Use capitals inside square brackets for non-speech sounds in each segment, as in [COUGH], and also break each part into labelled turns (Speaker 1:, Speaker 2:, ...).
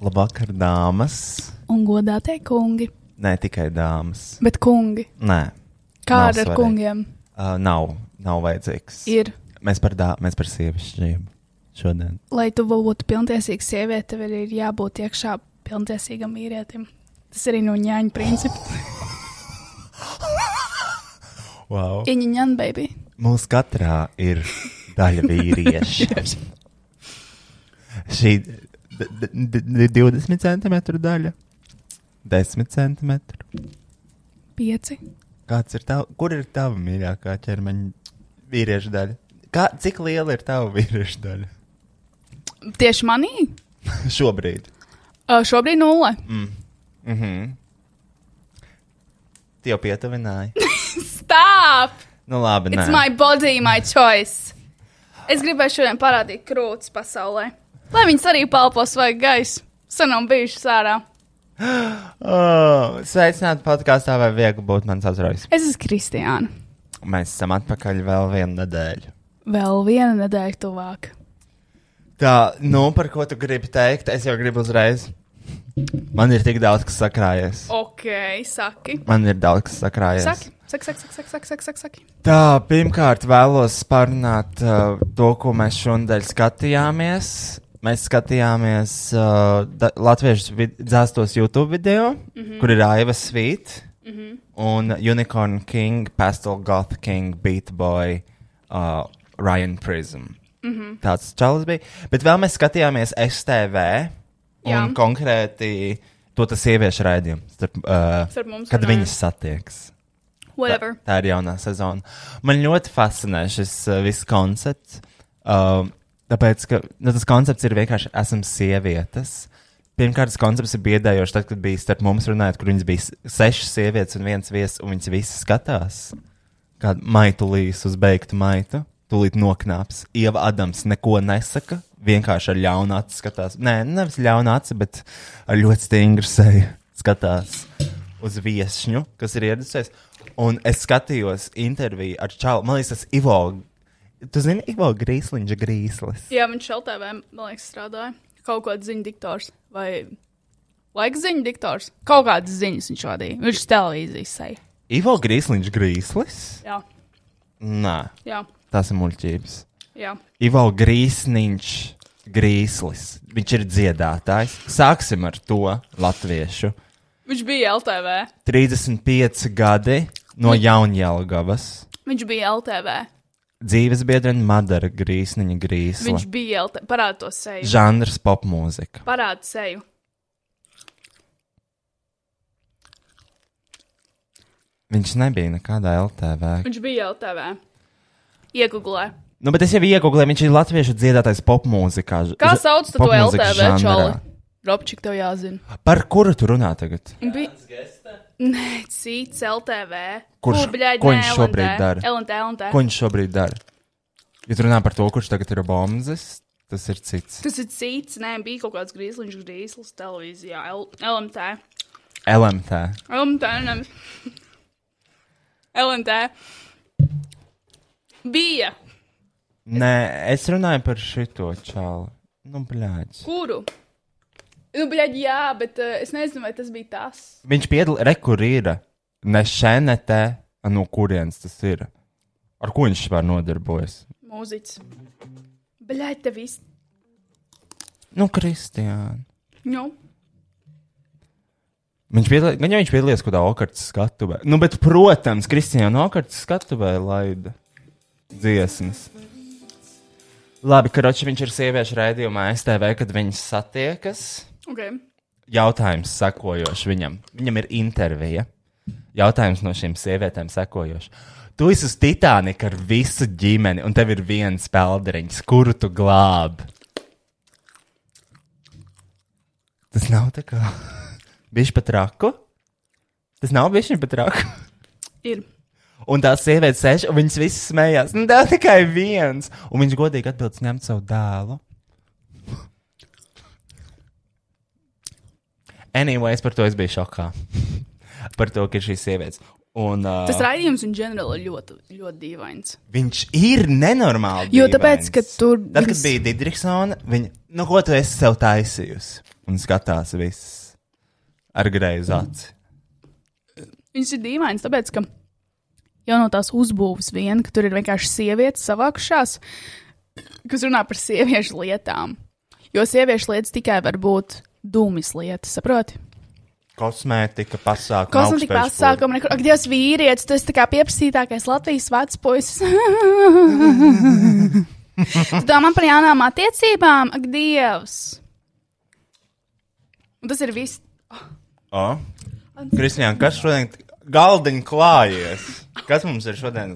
Speaker 1: Labvakar, dāmas.
Speaker 2: un godātie kungi.
Speaker 1: Nē, tikai dāmas.
Speaker 2: Bet kungi,
Speaker 1: Nē,
Speaker 2: kā
Speaker 1: Nav
Speaker 2: ar ar
Speaker 1: svarīgi.
Speaker 2: kungiem,
Speaker 1: uh, nav, nav vajadzīgs.
Speaker 2: ir,
Speaker 1: Mēs par, dā, mēs par sievišķību šodien.
Speaker 2: lai tu būtu pilntiesīga sieviete, tev ir jābūt iekšā pilntiesīgam vīrietim. Tas arī no ņāņa principa.
Speaker 1: Wow.
Speaker 2: Ieņa ņāņa, baby.
Speaker 1: Mums katrā ir daļa
Speaker 2: [LAUGHS]
Speaker 1: vīrieša. Šī d- d- d- 20 centimetru daļa, 10 centimetru.
Speaker 2: Pieci.
Speaker 1: Kāds ir tavs, kur ir tava mīļākā ķermeņa vīrieša daļa? Kā, cik liela ir tava vīrieša daļa [LAUGHS]
Speaker 2: Tieši manī
Speaker 1: šobrīd?
Speaker 2: uh, šobrīd nulle. [LAUGHS]
Speaker 1: Mm -hmm. Tie jau pietuvināja.
Speaker 2: Stop!
Speaker 1: nu, labi,
Speaker 2: It's
Speaker 1: nē.
Speaker 2: my body, my choice. Es gribēju šodien parādīt krūtis pasaulē. Lai viņas arī pelpo svaigu gaisu. Sen nav bijušas ārā.
Speaker 1: Oh, sveicināti podkāstā, vai viegli būt mans azrojas.
Speaker 2: Es esmu Kristiāna.
Speaker 1: Mēs esam atpakaļ vēl vienu nedēļu.
Speaker 2: Vēl viena nedēļa tuvāk.
Speaker 1: Tā, nu, par ko tu gribi teikt? Es jau gribu uzreiz. Man ir tik daudz, kas sakrājies.
Speaker 2: Ok, saki.
Speaker 1: Man ir daudz, kas sakrājies.
Speaker 2: Saki, saki, saki, saki, saki, saki, saki, saki.
Speaker 1: Tā, pirmkārt, vēlos parunāt uh, to, ko mēs šodien skatījāmies. Mēs skatījāmies uh, da- Latviešu vid- dzēstos YouTube video, mm
Speaker 2: Mhm.
Speaker 1: -hmm. kur ir Aiva Svīt mm -hmm. un Unicorn King, Pastel Goth King, Beat Boy, uh, Ryan Prism. Mm -hmm.
Speaker 2: Mhm.
Speaker 1: Tāds čalis bija. Bet vēl mēs skatījāmies STV un Jā.
Speaker 2: Jā.
Speaker 1: konkrēti to tas sieviešu raidījumu, starp, uh,
Speaker 2: Starp mums
Speaker 1: kad
Speaker 2: runāja.
Speaker 1: viņas satiekas.
Speaker 2: Whatever.
Speaker 1: Tā, tā ir jaunā sezona. Man ļoti fascinē šis uh, viss koncepts. Um, tāpēc, ka nu, tas koncepts ir vienkārši esam sievietes. Pirmkārt, tas koncepts ir biedējošs. Tad, kad bija starp mums runājot, kur viņas bija s- sešas sievietes un viens viesis, un viņas visas skatās. Kādu maitu līs uz beigtu maitu, tūlīt noknāps. Ieva Adams neko nesaka, vienkārši ar ļaunu aci skatās. Nē, nevis ļaunu aci, bet ar ļoti stingru seju skatās uz viesņu, kas ir ieradusies. Un es skatījos interviju ar Čālu. Man liekas, tas Ivo. Tu zini, Ivo Grīsliņš grīslis.
Speaker 2: Jā, viņš šeltēvē, man liekas, strādāja. Kaut kāds ziņu diktors vai laika ziņu diktors. Kaut kādas ziņas viņš vadīja. Viņš televīzijas seja.
Speaker 1: Ivo Grīsliņš grīslis?
Speaker 2: Jā,
Speaker 1: Nē,
Speaker 2: jā,
Speaker 1: tas ir muļķības.
Speaker 2: jā.
Speaker 1: Ivo Grīsniņš, Grīslis. Viņš ir dziedātājs. Sāksim ar to latviešu.
Speaker 2: Viņš bija LTV.
Speaker 1: 35 gadi no Jaunjēlgavas.
Speaker 2: Viņš bija LTV.
Speaker 1: Dzīves biedrene Madara Grīsniņa Grīsla.
Speaker 2: Viņš bija LTV. Parāda to seju.
Speaker 1: Žanrs popmūzika.
Speaker 2: Parāda seju.
Speaker 1: Viņš nebija nekādā LTV.
Speaker 2: Viņš bija LTV. Iegūlē.
Speaker 1: Nu, bet es jau iegūlēju, viņš ir latviešu dziedātājs popmūzikā. ž-
Speaker 2: Kā
Speaker 1: ž-
Speaker 2: sauc tu to
Speaker 1: popmūzikas
Speaker 2: LTV
Speaker 1: žanrā.
Speaker 2: čauli? Robčik, tev jāzina.
Speaker 1: Par kuru tu runā tagad?
Speaker 2: Bija... Nē, cits LTV.
Speaker 1: Kurš-
Speaker 2: Kubļaģi,
Speaker 1: ko
Speaker 2: nē,
Speaker 1: viņš šobrīd
Speaker 2: LNT,
Speaker 1: dara?
Speaker 2: LNT, LNT.
Speaker 1: Ko viņš šobrīd dara? Ja tu runā par to, kurš tagad ir bombas, tas ir cits.
Speaker 2: Tas ir cits, nē, bija kaut kāds grīzliņš, grīzlis televīzijā, L LMT.
Speaker 1: LMT.
Speaker 2: LMT, nē, [LAUGHS] LMT. Bija,
Speaker 1: Nē, es runāju par šito čālu. Nu, blēģis.
Speaker 2: kuru? Nu, bļaļ, jā, bet uh, es nezinu, vai tas bija tas.
Speaker 1: Viņš piedalās rekurīra. Ne šenetē, no kurienes tas ir. Ar ko viņš vispār nodarbojas?
Speaker 2: Mūziķis. Bļaļ, tev viss.
Speaker 1: Nu, Kristiāna.
Speaker 2: Nu,
Speaker 1: Viņš piedalās, gan jau viņš piedalījās kaut kādā okartas skatuvē. Nu, bet, protams, Kristiāna okartas skatuvē laida dziesmas. Labi, ka Roči viņš ir sieviešu raidījumā STV, kad viņas satiekas.
Speaker 2: ok.
Speaker 1: jautājums sekojošs viņam. Viņam ir intervija. Jautājums no šīm sievietēm sekojošs. Tu esi uz Titanika ar visu ģimeni, un tev ir viens peldriņš, kuru tu glābi. Tas nav tā kā [LAUGHS] bijis pat raku. Tas nav bijis pat raku.
Speaker 2: Ir.
Speaker 1: Un tās sievietes sēž, un viņas visas smējās. Nu, tā tikai viens. Un viņš godīgi atbildēs, ņemt savu dēlu. Anyways, par to es biju šokā. [LAUGHS] par to, ka ir šīs sievietes. Un, uh,
Speaker 2: Tas raidījums un ģenerāli ļoti, ļoti dīvains.
Speaker 1: Viņš ir nenormāli.
Speaker 2: Jo
Speaker 1: dīvains.
Speaker 2: tāpēc, ka tur
Speaker 1: Tad, kad
Speaker 2: viņas-
Speaker 1: bija Digita, viņa. Nu, ko tu esi sev taisījusi? un skatās viss ar greizu aci.
Speaker 2: Viņas ir dīvainas, tāpēc, ka jau no tās uzbūves vien, ka tur ir vienkārši sievietes savākušās, kas runā par sieviešu lietām. Jo sieviešu lietas tikai var būt dūmis lietas, saproti?
Speaker 1: Kosmētika, pasākuma.
Speaker 2: Kosmetika
Speaker 1: augstspējas
Speaker 2: pasākuma, nekur. Ak, Dievs, vīrietis, tas tā kā pieprasītākais Latvijas vecs puisis. tu domā par jaunām attiecībām? Ak, Dievs! Un tas ir viss.
Speaker 1: O, Kristiāna, kas šodien galdiņā klājies? Kas mums ir šodien?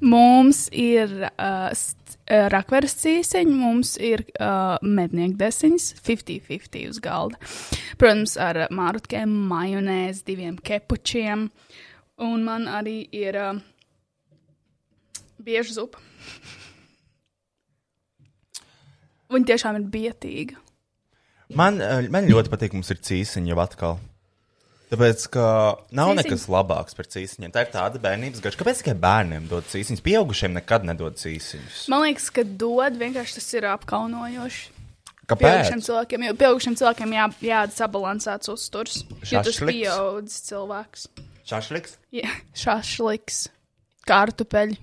Speaker 2: Mums ir uh, st- uh, rakveres cīsiņi, mums ir uh, mednieku desiņas, 50-50 uz galda. Protams, ar uh, mārutkiem, majonēzi, diviem kepučiem. Un man arī ir uh, bieža zupa. Viņa tiešām ir bietīga.
Speaker 1: Man, eh, man ļoti patīk, mums ir cīsiņa jau atkal. Tāpēc, ka nav
Speaker 2: Cīsiņi?
Speaker 1: cīsiņa. nekas labāks par cīsiņiem. Tā ir tāda bērnības garša. Kāpēc tikai bērniem dod cīsiņas? Pieaugušiem nekad nedod cīsiņas.
Speaker 2: Man liekas, ka dod vienkārši tas ir apkaunojoši. Pieaugušiem
Speaker 1: Kāpēc?
Speaker 2: cilvēkiem, jo pieaugušiem cilvēkiem jā, jāatbalansēts uzturs. Jo tas
Speaker 1: Šašliks?
Speaker 2: ir pieaudzis cilvēks.
Speaker 1: Šašliks?
Speaker 2: Jā, šašliks, kartupeļi,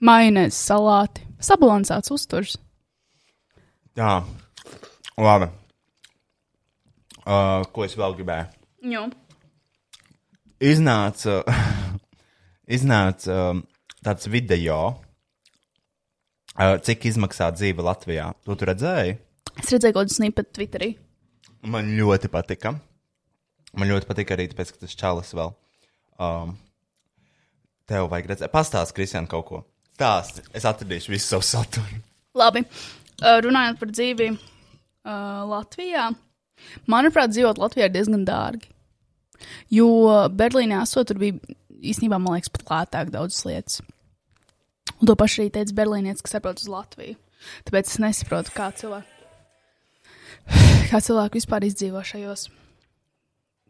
Speaker 2: maināts, salāti. Sabalansēts uzturs.
Speaker 1: Jā, labi. Uh, ko es vēl gribēju?
Speaker 2: Jo.
Speaker 1: iznāca, [LAUGHS] iznāca um, tāds video, uh, cik izmaksā dzīve Latvijā. To tu redzēji?
Speaker 2: Es redzēju, ka tas ir pat Twitterī.
Speaker 1: Man ļoti patika. Man ļoti patika arī tāpēc, ka tas čalis vēl. Um, tev vajag redzēt, pastāsti, Kristian, kaut ko. Stāsti, es atradīšu visu savu saturu.
Speaker 2: Labi, Uh, runājot par dzīvi uh, Latvijā. Manuprāt, dzīvot Latvijā ir diezgan dārgi. Jo Berlīnē esot, tur bija īstenībā, man liekas, pat lētāk daudzas lietas. Un to pašu arī teica berlīnietis, kas atbrauc uz Latviju. Tāpēc es nesaprotu, kā cilvēki, kā cilvēki vispār izdzīvo šajos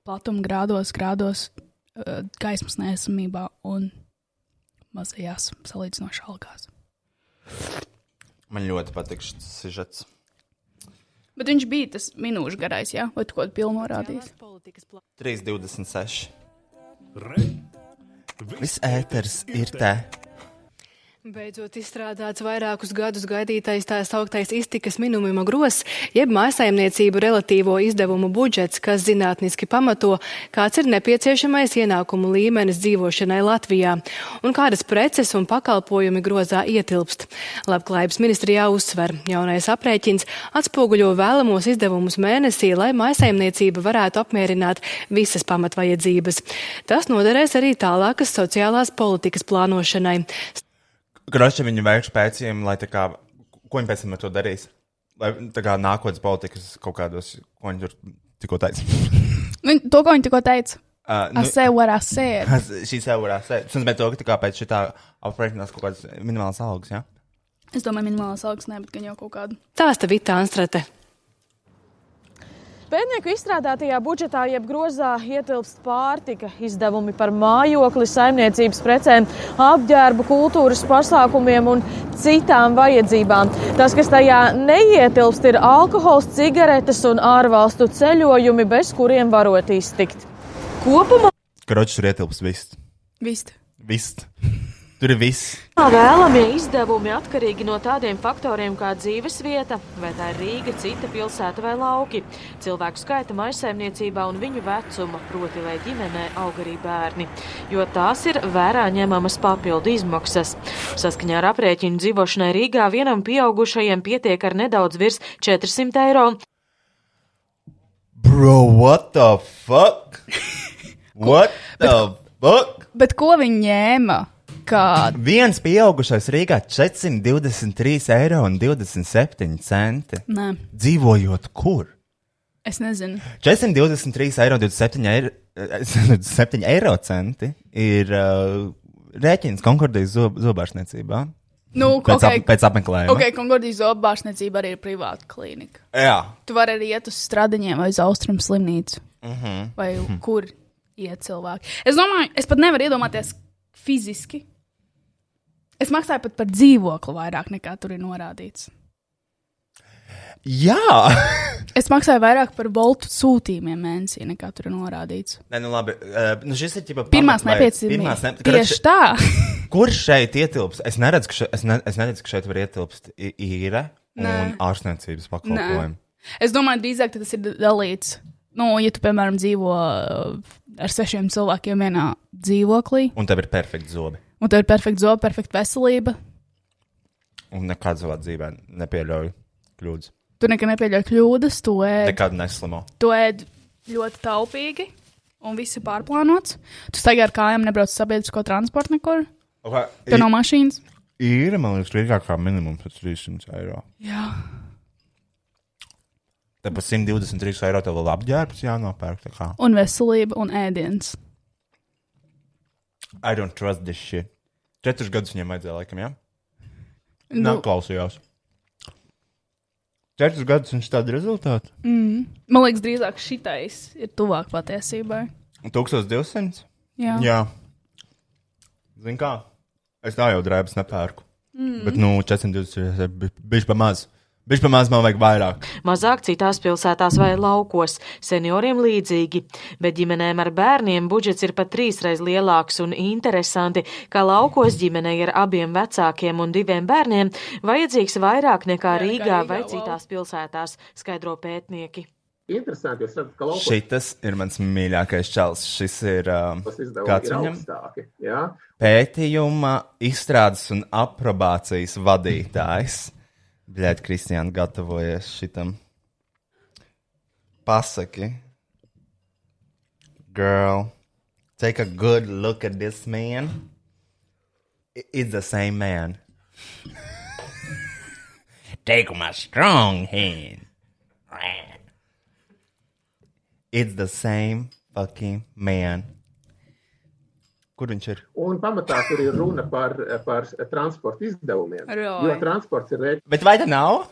Speaker 2: platuma grādos, grādos, uh, gaismas nesamībā un mazajās salīdzinošās algās.
Speaker 1: Man ļoti patīk šis sižets.
Speaker 2: Bet viņš bija tas minūšu garais, jā, vai tu kaut ko pilnu norādījis?
Speaker 1: 3,26. Viss ēters ir te.
Speaker 3: Beidzot izstrādāts vairākus gadus gaidītais tā sauktais iztikas minimuma gros, jeb mājsaimniecību relatīvo izdevumu budžets, kas zinātniski pamato, kāds ir nepieciešamais ienākumu līmenis dzīvošanai Latvijā un kādas preces un pakalpojumi grozā ietilpst. Labklājības ministrijā uzsver, jaunais aprēķins atspoguļo vēlamos izdevumus mēnesī, lai mājsaimniecība varētu apmierināt visas pamatvajadzības. Tas noderēs arī tālākas sociālās politikas plānošanai.
Speaker 1: Kroši viņu vērš pētījumu, lai tā kā, ko viņi pēc tam ar to darīs. Lai tā kā nākotnes politikas kaut kādos, ko viņi tur tikko [LAUGHS] teica.
Speaker 2: Nu, to, ko viņi tikko teica,
Speaker 1: Uh, nu,
Speaker 2: asē, varā
Speaker 1: [LAUGHS]
Speaker 2: sēž.
Speaker 1: kas šīs eurās, tas nozīmē to, ka tā kā pēc šitā aprēķinās kaut kādas minimālas algas, jā? Ja?
Speaker 2: Es domāju, minimālās algas, ne, bet gan jau kaut kādu.
Speaker 3: Tāsta Vita Anstrate.
Speaker 4: Pētnieku izstrādātajā budžetā jeb grozā ietilpst pārtika, izdevumi par mājokli, saimniecības precēm, apģērbu, kultūras pasākumiem un citām vajadzībām. Tas, kas tajā neietilpst, ir alkohols, cigaretes un ārvalstu ceļojumi, bez kuriem varot iztikt. Kopumā
Speaker 1: Kroči tur ietilps viss.
Speaker 2: Vist.
Speaker 1: Viss. [LAUGHS] Tur ir viss.
Speaker 4: Vēlamie izdevumi atkarīgi no tādiem faktoriem kā dzīves vieta, vai tā ir Rīga, cita pilsēta vai lauki, cilvēku skaita maisaimniecībā un viņu vecuma, proti, lai ģimenē aug arī bērni, jo tās ir vērā ņemamas papildu izmaksas. Saskaņā ar aprēķinu dzīvošanai Rīgā vienam pieaugušajam pietiek ar nedaudz virs 400 eiro,
Speaker 1: Bro, what the [LAUGHS] fuck? What the fuck?
Speaker 2: Bet ko viņi ņēma? Kā
Speaker 1: Viens pieaugušais Rīgā 423 eiro un 27 centi.
Speaker 2: Nē,
Speaker 1: Dzīvojot kur?
Speaker 2: es nezinu.
Speaker 1: 423 eiro 27, eiro, eh, [LAUGHS] 27 eiro centi ir uh, rēķins Konkordijas zob, zobārstniecībā.
Speaker 2: Nu,
Speaker 1: Pēc,
Speaker 2: ok,
Speaker 1: okay. ap, pēc apmeklējuma.
Speaker 2: ok, Kongordijas zobārstniecība arī ir privāta klīnika.
Speaker 1: Jā,
Speaker 2: Tu vari arī iet uz stradiņiem vai uz austrumu slimnīcu. Uh -huh.
Speaker 1: Mhm.
Speaker 2: Vai [LAUGHS] kur iet cilvēki? Es domāju, es pat nevaru iedomāties fiziski. Es maksāju pat par dzīvokli vairāk nekā tur ir norādīts.
Speaker 1: Jā!
Speaker 2: [LAUGHS] Es maksāju vairāk par voltu sūtījumiem mēnesī, nekā tur ir norādīts.
Speaker 1: Nē, nu labi. eh, Nu šis ir tipa
Speaker 2: Pirmās
Speaker 1: pamatlai- Pirmās
Speaker 2: nepieciešamības.
Speaker 1: ne...
Speaker 2: Tieši tā.
Speaker 1: [LAUGHS] Kurš šeit ietilpst? Es neredzu, ka, še, es ne, es neredzu, ka šeit var ietilpst i- īre un
Speaker 2: Nē.
Speaker 1: ārstniecības pakalpojumi.
Speaker 2: Es domāju, drīzāk ka tas ir dalīts. Nu, ja tu, piemēram, dzīvo uh, ar sešiem cilvēkiem vienā dzīvoklī,
Speaker 1: Un tev ir perfekti zobi.
Speaker 2: un tev ir perfekta zoba, perfekta veselība,
Speaker 1: Un nekad savā dzīvē nepieļauju kļūdas.
Speaker 2: tu nekad nepieļauj kļūdas, tu ēd,
Speaker 1: Nekad neslimo.
Speaker 2: tu ēd ļoti taupīgi, un viss ir pārplānots. Tu staigā ar kājām, nebrauc ar sabiedrisko transportu nekur,
Speaker 1: Okay.
Speaker 2: tu no mašīnas.
Speaker 1: Īra, man liekas, lielākā minimums ir 300 eiro.
Speaker 2: Jā.
Speaker 1: Tad par 123 eiro tev vēl apģērbs jānopērk. tā kā.
Speaker 2: Un veselība un ēdiens.
Speaker 1: I don't trust this shit. Četrus gadus viņam vajadzēja, laikam, jā? Ja?
Speaker 2: Nu,
Speaker 1: Neklausījās. Četrus gadus viņš tādu rezultātu.
Speaker 2: Mm. man liekas, drīzāk šitais ir tuvāk patiesībai.
Speaker 1: 1200?
Speaker 2: Jā.
Speaker 1: Jā. Zini kā? Es tā jau drēbes nepērku. Mm. Bet, nu, 420 ir bijis pamazs. Bijis pamazs man vajag vairāk.
Speaker 4: mazāk citās pilsētās vai laukos, senioriem līdzīgi. Bet ģimenēm ar bērniem budžets ir pat trīsreiz lielāks un interesanti, ka laukos ģimenei ar abiem vecākiem un diviem bērniem vajadzīgs vairāk nekā Rīgā vai
Speaker 2: Rīgā, wow.
Speaker 4: citās pilsētās, skaidro pētnieki.
Speaker 5: Interesanti, jūs redzat, ka laukos
Speaker 1: Šitas ir mans mīļākais čels. Šis ir um,
Speaker 5: tas
Speaker 1: Kāds
Speaker 5: izdevums ir
Speaker 1: viņam?
Speaker 5: augstāki. Jā?
Speaker 1: pētījuma, izstrādes un aprobācijas vadītājs. Bļaigi, Kristiāna, gatavojies šitam. Pasaki, girl, take a good look at this man. I- It's the same man. [LAUGHS] take my strong hand. It's the same fucking man. Kur viņš ir?
Speaker 5: Un pamatā tur ir runa par, par transporta izdevumiem.
Speaker 2: Roj.
Speaker 5: Jo transports ir
Speaker 1: Bet vai tā nav?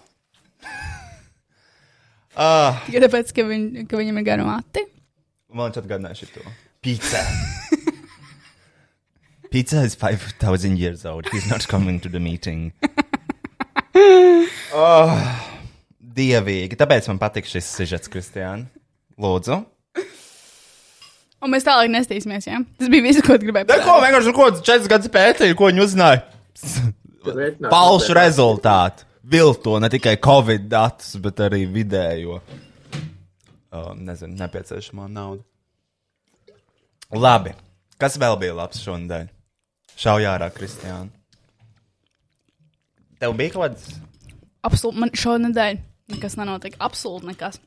Speaker 1: Ah,
Speaker 2: Tikai tāpēc, ka, viņ, ka viņam ir garu mati.
Speaker 1: man viņš atgādināja šo pizza. Pizza is 5000 years old. He's not coming to the [LAUGHS] meeting. Oh, dievīgi. Tāpēc man patīk šis sižets, Kristiāna. Lūdzu.
Speaker 2: Un mēs tālāk nestīsimies. Ja? Tas bija viss, ko es gribēju
Speaker 1: Nē, ko vienkārši ko četras gadus pētīju, ko viņi uzzināja.
Speaker 5: rēķināts.
Speaker 1: Falšu rezultātu. Vilto ne tikai Covid datus, bet arī vidējo. Um, nezinu, nepieciešamo naudu. Labi. Kas vēl bija labs šodien? Šaujā ārā, Kristiāna. Tev bija kaut kāds.
Speaker 2: Absolūti, man šonadēļ nekas nenotiek. Absolūti nekas.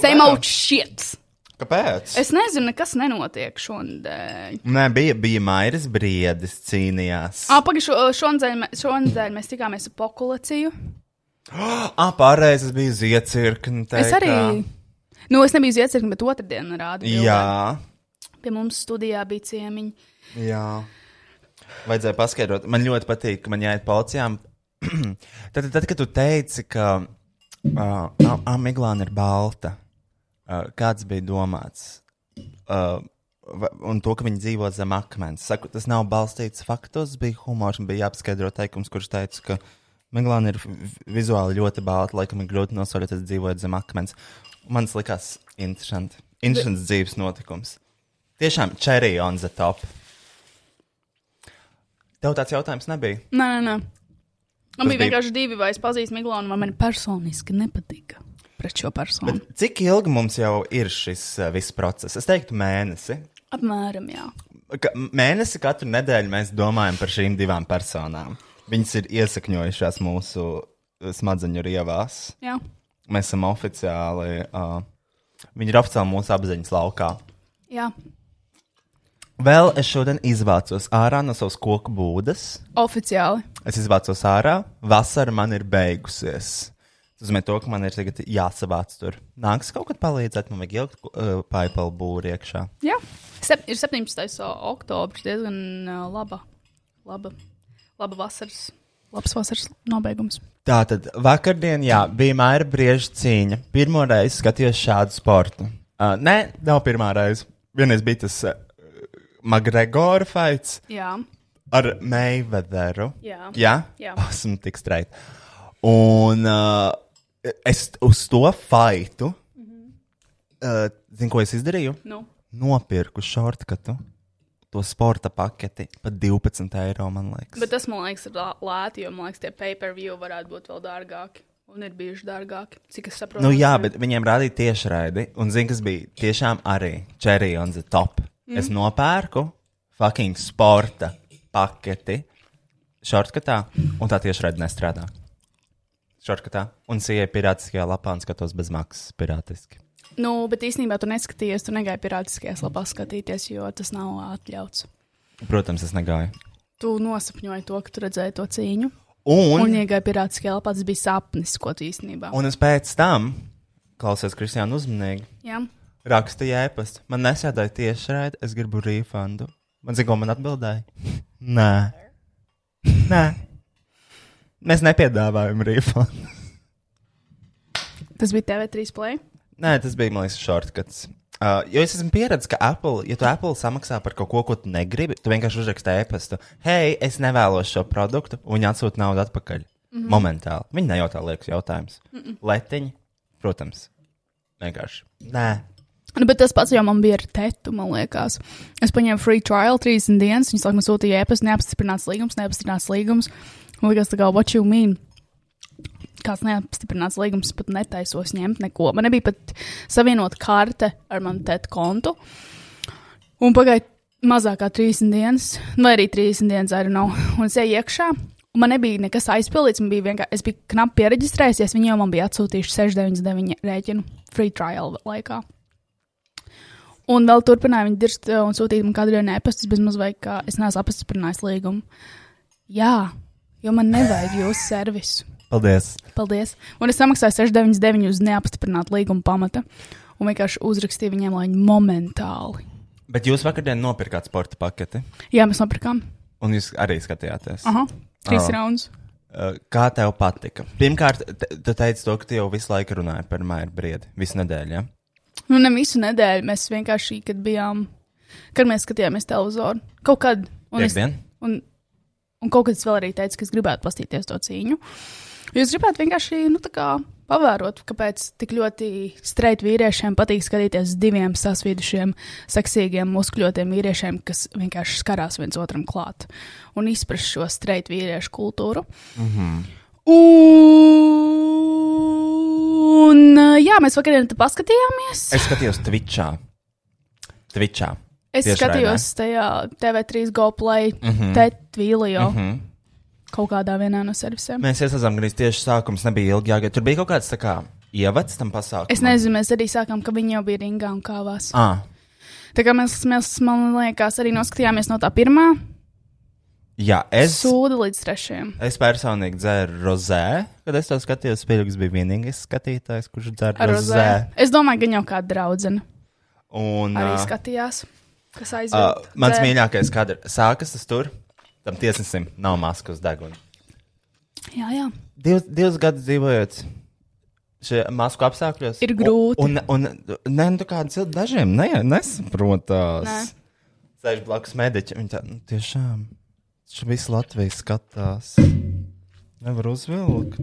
Speaker 2: Same
Speaker 1: Wow.
Speaker 2: out shit.
Speaker 1: Kāpēc? Es...
Speaker 2: Es nezinu, nekas nenotiek šonadēļ.
Speaker 1: Nē, bija, bija Mairis Briedis, cīnījās.
Speaker 2: Ah, pagaidi, šo, šonadēļ, mē- šonadēļ mēs tikāmies ar
Speaker 1: [GASPS]
Speaker 2: pokulaciju.
Speaker 1: Ah, pārējais bija ziecirkni.
Speaker 2: Es arī. Nu, es nebiju ziecirkni, bet otrdien rādīju.
Speaker 1: Jā,
Speaker 2: Pie mums studijā bija ciemiņi.
Speaker 1: jā. Vajadzēja paskaidrot. Man ļoti patīk, ka man jāiet policijām. [CLEARS THROAT] tad, tad, kad tu teici, ka uh, Amiglāna ir balta, uh, kāds bija domāts? Uh, va- un to, ka viņi dzīvo zem akmens. Saku, tas nav balstīts faktos, bija humors. un Bija jāpaskaidro teikums, kurš teica, ka Miglāna ir vi- vizuāli ļoti balta, laikam ir grūti nosaukt, dzīvojot zem akmens. Man tas likās interesanti. Interesants dzīves notikums. Tiešām cherry on the top. Tev tāds jautājums nebija.
Speaker 2: Nē, nē, nē. Man
Speaker 1: Tas
Speaker 2: bija
Speaker 1: bija-
Speaker 2: vienkārši divi, vai es pazīstu Miglonu, vai man personiski nepatika pret šo personu. Bet...
Speaker 1: Cik ilgi mums jau ir šis uh, viss process? Es teiktu, mēnesi.
Speaker 2: Apmēram, jā.
Speaker 1: Ka- Mēnesi katru nedēļu mēs domājam par šīm divām personām. Viņas ir iesakņojušās mūsu uh, smadzeņu rievās.
Speaker 2: jā.
Speaker 1: Mēs esam oficiāli. Uh, viņi ir oficiāli mūsu apziņas laukā.
Speaker 2: Jā,
Speaker 1: Vēl es šodien izvācos ārā no savas koku būdas.
Speaker 2: oficiāli.
Speaker 1: Es izvācos ārā, vasara man ir beigusies. Tas nozīmē, to, ka man ir tagad jāsavāc tur. Nāks kaut kad palīdzēt, man vajag ielikt uh, paipalu būru iekšā.
Speaker 2: Jā, Sep ir 17. oktobris. Diezgan uh, laba, laba, laba vasaras, labs vasaras nobeigums.
Speaker 1: Tā tad vakardien, jā, bija Maija Brieža cīņa. Pirmo reizi skatījos šādu sportu. Uh, nē, nav pirmā reize. Vienreiz bija tas uh, Magregora fights
Speaker 2: Jā,
Speaker 1: ar Meivederu.
Speaker 2: Jā.
Speaker 1: jā?
Speaker 2: Jā.
Speaker 1: esmu tik straight. Un uh, es uz to faitu, uh, zinu, ko es izdarīju?
Speaker 2: Mhm. Nu.
Speaker 1: Nopirku šortkatu, to sporta paketi par 12 eiro, man liekas.
Speaker 2: Bet tas, man liekas, ir lā- lēti, jo, man liekas, tie pay-per-view varētu būt vēl dārgāki. Un ir bijuši dārgāki, cik es saprotu.
Speaker 1: Nu, jā, bet viņiem rādīja tiešraidi. Un zini, kas bija tiešām arī cherry on the top. Mm. Es nopērku fucking sporta paketi šortkatā, un tā tiešraidi nestrādā. Šortkatā. Un sieviete pirātiskajā lapā un skatos bez maksas pirātiski.
Speaker 2: Nu, bet īstenībā tu neskatījies, tu negāji pirātiskajās lapās skatīties, jo tas nav atļauts.
Speaker 1: Protams, es negāju.
Speaker 2: Tu nosapņoji to, ka tu redzēji to cīņu. Un,
Speaker 1: Un,
Speaker 2: un iegāja pirātiskajā lapā, tas bija sapnis, ko tu īstenībā.
Speaker 1: un es pēc tam klausies Kristiānu uzmanīgi.
Speaker 2: Jā,
Speaker 1: Rakstīja ēpastu. Man nesēdāja tiešraidi, es gribu refundu. Man zina, ko man atbildēja? Nē. [LAUGHS] Nē. Mēs nepiedāvājam refundu.
Speaker 2: tas bija TV3 play.
Speaker 1: [LAUGHS] Nē, tas bija, man liekas, shortcuts. Uh, jo es esmu pieredzējis, ka Apple, ja tu Apple samaksā par kaut ko, ko tu negribi, tu vienkārši uzraksti ēpastu. Hei, es nevēlos šo produktu, un viņi atsūta naudu atpakaļ. Mm -hmm. Momentāli. Viņi nejautā liekas jautājumus. Mm -mm. Letiņi, protams. Vienkārši. Nē,
Speaker 2: Nu, bet tas pats jau man bija ar tētu, man liekas. Es paņēmu free trial 30 dienas, viņas laikam sūtīja ēpastu, neapstiprināts līgums, neapstiprināts līgums. Man liekas, tā kā, what you mean? Kāds neapstiprināts līgums, pat netaisos ņemt neko. Man nebija pat savienot karte ar manu tētu kontu. Un pagāja mazāk kā 30 dienas, vai arī 30 dienas, arī nav. Un es eju iekšā. un Man nebija nekas aizpildīts, man bija vienkārši, es biju knapi pieregistrējies, viņi jau man bija atsūtījuši 699 rēķinu free trial laikā. Un vēl turpināja viņu dirzt eh, un sūtīt man kādu dienu ēpastus, bez mazliet, ka es neesmu apstiprinājis līgumu. Jā, jo man nevajag jūsu servisu.
Speaker 1: paldies.
Speaker 2: Paldies. Un es samaksāju 6,99 uz neapstiprinātu līgumu pamata. Un vienkārši uzrakstīju viņiem, lai viņi momentāli.
Speaker 1: Bet jūs vakardien nopirkāt sporta paketi,
Speaker 2: Jā, mēs nopirkām.
Speaker 1: un jūs arī skatījāties.
Speaker 2: Aha,
Speaker 1: Ā.
Speaker 2: trīs oh. raundus.
Speaker 1: Uh, Kā tev patika? Pirmkārt, te- tu teici to, ka tu jau visu laiku runāji par Maiju Briedi. Visu nedēļu. Ja?
Speaker 2: Nu, ne visu nedēļu. Mēs vienkārši, kad bijām, kad mēs skatījāmies televizoru, kaut kad. Un es,
Speaker 1: Piektdien?
Speaker 2: un, un kaut kad es vēl arī teicu, ka es gribētu paskatīties to cīņu. Jūs gribētu vienkārši, nu, tā kā pavērot, kāpēc tik ļoti streit vīriešiem patīk skatīties uz diviem sasvīdušiem, seksīgiem, muskuļotiem vīriešiem, kas vienkārši skarās viens otram klāt un izprast šo streit vīriešu kultūru. Un, uh, jā, mēs vakarā tam paskatījāmies.
Speaker 1: Es skatījos Twitchā. Twitchā.
Speaker 2: Es
Speaker 1: Tiešraidē. Mhm.
Speaker 2: skatījos tajā TV3 GoPlay, mm -hmm. Tetvīlijā, mm -hmm. kaut kādā vienā no servisiem.
Speaker 1: Mēs iesaistām gandrīz tieši sākums, nebija ilgi jāgaida. Tur bija kaut kāds tā kā, ievads tam pasākumam.
Speaker 2: Es nezinu, mēs arī sākām, ka viņi jau bija ringā un kāvās.
Speaker 1: Ah,
Speaker 2: Tā kā mēs, mēs, man liekas, arī noskatījāmies no tā pirmā
Speaker 1: jā, es,
Speaker 2: sūda līdz trešajam.
Speaker 1: es personīgi dzēru rozē. Kad es to skatījos, Spēļģis bija vienīgais skatītājs, kurš dzēra
Speaker 2: Ar
Speaker 1: rozē.
Speaker 2: rozē. Es domāju, ka viņa jau kāda draudzene
Speaker 1: Un, eh,
Speaker 2: arī
Speaker 1: ā,
Speaker 2: skatījās, kas aizjūta.
Speaker 1: Uh, mans mīļākais kadrs sākas tas tur, tam tiesnesim nav maskas uz deguna.
Speaker 2: Jā, jā.
Speaker 1: Divus, divus gadus dzīvojot šajā masku apstākļos,
Speaker 2: Ir grūti.
Speaker 1: Un, un, un ne, nu, kāda cilvēka dažiem ne,
Speaker 2: Nē.
Speaker 1: nesaprotās. Sēž blakus mediķi. Viņa tā, nu, tiešām, viņš visu Latviju skatās. Nevar uzvilkt.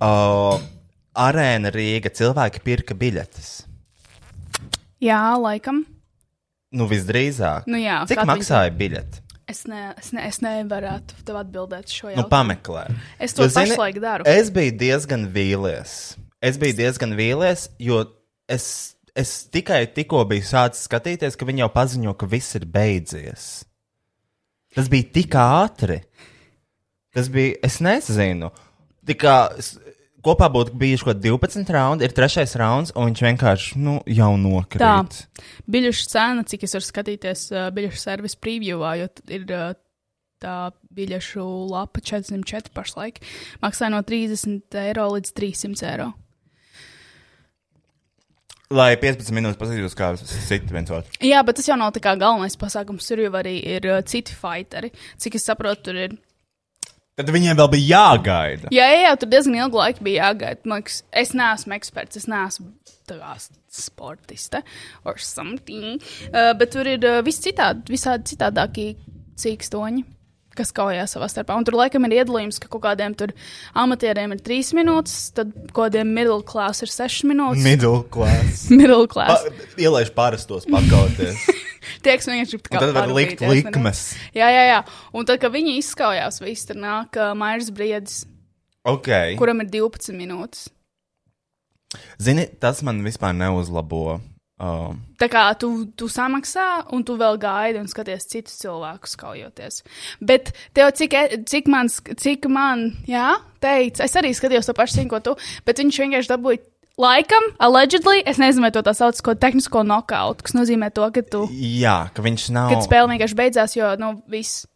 Speaker 1: Uh, arēna Rīga cilvēki pirka biļetes.
Speaker 2: jā, laikam.
Speaker 1: Nu, visdrīzāk.
Speaker 2: Nu jā,
Speaker 1: Cik
Speaker 2: kad viņi-
Speaker 1: maksāja biļete?
Speaker 2: Es, ne, es, ne, es nevaru tev atbildēt šo
Speaker 1: Nu,
Speaker 2: jautājumu.
Speaker 1: pameklē.
Speaker 2: Es to
Speaker 1: Jo, zini,
Speaker 2: pašlaik daru.
Speaker 1: Es biju diezgan vīlies. Es biju diezgan vīlies, jo es, es tikai tikko biju sācis skatīties, ka viņi jau paziņo, ka viss ir beidzies. Tas bija tik ātri. Tas bija, es nezinu. Tikā s- kopā būtu bijuši kaut kādi 12 raundi, ir trešais rauns, un viņš vienkārši, nu, jau nokrīt.
Speaker 2: Tā. biļešu cena, cik es varu skatīties uh, biļešu servisa previewā, jo t- ir uh, tā biļešu lapa 404 pašlaik. Maksā no 30 eiro līdz 300 eiro.
Speaker 1: Lai 15 minūtes paskatītos, kā sit viens otru.
Speaker 2: Jā, bet tas jau nav tā kā galvenais pasākums. Tur jau arī ir uh, citi fighteri. Cik es saprotu, tur ir.
Speaker 1: Tad viņiem vēl bija jāgaida.
Speaker 2: Jā, jā, jā tur diezgan ilgu laiku bija jāgaida. Man liekas, es neesmu eksperts, es neesmu tā kā sportiste or something. Uh, bet tur ir uh, viss citādi, visādi citādākie cīkstoņi. kas kaujās savā starpā. Un tur laikam ir iedalījums, ka kaut kādiem tur amatieriem ir trīs minūtes, tad kaut kādiem middle class ir sešas minūtes.
Speaker 6: Middle Ah. class.
Speaker 2: middle class.
Speaker 6: Pa, ielaiž parastos
Speaker 2: [LAUGHS]
Speaker 6: pakauties.
Speaker 2: Tie, kas vienkārši ir tā kā
Speaker 6: Un tad var likt
Speaker 2: parūpīties, vai ne?
Speaker 6: likmes.
Speaker 2: Jā, jā, jā. Un tad, kad viņi izskaujās, viss tur nāk uh, Mairs Briedis,
Speaker 6: Ok.
Speaker 2: kuram ir 12 minūtes.
Speaker 1: Zini, tas man vispār neuzlabo. Um,
Speaker 2: Tā kā tu, tu samaksā, un tu vēl gaidi un skaties citus cilvēkus kaujoties. Bet tev, cik, e- cik man, sk- cik man jā, teica, es arī skatījos to pašu sīko, tu, bet viņš vienkārši dabūja laikam, allegedly, es nezinu, vai to tā sauc, ko tehnisko nokautu, kas nozīmē to, ka tu,
Speaker 1: jā, ka viņš nav.
Speaker 2: kad spēle vienkārši beidzās, jo, nu, viss.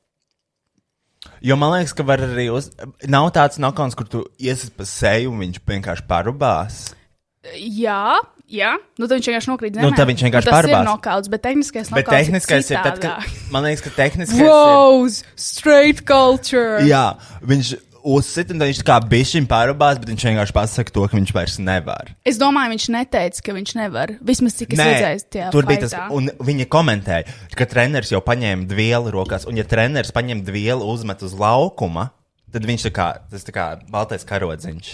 Speaker 1: Jo man liekas, ka var arī. Uz... Nav tāds nokauts, kur tu iesi pa seju un viņš vienkārši parubās.
Speaker 2: Jā, jā, nu tad viņš vienkārši nokrīt zemē.
Speaker 1: Nu, tad viņš vienkārši
Speaker 2: Un tas
Speaker 1: pārbāz.
Speaker 2: ir nokauts, bet tehniskais
Speaker 1: Bet
Speaker 2: nokauts.
Speaker 1: tehniskais ir tad, kad. Man liekas, ka tehniskais ir.
Speaker 2: Wow, straight culture!
Speaker 1: Jā, viņš uzsita un tad viņš tā kā bišķiņ parubās, bet viņš vienkārši pasaka to, ka viņš vairs nevar.
Speaker 2: Es domāju, viņš neteica, ka viņš nevar. Vismaz cik es redzēju, tajā
Speaker 1: tur bija tas,
Speaker 2: fightā.
Speaker 1: un viņa komentēja, ka treneris jau paņēma dvielu rokās, un ja treneris paņem dvielu uzmet uz laukuma, tad viņš tā kā, tas tā kā baltais karodziņš.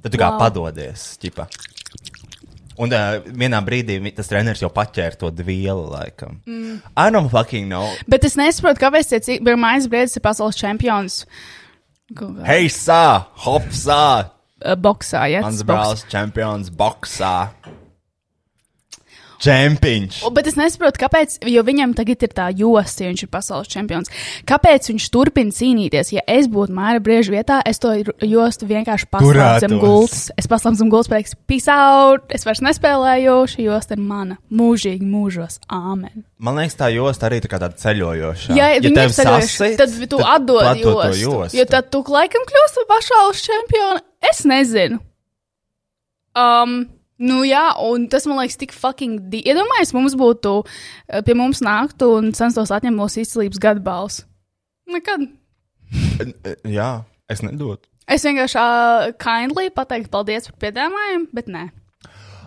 Speaker 1: Tad tu kā
Speaker 2: Wow.
Speaker 1: wow. padodies, ķipa. Un uh, vienā brīdī vi- tas treneris jau paķēra to dvielu, laikam. Mm. I don't fucking know.
Speaker 2: Bet es nesaprotu, kāpēc tie cik- pirmais brīdis ir pasaules čempions. Kaut kā,
Speaker 1: Hei, sā, hopsā,
Speaker 2: eh, Boksā, jā.
Speaker 1: mans
Speaker 2: tas boks.
Speaker 1: brālis čempions boksā. Čempions.
Speaker 2: O, Bet es nesaprotu, kāpēc, jo viņam tagad ir tā josta, ja viņš ir pasaules čempions. Kāpēc viņš turpina cīnīties? Ja es būtu Māra Brieža vietā, es to ru- jostu vienkārši paslēptu zem
Speaker 6: Turētos.
Speaker 2: gultas. Es paslēptu zem gultas, pateiktu, peace out, es vairs nespēlēju, šī josta ir mana. Mūžīgi mūžos, āmen.
Speaker 1: Man liekas, tā josta arī tā kā tāda ceļojoša.
Speaker 2: Ja, ja viņi
Speaker 1: tev
Speaker 2: ir ceļojuši,
Speaker 1: sasit,
Speaker 2: tad tu atdod
Speaker 1: tu atdod to
Speaker 2: jostu. Jo tad tu laikam kļūsi par pasaules čempionu. Es nezinu. Um, nu jā, un tas man liekas tik fucking di... Iedomājies, mums būtu, eh, pie mums nāktu un censtos atņemt mūsu izcilības gadu balsu. Nekad.
Speaker 1: Jā, es nedodu.
Speaker 2: Es vienkārši uh, kindly pateiktu paldies par piedāvājumu, bet nē.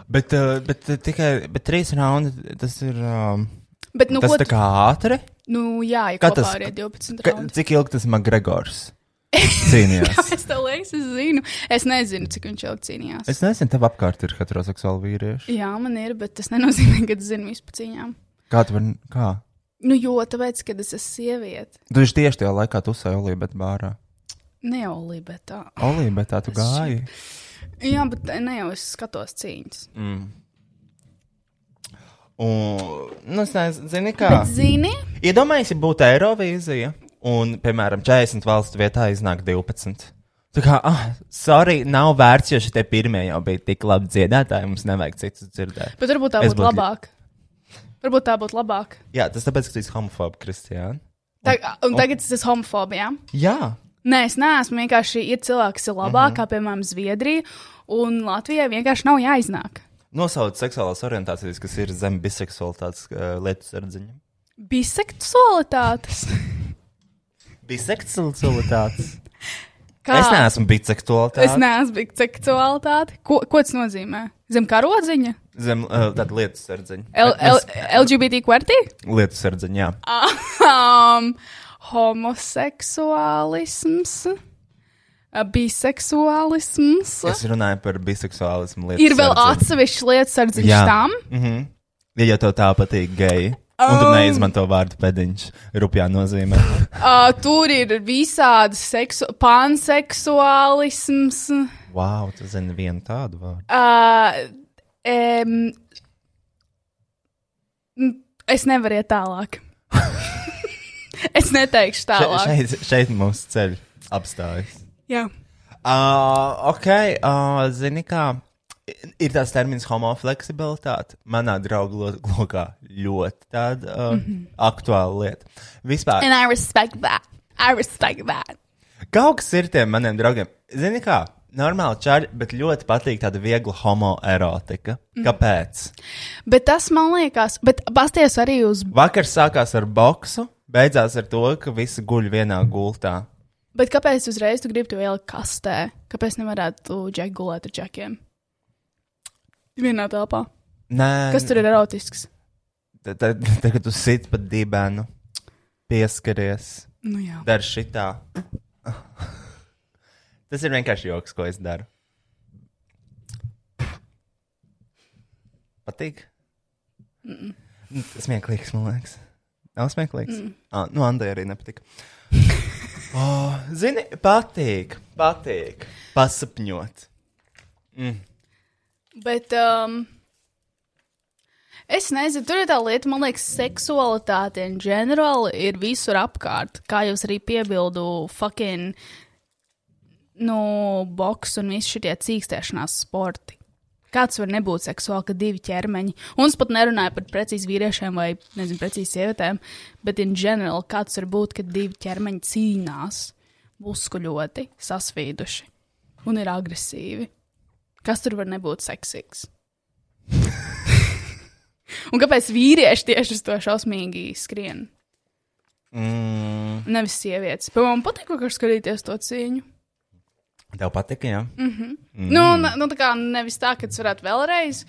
Speaker 1: Bet, uh, bet uh, tikai bet trīs raundi tas ir. Um,
Speaker 2: Bet, nu,
Speaker 1: nu, tas
Speaker 2: ko,
Speaker 1: tā kā ātri.
Speaker 2: nu jā, ja
Speaker 1: Kā
Speaker 2: kopā
Speaker 1: tas-
Speaker 2: arī 12
Speaker 1: Ka,
Speaker 2: raundi.
Speaker 1: cik ilgi tas
Speaker 2: [LAUGHS]
Speaker 1: Makgregors cīnījās?
Speaker 2: Es tev liekas, es zinu. Es nezinu, cik viņš ilgi cīnījās.
Speaker 1: es nezinu, tev apkārt ir heteroseksuāli vīrieši.
Speaker 2: Jā, man ir, bet tas nenozīmē, ka es zinu visu par cīņām.
Speaker 1: Kā tu vari? Kā?
Speaker 2: Nu, jo tāpēc, kad es esmu sieviete,
Speaker 1: Tu tieši tieši tajā laikā tu sēji Olībetā bārā.
Speaker 2: ne jau libetā.
Speaker 1: Olībetā tu gāji.
Speaker 2: Jā, bet ne jau es skatos cīņas.
Speaker 1: Mm. Un, nu, es nezinu, zini kā.
Speaker 2: Bet, zini,
Speaker 1: Iedomājieties, ja būtu Eirovīzija, un, piemēram, 40 valstu vietā iznāk 12. Tā kā, ah, sorry, nav vērts, jo šie pirmie jau bija tik labi dziedātāji, mums nevajag citus dzirdēt.
Speaker 2: bet varbūt tā
Speaker 1: Es
Speaker 2: būtu
Speaker 1: būtu-
Speaker 2: labāk. Varbūt tā būtu labāk.
Speaker 1: Jā, tas tāpēc, ka tu esi homofobs, Kristija.
Speaker 2: Tag, un tagad es esmu homofobijā.
Speaker 1: Jā,
Speaker 2: Nē, es neesmu vienkārši ir cilvēki, kas ir
Speaker 1: Mhm.
Speaker 2: labāk, kā piemēram Zviedrija, un Latvijai vienkārši nav jāiznāk.
Speaker 1: nosaukt seksuālās orientācijas, kas ir zem biseksualitātes uh, lietu sardziņa. [LAUGHS]
Speaker 2: Biseksualitātes.
Speaker 1: Biseksualitātes.
Speaker 2: Kā?
Speaker 1: Es neesmu
Speaker 2: Es
Speaker 1: biseksualitāte.
Speaker 2: neesmu biseksualitāte. Ko, ko tas nozīmē? Zem karodziņa?
Speaker 1: Zem uh, tāda lietu sardziņa.
Speaker 2: L L
Speaker 1: Es-
Speaker 2: LGBT kvartī?
Speaker 1: Lietu sardziņa, jā.
Speaker 2: [LAUGHS] um, homoseksuālisms, uh, biseksuālisms.
Speaker 1: Es runāju par biseksuālismu lietu.
Speaker 2: Ir vēl
Speaker 1: sardziņu.
Speaker 2: atsevišķi lietas ar dziļu
Speaker 1: Jā. Mhm.
Speaker 2: tam.
Speaker 1: Ja jau tev tā patīk, geji. Un
Speaker 2: Oh.
Speaker 1: tu neizmanto vārdu pēdiņš, rupjā nozīmē.
Speaker 2: [LAUGHS] Uh, tur ir visādi seksu, panseksuālisms.
Speaker 1: Wow, tu zini vienu tādu vārdu.
Speaker 2: Uh, um, es nevaru iet
Speaker 1: [LAUGHS]
Speaker 2: tālāk. es neteikšu
Speaker 1: Še,
Speaker 2: tālāk. Še,
Speaker 1: šeit, šeit mūsu ceļš apstājas.
Speaker 2: še. Jā,
Speaker 1: Uh, ok, uh, zini kā. Ir tās termins homofleksibilitāte. Manā draugu lo- lokā ļoti tāda uh, mm -hmm. aktuāla lieta. Vispār.
Speaker 2: Mhm. and I respect that. I respect that.
Speaker 1: Kaut kas ir tiem maniem draugiem. Zini kā, normāli čaļi, bet ļoti patīk tāda viegla homoerotika. Kāpēc?
Speaker 2: Bet tas man liekas, bet pasties arī uz
Speaker 1: Vakar sākās ar boksu, beidzās ar to, ka visi guļ vienā gultā.
Speaker 2: Bet kāpēc uzreiz tu gribi to ielikt kastē? Kāpēc nevarētu džeku gulēt ar džekiem? Vienā telpā.
Speaker 1: Nē,
Speaker 2: Kas tur ir erotisks?
Speaker 1: [LAUGHS] Tad, kad tu sit pa dibenu, pieskaries,
Speaker 2: Nu, jā.
Speaker 1: Dari šitā. [LAUGHS] Tas ir vienkārši joks, ko es daru. Patīk? Mm. Tas smieklīgs, man liekas. Nav smieklīgs. Mm. Ah, nu, Andai arī nepatīk. [LAUGHS] oh, zini, patīk. Patīk. Pasapņot. Mm,
Speaker 2: Bet um, es nezinu, tur ir tā lieta, man liekas, seksualitāte in general ir visur apkārt. Kā jūs arī piebildu, fucking, nu, boks un visi šie cīkstēšanās sporti. Kāds var nebūt seksuāli, ka divi ķermeņi, un es pat nerunāju par precīzi vīriešiem vai, nezinu, precīzi sievietēm, bet in general, kāds var būt, ka divi ķermeņi cīnās, muskuļoti, sasvīduši un ir agresīvi. Kas tur var nebūt seksīgs? Un kāpēc vīrieši tieši uz to šausmīgi skrien?
Speaker 1: Mm.
Speaker 2: Nevis sievietes. Pa man patīk, ka var skatīties to cīņu.
Speaker 1: Tev patīk, jā? Mm.
Speaker 2: Mm. Nu, ne- nu, tā kā nevis tā, ka tas varētu vēlreiz,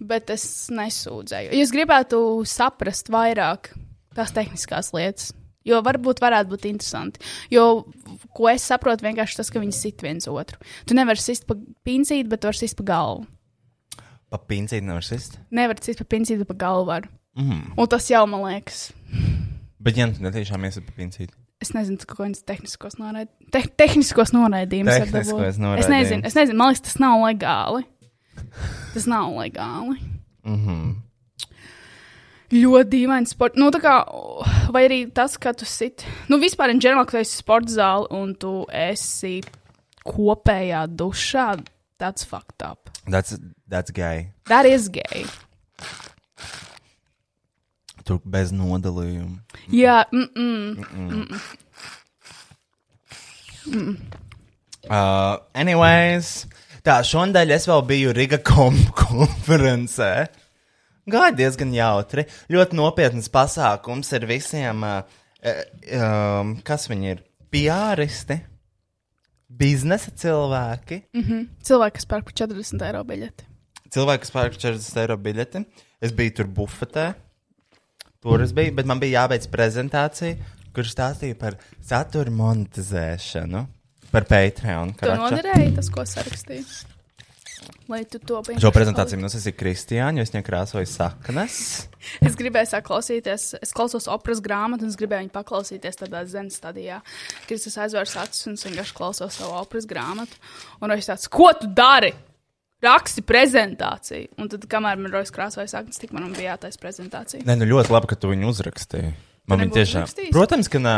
Speaker 2: bet es nesūdzēju. Es gribētu saprast vairāk tās tehniskās lietas. Jo varbūt varētu būt interesanti. Jo, ko es saprotu, vienkārši tas, ka viņi sit viens otru. Tu nevari sist pa pincīt, bet tu vari sist pa galvu.
Speaker 1: Pa pincīt nevar sist.
Speaker 2: Nevar sist pa pincīt, bet pa galvu var.
Speaker 1: Mhm.
Speaker 2: Mm. Un tas jau man liekas.
Speaker 1: Bet, ja nu, tu netiešām iesi pa pincīt.
Speaker 2: Es nezinu, tas kaut kādas tehniskos, noraid... Te tehniskos noraidījumus. var
Speaker 1: Tehniskos
Speaker 2: dabūt. Es nezinu,
Speaker 1: noraidījumus.
Speaker 2: es nezinu, man liekas, tas nav legāli. Tas nav legāli.
Speaker 1: Mhm.
Speaker 2: Ļoti dīvaini sports. Nu, tā kā, vai arī tas, ka tu sit. Nu, vispār, in general, ka tu esi sports zāle un tu esi kopējā dušā, tāds fucked up.
Speaker 1: That's, that's gay.
Speaker 2: That is gay.
Speaker 1: Tur bez nodalījuma.
Speaker 2: Jā, mm -mm.
Speaker 1: Uh, anyways, tā šonadēļ es vēl biju Riga kom [LAUGHS] konferencē. Gāja diezgan jautri. Ļoti nopietns pasākums ar visiem, uh, eh, um, kas viņi ir. Piāristi, biznesa cilvēki, mm.
Speaker 2: Mhm. cilvēki, kas pērk par 40 eiro biļeti.
Speaker 1: cilvēki, kas pērk 40 eiro biļeti. Es biju tur bufetē, tur es biju, bet man bija jābeidz prezentācija, kurš stāstīja par satura monetizēšanu, par Patreon.
Speaker 2: Tu
Speaker 1: karača.
Speaker 2: noderēji tas, ko sarakstīji. Lai tu to pieņemtu.
Speaker 1: Šo prezentāciju mums ir Kristiāna, jo es viņai krāsoju saknes.
Speaker 2: Es gribēju sākt klausīties, es klausos operas grāmatu, un es gribēju viņu paklausīties tādā zemes stadijā. Kad es aizvērsu acis un es vienkārši klausos savu operas grāmatu, un es tāds, ko tu dari? Raksti prezentāciju. Un tad, kamēr man rodas krāsoja saknes, tik man bija jātais prezentācija.
Speaker 1: Nē, nu ļoti labi, ka tu viņu uzrakstīji. Man viņa
Speaker 2: nebūtu
Speaker 1: tiešām.
Speaker 2: uzrakstījis?
Speaker 1: Protams, ka nē.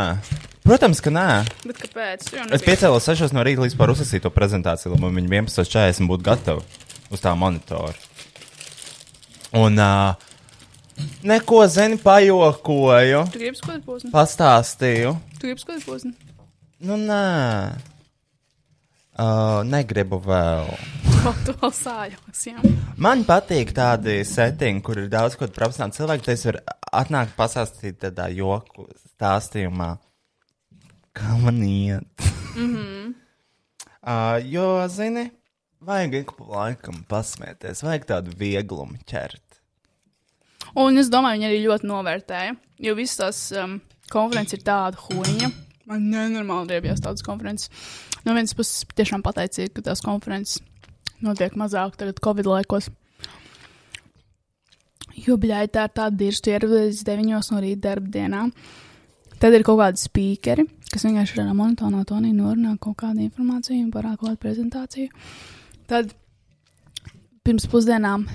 Speaker 1: Protams, ka nē.
Speaker 2: Bet kāpēc? Tu jau
Speaker 1: Es
Speaker 2: nebija-
Speaker 1: piecēlos 6 no rīta līdz par uzsācīto prezentāciju, lai man viņa 11.40 būtu gatava uz tā monitora. Un uh, neko zini, pajokoju,
Speaker 2: Tu gribi skotu posmu?
Speaker 1: pastāstīju.
Speaker 2: Tu gribi skotu posmu?
Speaker 1: Nu, nē, uh, negribu vēl.
Speaker 2: [LAUGHS] Ko tu vēl sājos? Jā.
Speaker 1: Man patīk tādi settingi, kur ir daudz ko profesionāli cilvēki. Tas var atnākt pasāstīt tādā joku stāstījumā, kā man iet. Mm -hmm.
Speaker 2: Mhm.
Speaker 1: uh, jo, zini, vajag ik pa laikam pasmieties, vajag tādu vieglumu ķert.
Speaker 2: Un es domāju, viņi arī ļoti novērtēja. Jo visas tās um, konferences ir tāda huņa. Man nenormāli riebjās tādas konferences. No vienas puses, tiešām pateicīgi, ka tās konferences notiek mazāk tagad, Covid laikos. Jo bļāj, tā ir tāda dirza, tu ieradies 9 no rīta darba dienā. Tad ir kaut kādi speakeri, kas vienkārši ar monotonu tonī norunā kaut kādu informāciju un parāda kaut kādu prezentāciju. Tad pirms pusdienām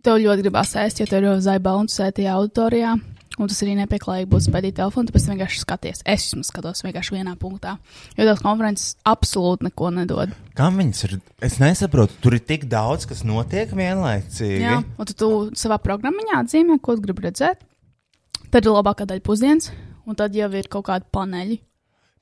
Speaker 2: tev ļoti gribās ēst, jo tev jau zaibala un sētajā auditorijā. Un tas arī nepieklājīgi būtu spēļīt telefonu, tāpēc vienkārši skaties. Es vismaz skatos vienkārši vienā punktā. Jo tās konferences absolūti neko nedod.
Speaker 1: Kā viņas ir? Es nesaprotu, tur ir tik daudz, kas notiek vienlaicīgi.
Speaker 2: Jā, un tad tu savā programmā atzīmē, ko tu gribi redzēt. Tad ir labākā daļa pusdienas, un tad jau ir kaut kādi paneļi.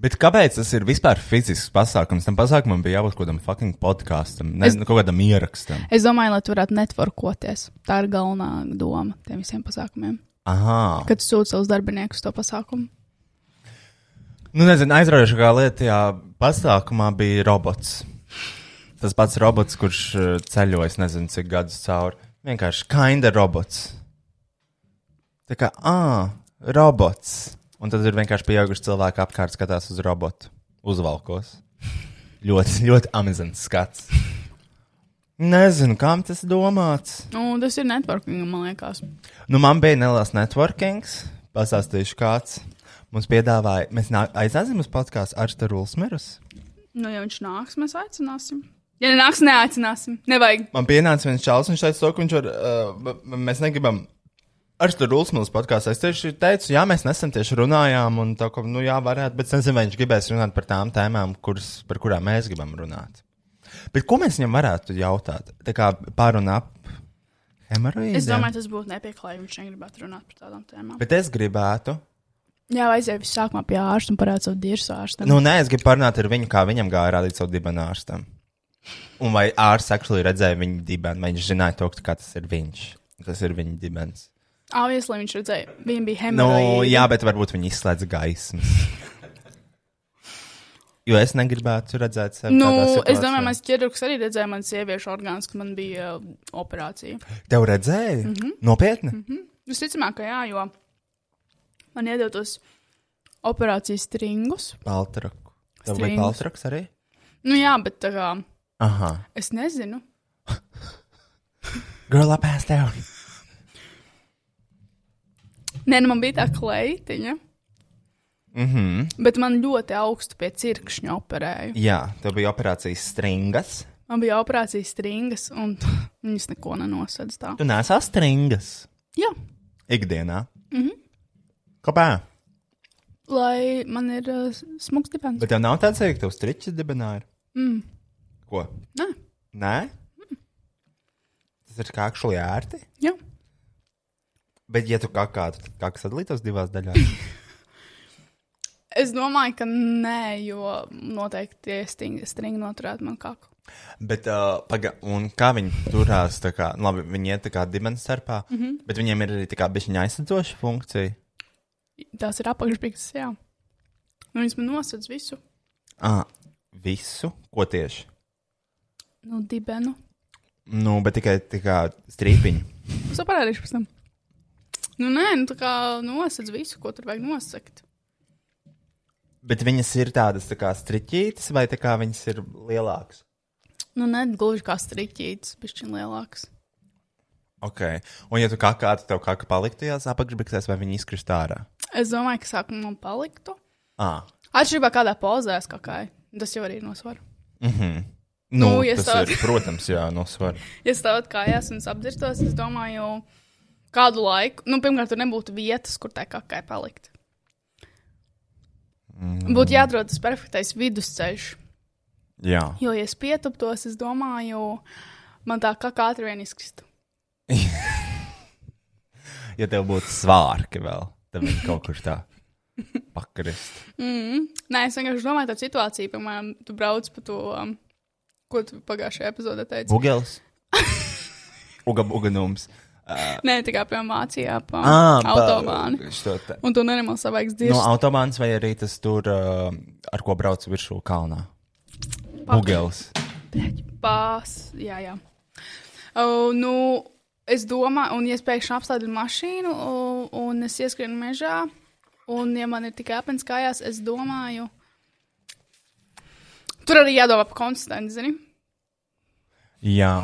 Speaker 1: Bet kāpēc tas ir vispār fizisks pasākums? Tam pasākumam bija jābūt kaut kādam fucking podkāstam, ne,
Speaker 2: Es-
Speaker 1: kaut kādam ierakstam.
Speaker 2: Es domāju, lai tu varētu netvorkoties. Tā ir galvenā doma tiem visiem pasākumiem.
Speaker 1: Aha.
Speaker 2: Kad tu sūti savus darbiniekus uz to pasākumu,
Speaker 1: Nu, nezinu, aizraujošākā lieta tajā pasākumā bija robots. Tas pats robots, kurš eh, ceļojas, nezinu, cik gadus cauri. Vienkārši kinda robots. Tā kā, ah, robots. Un tad ir vienkārši pieauguši cilvēki apkārt skatās uz robotu uzvalkos. Ļoti, [LAUGHS] ļoti amizants skats. Nezinu, kam tas domāts.
Speaker 2: Nu, tas ir networking, man liekas.
Speaker 1: Nu, man bija neliels networkings. Pastāstīšu, kāds mums piedāvāja. Mēs nā- aizāsim uz podkāstu ar Staru Smērus.
Speaker 2: Nu, ja viņš nāks, mēs aicināsim. Ja nenāks, neaicināsim. Nevajag.
Speaker 1: Man pienāca viens čels, viņš teica, to, ka viņš var, uh, m- m- mēs negribam. Ar to Rūsmīlu podkāstu es tieši teicu, jā, mēs nesen tieši runājām, un tā kā, nu, jā, varētu, bet es nezinu, vai viņš gribēs runāt par tām tēmām, kuras, par kurām mēs gribam runāt. Bet ko mēs viņam varētu jautāt? Tā kā par un ap hemoroīdiem.
Speaker 2: Es domāju, tas būtu nepieklājīgi, ja viņš negribētu runāt par tādām tēmām. Bet...
Speaker 1: Bet es gribētu.
Speaker 2: Jā, aizēju visu sākumā pie ārsta un parādīju savu dirzu ārstam.
Speaker 1: Nu, nē, es gribu parunāt ar viņu, kā viņam gāja rādīt savu dibenu ārstam. Un vai ārsts aktuāli redzēja viņa dibenu, vai viņš zināja to, ka tas ir viņš. Tas ir viņa dibens.
Speaker 2: Avies, lai viņš redzēja, viņam bija
Speaker 1: Nu,
Speaker 2: hemoroīdi.
Speaker 1: jā, bet varbūt viņi izslēdz gaismas. Jo es negribētu redzēt sevi.
Speaker 2: Nu,
Speaker 1: tādā
Speaker 2: es
Speaker 1: situācijā.
Speaker 2: domāju, mans ķirurgs arī redzēja manas sieviešu orgānus, kad man bija uh, operācija.
Speaker 1: Tev redzēja? Mm
Speaker 2: Mhm.
Speaker 1: -hmm. Nopietni? Mm -hmm.
Speaker 2: Visticamāk, ka jā, jo man iedod tos operācijas stringus.
Speaker 1: Paltraku. Tev bija
Speaker 2: Strings.
Speaker 1: paltraks arī?
Speaker 2: Nu, jā, bet tā kā
Speaker 1: Aha.
Speaker 2: es nezinu.
Speaker 1: Girl, apēst tev.
Speaker 2: Nē, nu, man bija tā kleitiņa,
Speaker 1: Mhm. Mm
Speaker 2: bet man ļoti augstu pie cirkšņa operēja.
Speaker 1: jā, tev bija operācijas stringas.
Speaker 2: Man bija operācijas stringas, un [LAUGHS] viņas neko nenosedz tā.
Speaker 1: Tu nesā stringas
Speaker 2: Jā,
Speaker 1: ikdienā. Mhm. Mm Kāpēc?
Speaker 2: lai man ir uh, smags dibens.
Speaker 1: Bet tev nav tāds, ka tev striķis dibināja? Mm. Ko?
Speaker 2: Nē,
Speaker 1: Nē? Tas ir kā akšuli ērti.
Speaker 2: jā.
Speaker 1: Bet, ja tu kā kādu, tad kā sadalītos divās daļās?
Speaker 2: Es domāju, ka nē, jo noteikti tie stingi, stringi noturētu man kaklu.
Speaker 1: bet, uh, paga, un kā viņi turās, tā kā, nu, labi, viņi iet tā kā dibens starpā, mm -hmm. bet viņiem ir arī tā kā bišķiņa aizsadzoša funkcija.
Speaker 2: Tās ir apakšpikses, jā. Nu, viņas man nosedz visu.
Speaker 1: Ah, visu, ko tieši?
Speaker 2: Nu, dibenu.
Speaker 1: Nu, bet tikai tā kā strīpiņu.
Speaker 2: Es to parādīšu pēc tam. Nu, nē, nu, tā kā nosedz visu, ko tur vajag nosakt.
Speaker 1: Bet viņas ir tādas tā kā striķītas, vai tā kā viņas ir lielākas?
Speaker 2: Nu, nē, gluži kā strīķītis, pišķiņ lielāks.
Speaker 1: Ok, un ja tu kā kādu tev kā kā paliktu tajās apakšbiksēs, vai viņi izkrist ārā?
Speaker 2: Es domāju, ka sākumā man paliktu.
Speaker 1: Ah.
Speaker 2: Atšķirībā kādā pozē es kakāju. Tas jau arī ir nosvaru.
Speaker 1: Nu,
Speaker 2: Nu, ja
Speaker 1: tas
Speaker 2: sāk-
Speaker 1: ir, protams, jā, nu, nosver.
Speaker 2: Ja stāvot kājās un es apdzirtos, es domāju, kādu laiku, nu, pirmkārt, tur nebūtu vietas, kur tā kakai palikt. Mm. Būtu jāatrod tas perfektais vidusceļš.
Speaker 1: Jā,
Speaker 2: Jo, ja es pietuptos, es domāju, man tā kā ātri vien izkristu.
Speaker 1: ja tev būtu svārki vēl, tad viņi kaut kur tā pakrist.
Speaker 2: Mm. Nē, es vienkārši domāju, tā situācija, piemēram, tu brauc pa to, um, ko tu pagājušajā epizodē teici.
Speaker 1: Bugels. [LAUGHS] Uga, Uh, uganums.
Speaker 2: Nē, tikai piemēram, mācījā pa
Speaker 1: Ā, pa-
Speaker 2: autobānu.
Speaker 1: Šo te.
Speaker 2: Un tu neņem savaiks
Speaker 1: No
Speaker 2: dirzi.
Speaker 1: autobāns vai arī tas tur, uh, ar ko brauc virsū kalnā. Bugels.
Speaker 2: Pās, jā, jā. Uh, nu, es domāju, un ja es pēkšņi apstādu mašīnu, uh, un es ieskrienu mežā, un ja man ir tikai apens kājās, es domāju, tur arī jādomā par konstantu, zini.
Speaker 1: Jā.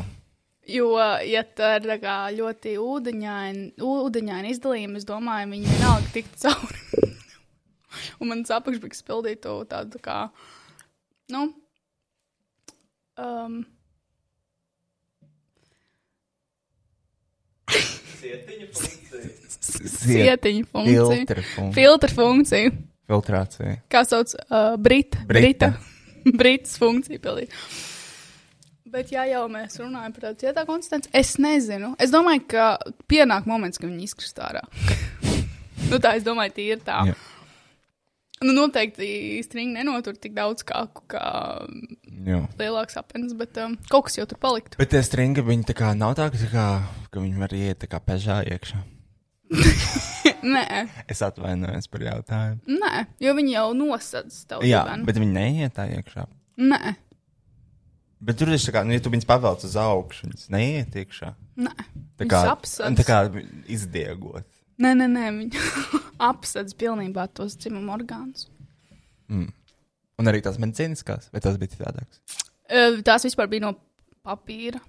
Speaker 2: Jo, ja tā ir tā kā ļoti ūdeņaina, ūdeņaina izdalījuma, es domāju, viņi vienalga tikt [LAUGHS] cauri. Un manas apakšbiks pildītu tādu kā, nu, um,
Speaker 1: Siet-
Speaker 2: cietiņu funkciju.
Speaker 1: Filtra funkcija.
Speaker 2: Filtra funkciju,
Speaker 1: Filtrācija.
Speaker 2: kā sauc uh, Brita.
Speaker 1: Brita.
Speaker 2: Brita. Britas funkcija pildīt. Bet, ja jau mēs runājam par tādu cietāku konstantu, es nezinu. Es domāju, ka pienāk moments, kad viņi izkrist ārā. nu, tā es domāju, tie ir tā.
Speaker 1: Jā.
Speaker 2: Nu, noteikti stringi nenotur tik daudz kāku, kā mm,
Speaker 1: Jā.
Speaker 2: lielāks apelsnes, bet um, kaut kas jau tur paliktu.
Speaker 1: Bet tie stringi, viņi tā kā nav tā, ka, tā kā, ka viņi var iet tā kā pežā iekšā.
Speaker 2: nē,
Speaker 1: Es atvainojos par jautājumu.
Speaker 2: nē, jo viņi jau nosedz tavu
Speaker 1: Jā,
Speaker 2: dibenu.
Speaker 1: bet viņi neiet tā iekšā.
Speaker 2: Nē,
Speaker 1: Bet tur ir tā, ka, nu, ja tu viņus pavelc uz augšu, viņas neiet iekšā.
Speaker 2: nē.
Speaker 1: Tā
Speaker 2: Viņas
Speaker 1: kā,
Speaker 2: apsedz.
Speaker 1: tā kā izdiegot.
Speaker 2: Nē, nē, nē [LAUGHS] viņa apsedz pilnībā tos dzimumu orgānus.
Speaker 1: Un arī tās medicīniskās, vai tas bija citādāks?
Speaker 2: Ö, E, Tās vispār bija no papīra.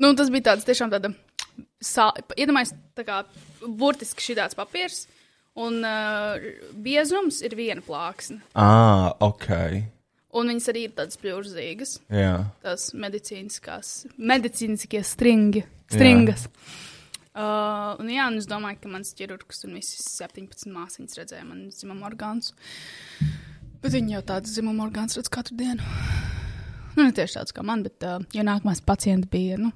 Speaker 2: Nu, tas bija tāds tiešām tāds - iedomājieties, tā kā burtiski šī tāds papīrs, un uh, biezums ir viena plāksne.
Speaker 1: Ah, ok.
Speaker 2: Un viņas arī ir tādas pļūrzīgas,
Speaker 1: Jā.
Speaker 2: tās medicīniskās, medicīniskie stringi, stringas. Uh, un jā, un es domāju, ka mans ķirurgs un visas 17 māsīņas redzēja manas dzimuma orgānus. Bet viņi jau tādu dzimumu orgānu redz katru dienu. Nu, ne tieši tāds kā man, bet uh, jo nākamais pacients bija nu,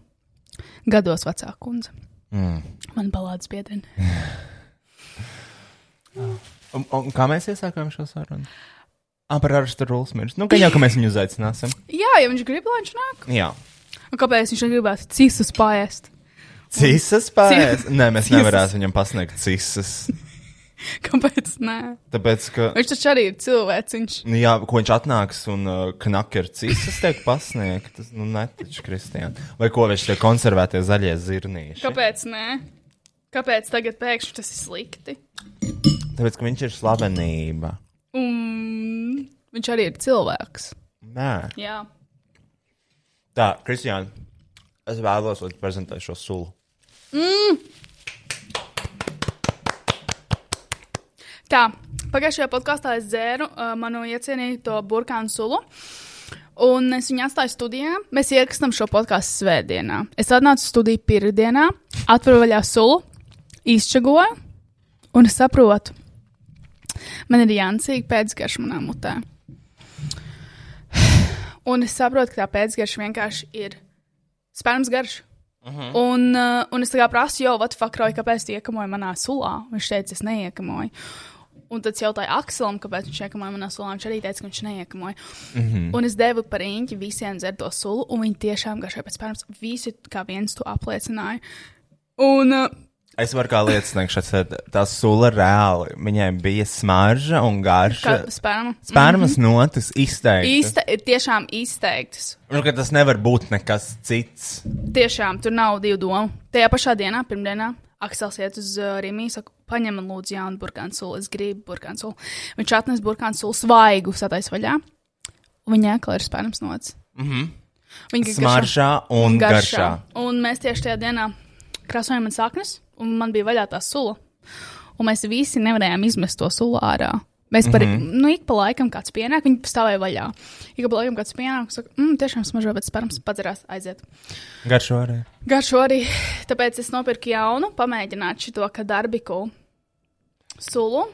Speaker 2: gados vecāka kundze. Mm. Man balādes biedrene.
Speaker 1: Un, un kā mēs iesākām šo sarunu? Ah, par Arstu Rulsmirs. Nu, ka jau, ka mēs viņu uzaicināsim.
Speaker 2: Jā, ja viņš grib, lai viņš nāk.
Speaker 1: Jā.
Speaker 2: Un kāpēc viņš gribētu cisus paēst? [LAUGHS]
Speaker 1: Cisas pēc. Nē, mēs
Speaker 2: Cisas.
Speaker 1: nevarēsim viņam pasniegt cisas.
Speaker 2: Kāpēc? Nē.
Speaker 1: Tāpēc, ka.
Speaker 2: Viņš taču arī ir cilvēks. Viņš
Speaker 1: Nu, jā, ko viņš atnāks un uh, knakā ir cīsas, tiek pasniegtas. Nu, ne taču, Kristiāna. Vai ko viņš tie konservētie zaļie zirnīši?
Speaker 2: Kāpēc? Nē? Kāpēc tagad pēkšņi tas ir slikti?
Speaker 1: Tāpēc, ka viņš ir slavenība.
Speaker 2: Un viņš arī ir cilvēks.
Speaker 1: Nē.
Speaker 2: Jā,
Speaker 1: Tā, Kristiāna, es vēlos, lai tu prezentē šo sulu.
Speaker 2: Mm. tā. Pagājušajā podkāstā es dzēru uh, manu iecienīto burkānu sulu. Un es viņu atstāju studijā. Mēs ierakstām šo podkāstu svētdienā. Es atnācu uz studiju pirmdienā, atveru vaļā sulu, izčagoju, un es saprotu, man ir jāncīgi pēcgarša manā mutē. Un es saprotu, ka tā pēcgarša vienkārši ir spērns garš.
Speaker 7: Mhm.
Speaker 2: Un, uh, un es tā kā prasu, jau, what fuck, Roy, kāpēc tu iekamoji manā sulā? Viņš teica, es neiekamoju. Un tad es jautāju Akselam, kāpēc viņš iekamoja manā sulā. Viņš arī teica, ka viņš neiekamoja. Mm -hmm. Un es devu par īņķi visiem dzerto sulu, un viņi tiešām garšoja pēc spērns. Visi kā viens to apliecināja. Un, uh,
Speaker 1: Es varu kā liecinieks, ka tā sula reāli viņai bija smarža un garša.
Speaker 2: kā Mhm. spērma.
Speaker 1: Spērmas notis izteikti.
Speaker 2: Īsta, ir tiešām izteiktas.
Speaker 1: Nu, ka tas nevar būt nekas cits.
Speaker 2: Tiešām tur nav divu domu. Tajā pašā dienā, pirmdienā, Aksels iet uz uh, Rīgā. Saka, paņem man lūdzu, jaunu burkānu sulu. Es gribu burkānu sulu. Viņš atnes burkānu sulu svaigu, satais vaļā. un Viņa ēkla ir spērnams nots. Mm
Speaker 7: Mhm.
Speaker 2: -hmm. Viņa garšā-
Speaker 1: Smaržā un garšā.
Speaker 2: Un mēs tieši tajā dienā krāsojām manas saknes, un man bija vaļā tā sula. Un mēs visi nevarējām izmest to sulu ārā. Mēs par, mm
Speaker 1: Mhm.
Speaker 2: -hmm. nu, ik pa laikam kāds pienāk, viņi stāvēja vaļā. Ik pa laikam kāds pienāk, un saka, mmm, tiešām smaržo, bet spērns padzerās aiziet.
Speaker 1: Garšo arī.
Speaker 2: Garšo arī. Tāpēc es nopirku jaunu, pamēģināšu to darbiku sulu.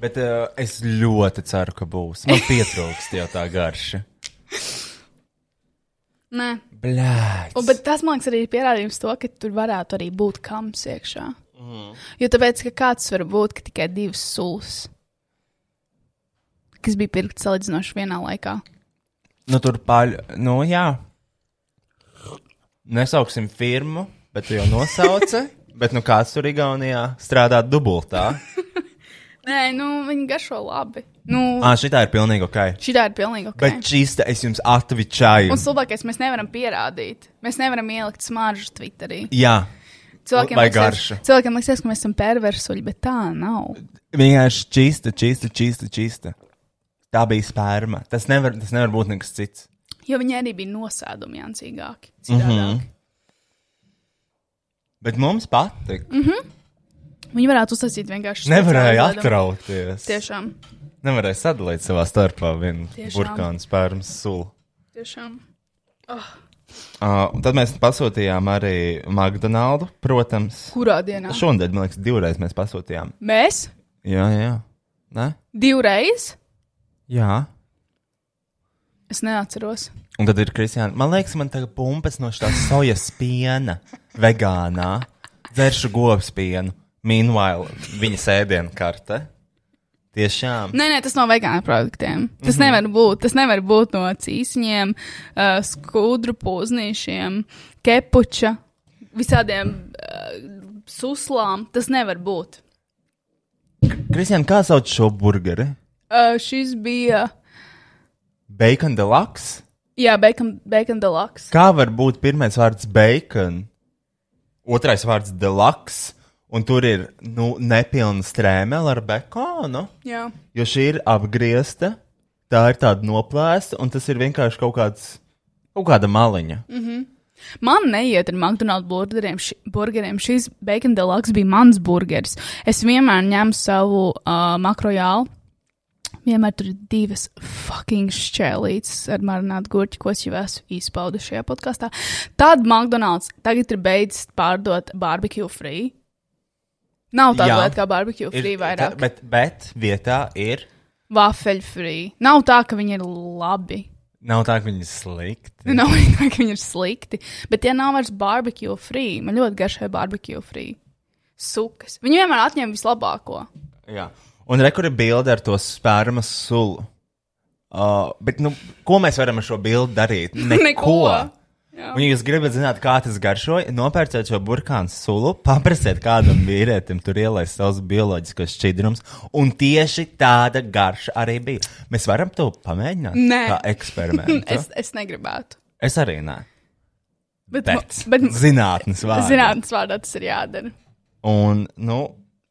Speaker 1: Bet uh, es ļoti ceru, ka būs. Man pietrūkst jau tā garša.
Speaker 2: Nē,
Speaker 1: Blēķis.
Speaker 2: Un, bet tas man liekas arī ir pierādījums to, ka tur varētu arī būt kams iekšā. Mm.
Speaker 1: Mhm.
Speaker 2: Jo tāpēc, ka kāds var būt ka tikai divas sulas, kas bija pirktas salīdzinoši vienā laikā.
Speaker 1: Nu, tur paļ... Nu, jā. Nesauksim firmu, bet tu jau
Speaker 2: [LAUGHS]
Speaker 1: nosauci. bet nu kāds tur Igaunijā strādā dubultā.
Speaker 2: Nē, nu viņi garšo labi. Nu,
Speaker 1: Ā, Ah, šitā ir pilnīgi ok.
Speaker 2: Šī ir pilnīgi ok.
Speaker 1: Bet čista es jums atvičāju.
Speaker 2: Un slabākais, mēs nevaram pierādīt. Mēs nevaram ielikt smaržu Twitterī.
Speaker 1: Jā.
Speaker 2: Cilvēkiem
Speaker 1: Vai
Speaker 2: liekas,
Speaker 1: garšu.
Speaker 2: cilvēkiem liekas, ka mēs esam perversuļi, bet tā nav.
Speaker 1: Vienkārši čista, čista, čista, čista. Tā bija spērma. Tas nevar, tas nevar būt nekas cits.
Speaker 2: Jo viņi arī bija nosēdumi jancīgāki. Mm -hmm.
Speaker 1: Mhm. Bet mums patika. Mm,
Speaker 2: Mhm. Viņi varētu uzsākt vienkārši.
Speaker 1: Nevarēja
Speaker 2: speciālu iedomu.
Speaker 1: atrauties.
Speaker 2: Tiešām,
Speaker 1: Nevarēja sadalīt savā starpā vienu
Speaker 2: Tiešām.
Speaker 1: burkānu spērmas sulu.
Speaker 2: tiešām. Ah.
Speaker 7: [LAUGHS]
Speaker 1: Uh, un tad mēs pasūtījām arī McDonald's, protams.
Speaker 2: Kurā dienā? Šo...
Speaker 1: Šonadēļ, man liekas, divreiz mēs pasūtījām.
Speaker 2: Mēs
Speaker 1: Jā, jā. Ne?
Speaker 2: divreiz.
Speaker 1: Jā.
Speaker 2: Es neatceros.
Speaker 1: Un tad ir Kristiāna. Man liekas, man tagad pumpas no šīs sojas piena, vegānā. Dzeršu govs pienu. Meanwhile, viņa sēdienu karte. Tiešām.
Speaker 2: Nē, nē, tas nav vegāna produktiem. Tas mm -hmm.
Speaker 1: Mhm.
Speaker 2: nevar būt. Tas nevar būt no cīsņiem, uh, skudru pūznīšiem, kepuča, visādiem uh, suslām. Tas nevar būt.
Speaker 1: Mhm. Kristiāna, kā sauc šo burgeri?
Speaker 2: Uh, šis bija,
Speaker 1: Bacon deluxe?
Speaker 2: jā, bacon, bacon deluxe.
Speaker 1: Kā var būt pirmais vārds bacon, otrais vārds deluxe, Un tur ir nu, nepilna strēmele ar bekonu,
Speaker 2: Jā,
Speaker 1: jo šī ir apgriezta, tā ir tāda noplēsta, un tas ir vienkārši kaut, kāds, kaut kāda maliņa.
Speaker 2: Mm-hmm. man neiet ar McDonald's burgeriem. Ši, burgeriem. Šis bacon deluxe bija mans burgeris. Es vienmēr ņēmu savu uh, makrojālu. Vienmēr tur ir divas fucking šķēlītes ar marinātu gurķi, ko es jau esmu izpaudis šajā podkāstā. Tad McDonald's tagad ir beidzis pārdot barbecue free. Nav tāda
Speaker 1: Jā.
Speaker 2: lieta kā barbecue free vairāk.
Speaker 1: tā- bet, bet vietā ir.
Speaker 2: Vafeļu free. Nav tā, ka viņi ir labi.
Speaker 1: Nav tā, ka viņi ir slikti.
Speaker 2: Nu, [LAUGHS] Nav arī tā, ka viņi ir slikti. Bet tie nav vairs barbecue free. Man ļoti garšai barbecue free. Sukas. Viņi vienmēr atņem vislabāko.
Speaker 1: Jā. Un rekur ir bilde ar to spērma sulu. Uh, bet, nu, ko mēs varam ar šo bildi
Speaker 2: [LAUGHS]
Speaker 1: darīt? Neko. Un, ja jūs gribat zināt, kā tas garšoja, nopērciet šo burkānu sulu, paprasiet kādam vīrietim, tur ielaist savus bioloģiskos šķidrumus, un tieši tāda garša arī bija. Mēs varam to pamēģināt
Speaker 2: Nē.
Speaker 1: kā eksperimentu.
Speaker 2: [LAUGHS] Es, es negribētu.
Speaker 1: es arī nē.
Speaker 2: Bet,
Speaker 1: Bet,
Speaker 2: mu- bet
Speaker 1: zinātnes vārdā.
Speaker 2: zinātnīs vārdā tas ir jādara.
Speaker 1: Un, nu,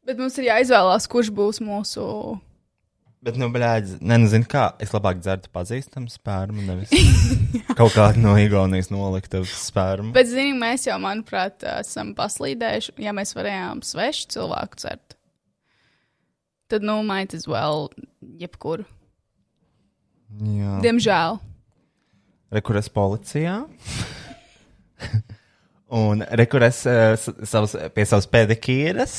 Speaker 2: Bet mums ir jāizvēlās, kurš būs mūsu.
Speaker 1: bet, nu, blēdz, ne, nu, zinu kā, es labāk dzertu pazīstamu spērmu, nevis
Speaker 2: [LAUGHS]
Speaker 1: kaut kādu no Igaunijas noliktu spērmu.
Speaker 2: Bet, zinām, mēs jau, manuprāt, esam paslīdējuši, ja mēs varējām svešu cilvēku cert. Tad, nu, might as well, jebkuru.
Speaker 1: Jā.
Speaker 2: Diemžēl.
Speaker 1: rekurors policijā. un rekurors uh, savs, pie savas pedikīras,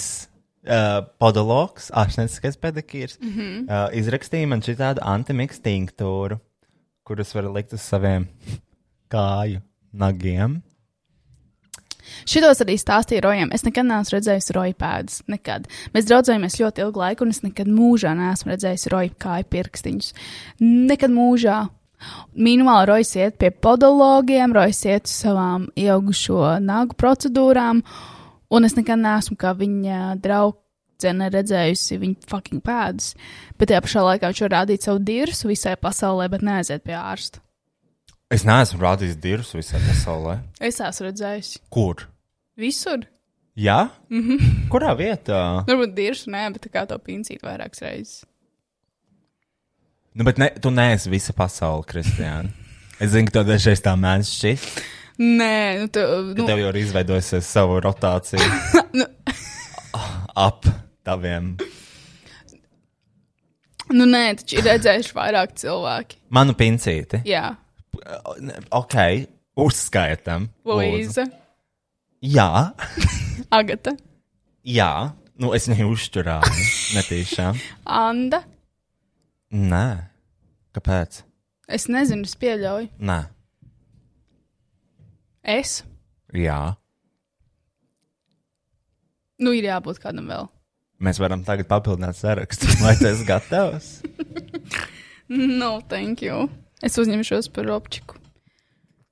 Speaker 1: uh, podologs, ārstnieciskais pedikīrs, mm -hmm. uh, izrakstīja man šī tādu antimiksu tinktūru, kurus var likt uz saviem kāju nagiem.
Speaker 2: Šitos arī stāstīja Rojam. Es nekad neesmu redzējis roju pēdas. Nekad. Mēs draudzējāmies ļoti ilgu laiku, un es nekad mūžā neesmu redzējis roju kāju pirkstiņus. Nekad mūžā. Minimāli rojas iet pie podologiem, rojas iet uz savām ieaugušo nagu procedūrām, un es nekad neesmu kā viņa draudzene redzējusi viņa fucking pēdas. Bet tajā pašā laikā viņš var rādīt savu dirsu visai pasaulē, bet neaiziet pie ārsta.
Speaker 1: Es neesmu rādījis dirus visā pasaulē.
Speaker 2: Es esmu redzējusi
Speaker 1: Kur?
Speaker 2: visur.
Speaker 1: Jā? Mm -hmm. Kurā vietā?
Speaker 2: Mhm. Varbūt diršu, nē, bet tā kā to pincīt vairākas reizes.
Speaker 1: Nu, bet ne, tu neesi visa pasaule, Kristiāna. Es zinu, ka tev dažreiz tā mēdz šķist.
Speaker 2: Nē, nu, tu,
Speaker 1: Nu,
Speaker 2: nu,
Speaker 1: tev jau ir izveidojusies savu rotāciju
Speaker 2: [LAUGHS]
Speaker 1: ap taviem.
Speaker 2: nu nē, taču ir redzējuši vairāk cilvēki.
Speaker 1: Manu pincīti.
Speaker 2: Jā,
Speaker 1: Ok, uzskaitam. lūdzu.
Speaker 2: Luīza,
Speaker 1: Jā,
Speaker 2: Agata,
Speaker 1: jā. Nu, es viņu uzturēju. Netīšām.
Speaker 2: Anna.
Speaker 1: Nē. Kāpēc?
Speaker 2: Es nezinu, es pieļauju.
Speaker 1: Nē.
Speaker 2: Es.
Speaker 1: Jā.
Speaker 2: Nu, ir jābūt kādam vēl.
Speaker 1: Mēs varam tagad papildināt sarakstu. [LAUGHS] Vai tas ir gatavs?
Speaker 2: No, thank you. Es uzņemšos par optiku.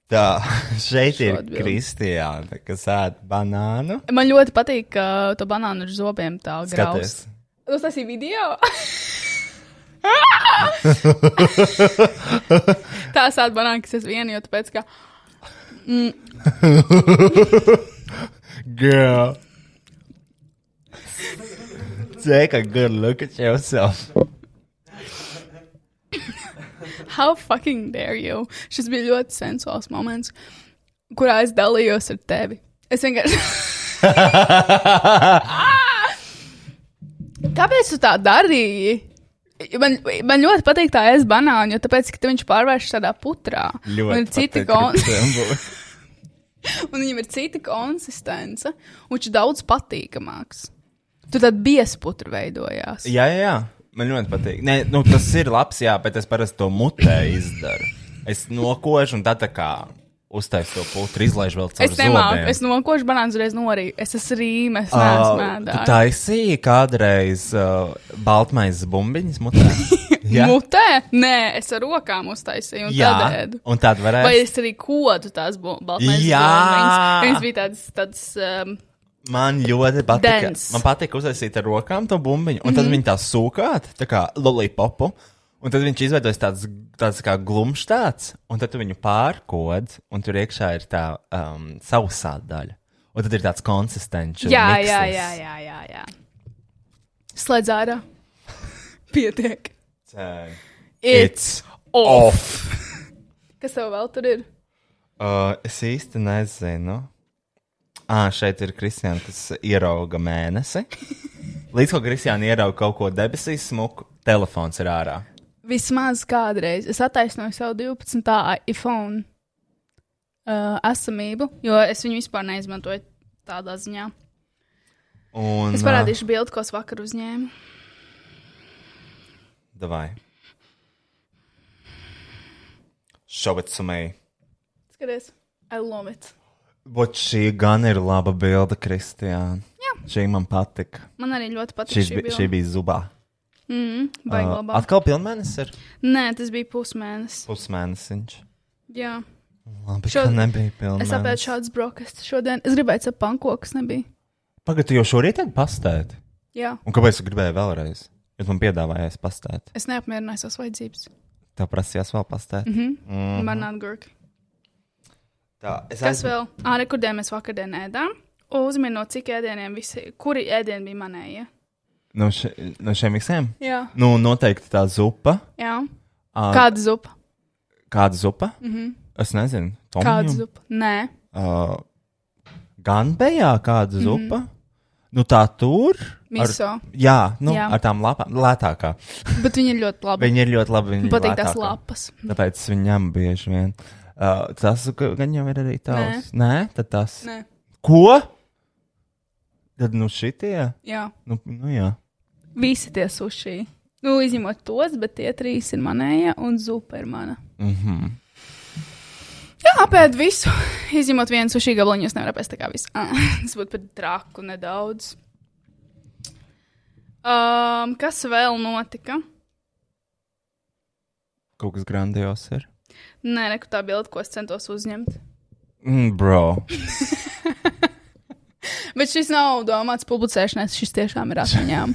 Speaker 1: Tā, šeit ir
Speaker 2: Šo atbildi.
Speaker 1: Kristiāna, kas ēd banānu.
Speaker 2: Man ļoti patīk, ka to banānu ar zobiem tā
Speaker 1: Skaties,
Speaker 2: grauds. Tas tas ir
Speaker 1: [LAUGHS]
Speaker 2: video. tā sāp banāna, kas es vienu, jo tāpēc, ka mm,
Speaker 1: Girl. Take a good look at yourself.
Speaker 2: How fucking dare you? Šis bija ļoti sensuāls moments, kurā es dalījos ar tevi. Es vienkārši. [LAUGHS] Kāpēc tu tā darīji? Man, man ļoti patīk tā es banāna, jo tāpēc, ka te viņš pārvēršas tādā putrā. un ir citi kon... [LAUGHS] un viņam ir cita konsistence, un viņš ir daudz patīkamāks. Tur tad biesputra veidojās.
Speaker 1: jā, jā, jā, man ļoti patīk. Nē, nu, tas ir labs, jā, bet es parasti to mutē izdaru. Es nokošu un tā, tā kā uztaisu to putru, izlaižu vēl caur
Speaker 2: Es nemāku,
Speaker 1: zobiem.
Speaker 2: es nokošu banānu uzreiz norīju. Es esmu rīmes, neesmu mēdā.
Speaker 1: tā izsīja kādreiz uh, baltmaizes bumbiņas
Speaker 2: [LAUGHS]
Speaker 1: mutē.
Speaker 2: Jā. Mutē? Nē, es ar rokām uztaisīju un
Speaker 1: jā,
Speaker 2: tad ēdu.
Speaker 1: un tad varēja.
Speaker 2: Vai es arī kodu tās bu- baltmaiņas?
Speaker 1: Jā!
Speaker 2: viņas bija tādas, tādas um,
Speaker 1: Man ļoti patika.
Speaker 2: Dense.
Speaker 1: Man patika uztaisīt ar rokām to bumbiņu, un mm -hmm.
Speaker 2: Mhm.
Speaker 1: tad viņi tā sūkāt, tā kā lollipopu. Un tad viņš izveidojas tāds, tāds kā glumšs tāds, un tad tu viņu pārkod, un tur iekšā ir tā um, sausā daļa. Un tad ir tāds konsistents.
Speaker 2: Jā, jā, jā, jā, jā, jā. Slēdz ārā. [LAUGHS] Pietiek.
Speaker 1: jā.
Speaker 2: It's.
Speaker 1: It's off.
Speaker 2: Kas tev vēl tur ir?
Speaker 1: Uh, es īsti nezinu. Ah, šeit ir Kristiāna, kas ierauga mēnesi. Līdz ko Kristiāna ierauga kaut ko debesīs, smuku telefons ir ārā.
Speaker 2: Vismaz kādreiz es attaisnoju savu 12. iPhone uh, esamību, jo es viņu vispār neizmantoju tādā ziņā.
Speaker 1: Un,
Speaker 2: Es parādīšu bildi, ko es vakar uzņēmu.
Speaker 1: Davai. Šobrīd sumēji.
Speaker 2: Skaties, I love it.
Speaker 1: Bet šī gan ir laba bilde, Kristiāna. Šī man patika.
Speaker 2: Man arī ļoti patīk.
Speaker 1: Šis, bi šī bija zubā.
Speaker 2: Vai
Speaker 1: Uh,
Speaker 2: glabāt?
Speaker 1: atkal pilnmēnesis ir
Speaker 2: Nē, tas bija pusmēnesis.
Speaker 1: pusmēnesis.
Speaker 2: Jā,
Speaker 1: Labi, Šo...
Speaker 2: Šo-
Speaker 1: ka nebija
Speaker 2: es apēdu
Speaker 1: pilnmēnesis.
Speaker 2: šādas brokastis šodien. Es gribēju cept pankokus, nebija.
Speaker 1: Pagaidu, jo šorīt ir pastēti.
Speaker 2: Jā,
Speaker 1: Un kāpēc es gribēju vēlreiz? Jūs man piedāvājāt pastēt.
Speaker 2: es neapmierināju savas vajadzības.
Speaker 1: Tev prasījās vēl pastēt. Mm -hmm.
Speaker 2: Mm. Banāna gurka.
Speaker 1: Tā, es
Speaker 2: Kas vēl? Arī kur dēļ mēs vakar ēdām? Uzmini no cik ēdieniem visi, kuri ēdieni bija manējie.
Speaker 1: No, še, no šiem visiem?
Speaker 2: Jā,
Speaker 1: Nu, noteikti tā zupa.
Speaker 2: jā.
Speaker 1: Ā,
Speaker 2: Kāda zupa? Mhm.
Speaker 1: Kāda zupa? Mm -hmm. Es nezinu. Tomjum?
Speaker 2: Kāda zupa? Nē,
Speaker 1: Uh, gan bija kāda zupa. Mm -hmm. Nu, tā tur. Ar,
Speaker 2: Mhm. miso. Ar...
Speaker 1: jā, nu, jā,
Speaker 2: Jā.
Speaker 1: ar tām lapām. Lētākā.
Speaker 2: Bet viņi ir ļoti labi.
Speaker 1: Viņa ir ļoti labi. Viņa
Speaker 2: Man
Speaker 1: ir
Speaker 2: patīk tās
Speaker 1: lētākā.
Speaker 2: lapas.
Speaker 1: Tāpēc es viņam bieži vien. Uh, tas ga- gan jau ir arī tavs. Nē, Nē tad tas.
Speaker 2: Nē.
Speaker 1: Ko? Tad nu šitie.
Speaker 2: Jā,
Speaker 1: Nu, nu jā.
Speaker 2: visi tie suši. Nu, izņemot tos, bet tie trīs ir manējie un zupa ir mana.
Speaker 1: Mhm.
Speaker 2: Jā, apēd visu. [LAUGHS] Izņemot vienu suši gabaliņu, es nevaru apēst tā kā visu. Ah, [LAUGHS] Tas būtu pat traku nedaudz. Um, kas vēl notika?
Speaker 1: Kaut kas grandios ir.
Speaker 2: Nē, nekur tā bilde, ko es centos uzņemt.
Speaker 1: Mm, bro.
Speaker 2: Bet šis nav domāts publicēšanai, šis tiešām ir
Speaker 1: [LAUGHS]
Speaker 2: atmiņām.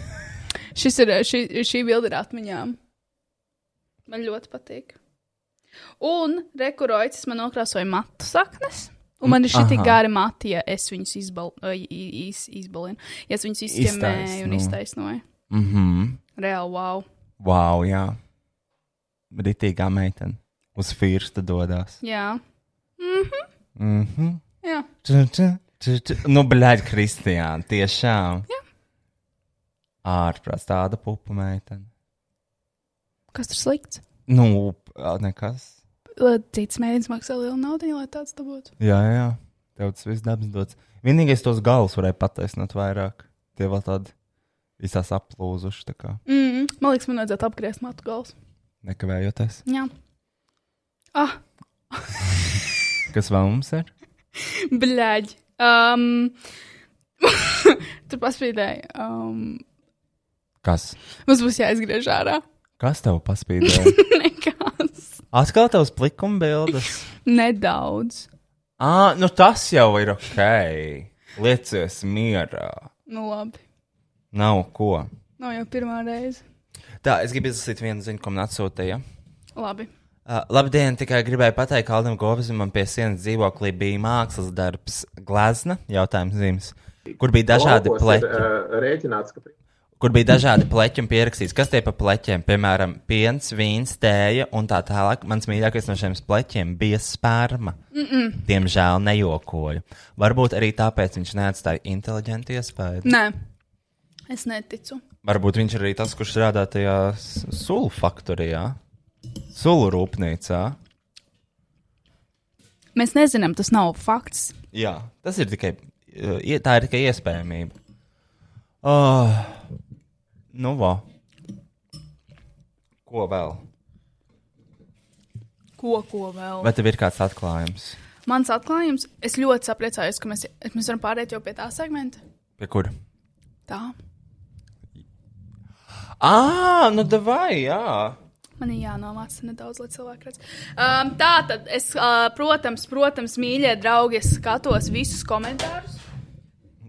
Speaker 2: šis ir, šī, šī bilde ir atmiņām. Man ļoti patīk. Un rekuroicis man nokrāsoja matu saknes. Un man ir šī
Speaker 1: Aha.
Speaker 2: gara mati, ja es viņus izbal, ā, i- iz, izbalinu. Ja es viņus izķemmēju un iztaisnoju.
Speaker 1: Mhm.
Speaker 2: Reāli, wow.
Speaker 1: Wow, jā. Ritīgā meitene. Uz firsta dodas.
Speaker 2: Jā,
Speaker 1: Mhm.
Speaker 2: jā.
Speaker 1: Tu, tu, tu, tu. Nu, blēģi, Kristiāna, tiešām. Jā. Ārprāts tāda pupa meitene.
Speaker 2: kas tur slikts?
Speaker 1: Nu, ā, nekas.
Speaker 2: Lai Cits mēģinājums maksā lielu naudu, lai tāds dabūtu.
Speaker 1: Jā, jā. Tev tas viss dabas dots. Vienīgais tos galus varēja pataisnot vairāk. Tie vēl tādi visās aplūzuši, tā kā
Speaker 2: Mm, man liekas, man vajadzētu apgriezt matu galus.
Speaker 1: nekavējoties.
Speaker 2: Jā. Ah,
Speaker 1: Kas vēl mums ir?
Speaker 2: Блядь. Um, [LAUGHS] tur paspīdēja. Um,
Speaker 1: Kas?
Speaker 2: mums būs jāizgriež ārā.
Speaker 1: Kas tev paspīdēja?
Speaker 2: [LAUGHS] Nekas.
Speaker 1: Atkal tavs plikuma bildes.
Speaker 2: Nedaudz.
Speaker 1: [LAUGHS] Ā, nu tas jau ir ok. Liecies mierā.
Speaker 2: Nu labi.
Speaker 1: Nav ko.
Speaker 2: Nav jau pirmā reize.
Speaker 1: Tā, es gribu izlasīt vienu ziņu, ko man atsūtīja.
Speaker 2: Labi.
Speaker 1: Uh, labdien, tikai gribēju pateikt, ka Aldam Govizam pie sienas dzīvoklī bija mākslas darbs glazna, jautājums zīmes, kur bija dažādi
Speaker 5: Laukos ir,
Speaker 1: pleķi.
Speaker 5: ā, Rēķināts, ka
Speaker 1: kur bija dažādi pleķi un pierakstīts, kas tie pa pleķiem, piemēram, piens, vīns, tēja un tā tālāk. Mans mīļākais no šiem pleķiem bija sperma. Mm -mm. Diemžēl nejokoju. Varbūt arī tāpēc viņš neatstāja inteliģentu iespēju.
Speaker 2: Nē. Es neticu.
Speaker 1: Varbūt viņš ir arī tas, kurš strādā tajā s- sulu faktorijā, sulu rūpnīcā.
Speaker 2: Mēs nezinām, tas nav fakts.
Speaker 1: Jā, tas ir tikai, uh, ie- tā ir tikai iespējamība. Oh, nu, va. Ko vēl?
Speaker 2: Ko, ko vēl?
Speaker 1: Vai tev ir kāds atklājums?
Speaker 2: Mans atklājums, es ļoti sapriecājos, ka mēs, mēs varam pāriet jau pie tā segmenta.
Speaker 1: Pie kura?
Speaker 2: Tā.
Speaker 1: Ah, nu, vai, jā.
Speaker 2: Man ir jānomāca nedaudz, lai cilvēki redz. Um, tā tad, es, uh, protams, protams, mīļie draugi, es skatos visus komentārus,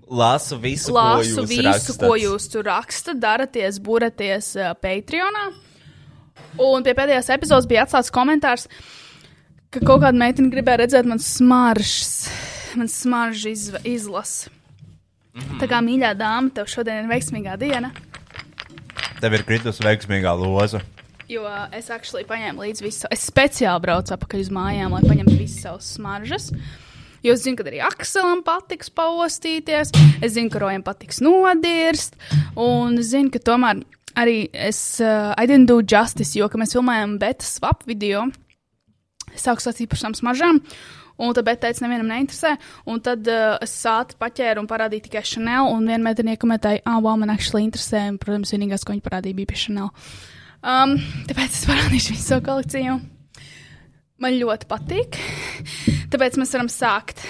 Speaker 1: Lasu visu,
Speaker 2: lasu
Speaker 1: ko jūs
Speaker 2: visu,
Speaker 1: rakstat.
Speaker 2: ko jūs tur rakstat, daraties, buraties uh, Patreonā. Un pie pēdējās epizodes bija atstāts komentārs, ka kaut kāda meitene gribēja redzēt manas smaržas. man smarža izv- izlasa. Tā kā mīļā dāma, tev šodien ir veiksmīgā diena,
Speaker 1: Tev ir kritus veiksmīgā loza.
Speaker 2: jo ā, es actually paņēmu līdzi visu. Es speciāli braucu atpakaļ uz mājām, lai paņemtu visas savas smaržas. Jo es zinu, ka arī Akselam patiks paostīties, es zinu, ka Rojam patiks nodirst, un es zinu, ka tomēr arī es, uh, I didn't do justice, jo, kad mēs filmējām beta swap video, es sāku sacīt par šīm smaržām. Un tad Bēta teica, nevienam neinteresē. Un tad uh, es sāku paķēru un parādīju tikai Chanel. Un vienā meitenē komentēja, ah, wow, man actually interesē. Un, protams, vienīgais, ko viņa parādīja, bija pie Chanel. Um, tāpēc es parādīšu visu savu kolekciju. Man ļoti patīk. Tāpēc mēs varam sākt.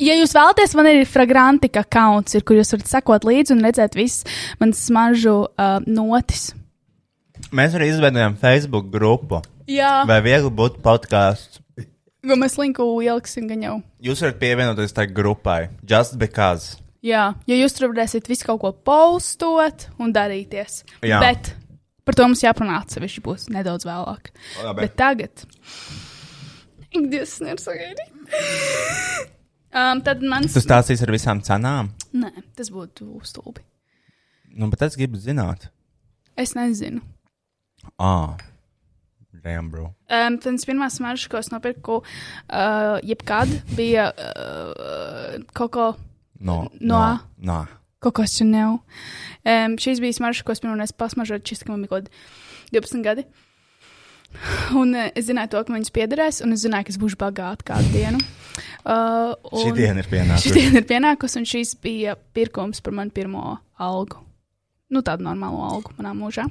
Speaker 2: Ja jūs vēlaties, man ir fragrantika akts, kur jūs varat sekot līdzi un redzēt visas manas smaržu uh, notis.
Speaker 1: Mēs arī izveidojam Facebook grupu.
Speaker 2: Jā,
Speaker 1: Vai viegli būtu podkāsts?
Speaker 2: ko mēs linku ieliksim gan jau.
Speaker 1: Jūs varat pievienoties tai grupai. Just because.
Speaker 2: Jā, jo jūs tur varēsiet visu kaut ko postot un darīties.
Speaker 1: Jā.
Speaker 2: Bet par to mums jāpanāk atsevišķi būs nedaudz vēlāk.
Speaker 1: Labi.
Speaker 2: Bet tagad. Ik Dievs, nevar sagaidīt. um, tad man.
Speaker 7: Tu stāstīsi ar visām cenām.
Speaker 2: Nē, tas būtu stulbi.
Speaker 7: Nu, bet es gribu zināt.
Speaker 2: Es nezinu.
Speaker 7: Ah, damn, bro.
Speaker 2: Um, tas pirmā smarža, ko es nopirku, uh, jebkad bija uh, kaut ko.
Speaker 7: No.
Speaker 2: No.
Speaker 7: no.
Speaker 2: Kaut kas tāds nav. Um, šīs bija smaržas, ko es pirmo reizi pasmažoju, šis, ka man bija kaut kādi 12 gadi. Un uh, es zināju, to, ka man viņas piederēs, un es zināju, ka es būšu bagāta kādu dienu. Uh,
Speaker 1: Šī diena ir
Speaker 2: Šī
Speaker 1: pienākusi.
Speaker 2: diena ir pienākusi, un šīs bija pirkums par manu pirmo algu. Nu, tādu normālu algu manā mūžā. Uh,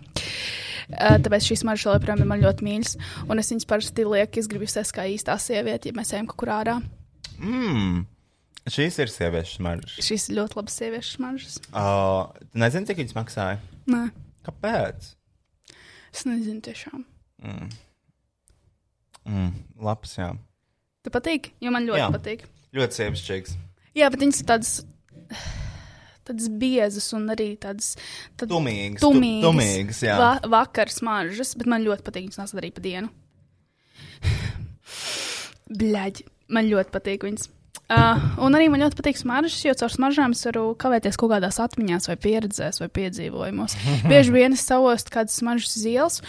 Speaker 2: tāpēc šīs maržas joprojām ir man ļoti mīļas. Un es viņas parasti lieku, es gribu sēst kā īstā sieviete, ja mēs ejam kaut kur ārā.
Speaker 1: Mm. Šīs ir sieviešu smaržas.
Speaker 2: Šīs ir ļoti labas sieviešu smaržas.
Speaker 1: Uh, tu nezini, cik viņas maksāja?
Speaker 2: Nē,
Speaker 1: Kāpēc?
Speaker 2: es nezinu tiešām.
Speaker 1: Mm. Labs, jā.
Speaker 2: Tu patīk? Jo Nu, man ļoti jā.
Speaker 1: Jā.
Speaker 2: patīk.
Speaker 1: Ļoti sievišķīgs.
Speaker 2: Jā, bet viņas ir tādas, tādas biezas un arī tādas tad-
Speaker 1: Tumīgas, tu-
Speaker 2: tumīgas,
Speaker 1: tumīgas, jā.
Speaker 2: va vakars maržas, bet man ļoti patīk viņas nākt arī pa dienu. [SIGHS] Bļaģi, man ļoti patīk viņas. Uh, un arī man ļoti patīk smaržas, jo caur smaržām es varu kavēties kaut kādās atmiņās, vai pieredzēs, vai
Speaker 1: [LAUGHS]
Speaker 2: piedzīvojumos. Bieži vien es savostu kādas smaržas zils,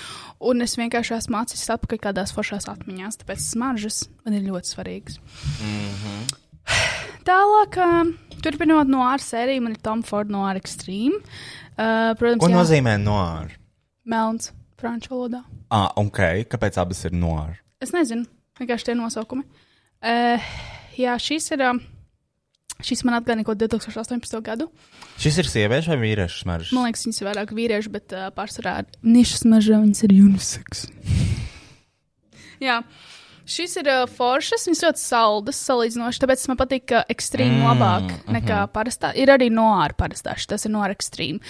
Speaker 2: un es vienkārši esmu acis atpakaļ kādās foršās atmiņās. Tāpēc smaržas man ir ļoti svarīgas.
Speaker 7: Mhm.
Speaker 2: Tālāk, ā, turpinot no ārā sēriju, man ir Tom Ford no ārā ekstrēma. Uh, protams,
Speaker 1: Ko
Speaker 2: jā,
Speaker 1: nozīmē noāra?
Speaker 2: melns franču valodā.
Speaker 1: Ah, ok. Kāpēc abas ir noāra?
Speaker 2: Es nezinu, vienkārši tie nosaukumi. Uh, jā, šis ir. ā, Šis man atgādina kaut ko 2018. gadu.
Speaker 1: Šis ir sieviešu vai vīriešu smaržas?
Speaker 2: Man liekas, viņas ir vairāk vīrieši, bet uh, pārsvarā nišas mežā viņas ir uniseks. Jā, šis ir uh, foršas, viņas ļoti saldas salīdzinoši, tāpēc man patīk, ka ekstrēma mm, labāk
Speaker 1: mhm.
Speaker 2: nekā uh -huh. parastā. Ir arī noāra parastā, šis tas ir noāra ekstrēma.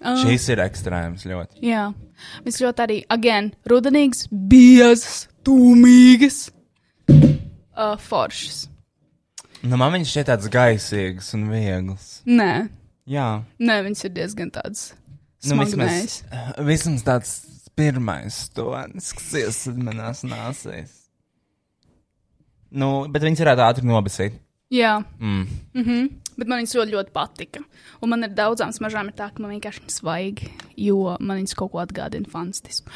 Speaker 2: Oh.
Speaker 1: Šis ir ekstrēms ļoti.
Speaker 2: Jā, viņš ļoti arī, again, rudenīgs, biezs, tūmīgs, uh, foršs.
Speaker 1: Nu, man viņš šķiet tāds gaisīgs un viegls.
Speaker 2: Nē,
Speaker 1: Jā,
Speaker 2: nē, viņš ir diezgan tāds.
Speaker 1: nu,
Speaker 2: smagnējs.
Speaker 1: vismaz, vismaz tāds pirmais stūrains, kas iesaistās manās nāsīs. Nu, bet viņi varētu ātri nobasīt.
Speaker 2: Jā, mm. Mm -hmm. bet man viņas ļoti, ļoti patika. Un man ir daudzām smaržām, ir tā, ka man vienkārši viņas vajag, jo man viņas kaut ko atgādina fantastisku.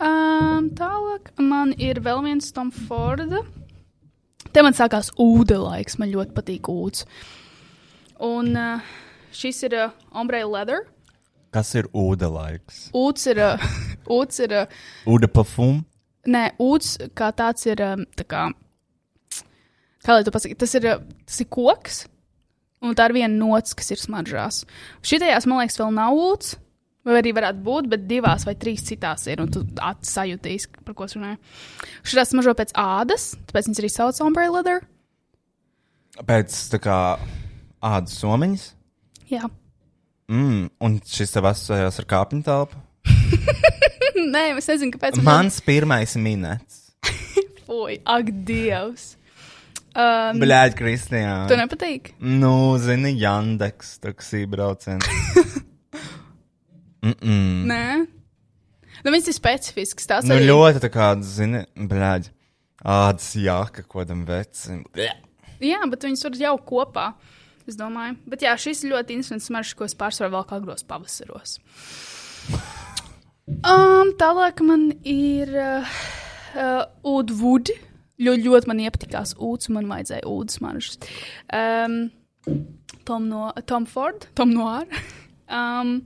Speaker 2: Um, tālāk man ir vēl viens Tom Forda. Te man sākās ūdens laiks, man ļoti patīk ūdens. Un uh, šis ir uh, ombre leather.
Speaker 1: Kas ir ūdelaiks?
Speaker 2: Ūdens
Speaker 1: [LAUGHS]
Speaker 2: ir. uh, Ūdens ir uh,
Speaker 1: Ude parfum.
Speaker 2: Nē, ūdens kā tāds ir. um, Tā kā, kā lai to pasakītu, tas, ir, uh, tas ir koks. Un tā ir viena nots, kas ir smaržās. Šitajās, man liekas, vēl nav ūdens. Vai arī varētu būt, bet divās vai trīs citās ir. Un tu atsajūtīsi, par ko es runāju. Šitās smaržo pēc ādas, tāpēc viņas arī sauc ombre leather.
Speaker 1: Pēc tā kā ādas somiņas.
Speaker 2: Jā. [LAUGHS]
Speaker 1: Mm, un šis tev asociējās ar kāpņu telpu.
Speaker 2: Nē, es nezinu, kāpēc.
Speaker 1: Mans pirmais minēts.
Speaker 2: Fui, ak, Dievs. Um,
Speaker 1: Bļāģi, Kristijā.
Speaker 2: tu nepatīk?
Speaker 1: Nu, zini, Jandeks, taksī
Speaker 2: [LAUGHS]
Speaker 1: brauciens.
Speaker 2: Nē. Nu, viņas ir specifiskas. Tās
Speaker 1: Nu,
Speaker 2: arī...
Speaker 1: ļoti tā kā, zini, bļāģi. Ādas jāka, ko tam vecim. Bleh.
Speaker 2: Jā, bet viņas var jau kopā. Es domāju, bet jā, šis ir ļoti interesants smaržs, ko es pārsvarā vēl kā agros pavasaros. Um, tālāk man ir uh, uh, Udvuds. Ļoti, ļoti man iepatikās ūdens, man vajadzēja ūdens smaržas. Um, Tom, no, Tom Ford, Tom Noir. [LAUGHS] um,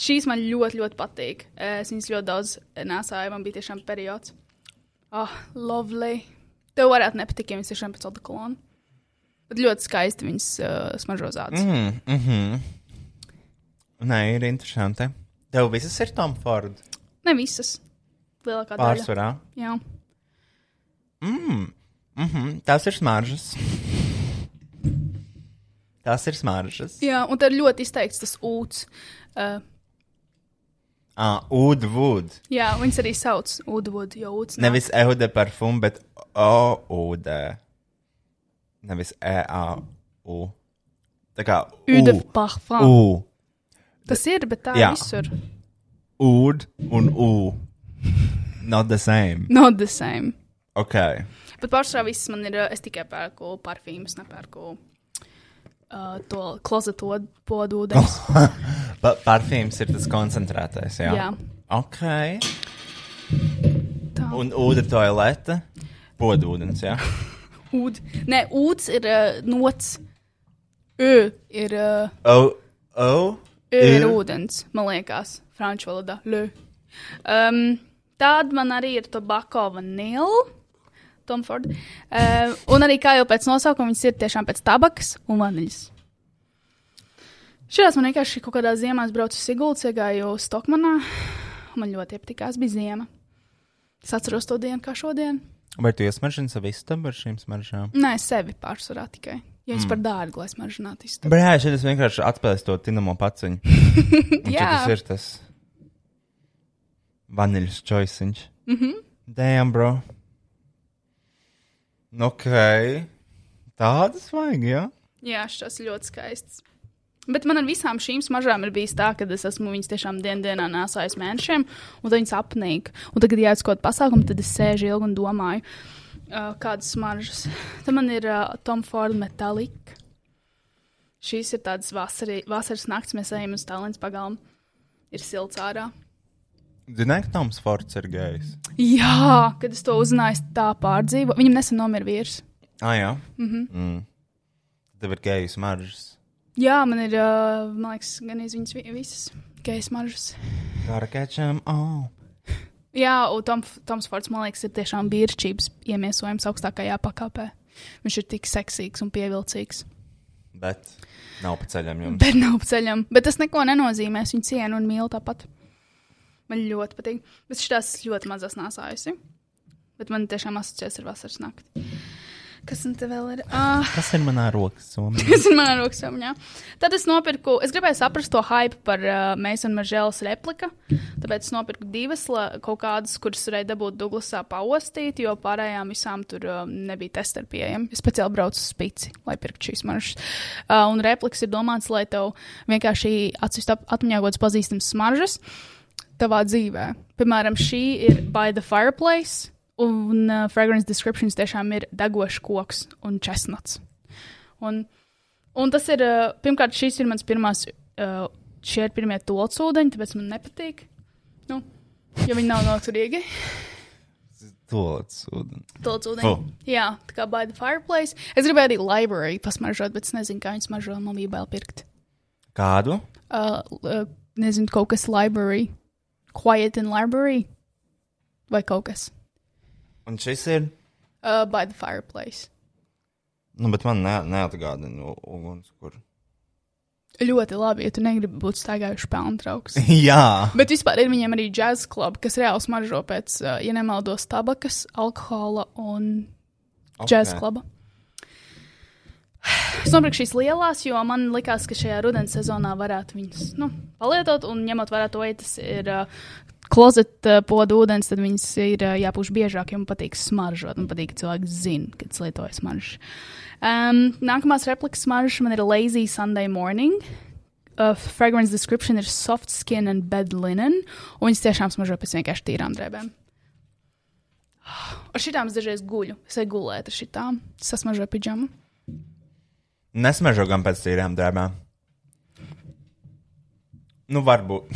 Speaker 2: šīs man ļoti, ļoti patīk. Uh, Es viņas ļoti daudz nesāju, man bija tiešām periods. Ah, lovely. Tev varētu nepatikt, ja viņas tiešām pēc tāda kolona. Bet ļoti skaisti viņas uh, smaržo zāles. Mm.
Speaker 1: Mm, mm -hmm. Nē, ir interesanti. Tev visas ir Tom Ford
Speaker 2: Ne visas. Lielākā daļa.
Speaker 1: pārsvarā.
Speaker 2: Jā.
Speaker 1: Mm -hmm. Tās ir
Speaker 2: [LAUGHS]
Speaker 1: smaržas. Tās ir smaržas.
Speaker 2: Jā, un tad ļoti izteikts tas ūdens. Uh,
Speaker 1: Ah, Ud Wood.
Speaker 2: jā, viņas arī sauc Udvuds, jo ūdens
Speaker 1: Nevis Eude parfum, bet O-Ude. Nevis E-A-U. Tā kā
Speaker 2: Ude
Speaker 1: U.
Speaker 2: parfum.
Speaker 1: U.
Speaker 2: Tas ir, bet tā jā.
Speaker 1: Jā.
Speaker 2: visur.
Speaker 1: Ud un U. Not the same.
Speaker 2: Not the same.
Speaker 1: Ok.
Speaker 2: Bet pārsvarā viss man ir, uh, es tikai pērku parfīmus, nepērku uh, to klozetu podu ūdens.
Speaker 1: [LAUGHS] Pa parfīms ir tas koncentrētais, jā.
Speaker 2: Jā.
Speaker 1: Ok.
Speaker 2: Tā.
Speaker 1: Un ūde toilete. Podūdens, jā.
Speaker 2: Ud. Nē, ūdens ir uh, nots. Ü ir, uh,
Speaker 1: O. O. E.
Speaker 2: ü ir
Speaker 1: Ü.
Speaker 2: ūdens, man liekas, franču valodā. Lē. Um, Tāda man arī ir tobako vanila. Tom Ford. Uh, un arī, kā jau pēc nosaukuma, viņas ir tiešām pēc tabakas un vaniļas. Šajās man vienkārši kaut kādā ziemā es braucu uz Sigultu, iegāju Stokmanā. Man ļoti iepatikās, bija ziema. Es atceros to dienu kā šodien.
Speaker 1: Vai tu iesmaržini savu istabu ar šīm smaržām?
Speaker 2: Nē, sevi pārsvarā tikai. Ja es mm. par dārgu, lai es maržinātu izturbu.
Speaker 1: Brāļ, šeit es vienkārši atspēlēju to tinamo paciņu. Un šeit
Speaker 2: Jā.
Speaker 1: tas ir tas vaniļas čoisiņš. Mhm. Mm Damn, bro. Nu, Ok. Tādas vajag, jā.
Speaker 2: Jā, šis ļoti skaists. Bet man ar visām šīm smaržām ir bijis tā, ka es esmu viņas tiešām dienas dienā nesājis mēnešiem, un tad viņas apnīk. Un tagad, ja es kaut kādu pasākumu, tad es sēžu ilgi un domāju, uh, kādas smaržas. [LAUGHS] Tad man ir uh, Tom Ford Metallic. Šīs ir tādas vasarī, vasaras naktis, mēs ejam uz Tallinas pagalmu. Ir silts ārā.
Speaker 1: Zināji, ka Toms Forts ir gejs.
Speaker 2: Jā, kad es to uzzināju, es tā pārdzīvoju. Viņam nesen nomira vīrs.
Speaker 1: Ah, jā. Mhm. Mm mm. Tev ir geju smaržas.
Speaker 2: Jā, man ir, uh, man liekas, gan izviņas visas gejas smaržas.
Speaker 1: Gotta catch 'em all.
Speaker 2: Jā, un Tom, Toms Fords, man liekas, ir tiešām vīrišķības iemiesojums augstākajā pakāpē. Viņš ir tik seksīgs un pievilcīgs.
Speaker 1: Bet nav pa ceļam jums.
Speaker 2: Bet nav pa ceļam. Bet tas neko nenozīmē. Es viņu cienu un mīlu tāpat. Man ļoti patīk. Bet šitās es ļoti mazas nesājusi. Bet man tiešām asociēs ar vasaras nakti. Kas man te vēl ir? Ah,
Speaker 1: Kas ir manā rokas somā?
Speaker 2: [LAUGHS] kas ir manā rokasomņā? Tad es nopirku, es gribēju saprast to hype par uh, Meisona Maržēlas repliku. Tāpēc es nopirku divas la- kaut kādas, kuras varēja dabūt Duglasā paostīt, jo pārējām visām tur uh, nebija testeri pieejami. Es speciāli braucu uz spici, lai pirktu šīs maržas. Uh, un repliks ir domāts, lai tev vienkārši atsist ap- atmiņā kaut kādas pazīstamas smaržas tavā dzīvē. Piemēram, šī ir By the Fireplace. Un uh, fragrance descriptions tiešām ir degošs koks un česnats. Un, un tas ir, uh, pirmkārt, šīs ir mans pirmās, uh, šie ir pirmie tolts ūdeņi, tāpēc man nepatīk. Nu, jo viņi nav noturīgi.
Speaker 1: Tolts ūdens.
Speaker 2: Tolts ūdeņi.
Speaker 1: Fu.
Speaker 2: Oh. Jā, tā kā by the fireplace. Es gribēju arī library pasmaržot, bet es nezinu, kā viņas mažo man bija bail pirkt.
Speaker 1: Kādu?
Speaker 2: Uh, l- uh, nezinu, kaut kas library. Quiet in library. Vai kaut kas.
Speaker 1: Un šis ir.
Speaker 2: Uh, by the fireplace.
Speaker 1: Nu, bet man ne, neatgādina ugunskura.
Speaker 2: Ļoti labi, ja tu negribi būt staigājuši pelnu trauks.
Speaker 1: jā.
Speaker 2: Bet vispār ir viņiem arī džēzus klubi, kas reāli smaržo pēc, uh, ja nemaldos, tabakas, alkohola un džēzus kluba. Es nopirku šīs lielās, jo man likās, ka šajā rudens sezonā varētu viņas nu, palietot. Un ņemot vērā to, ja tas ir uh, klozeta uh, podu ūdens, tad viņas ir uh, jāpūš biežāk, jo man patīk smaržot. Man patīk, ka cilvēki zina, kad es lietoju smaržu. Um, nākamās replikas smaržas man ir Lazy Sunday Morning. Uh, fragrance description ir soft skin and bed linen, un viņas tiešām smaržo pēc vienkārši tīrām drēbēm. Ar šitām es dažreiz guļu. Es eju gulēt ar šitām. Sasmažoju pidžamu.
Speaker 1: Nesmažo gan pēc tīrām drēbēm. Nu, varbūt. [LAUGHS]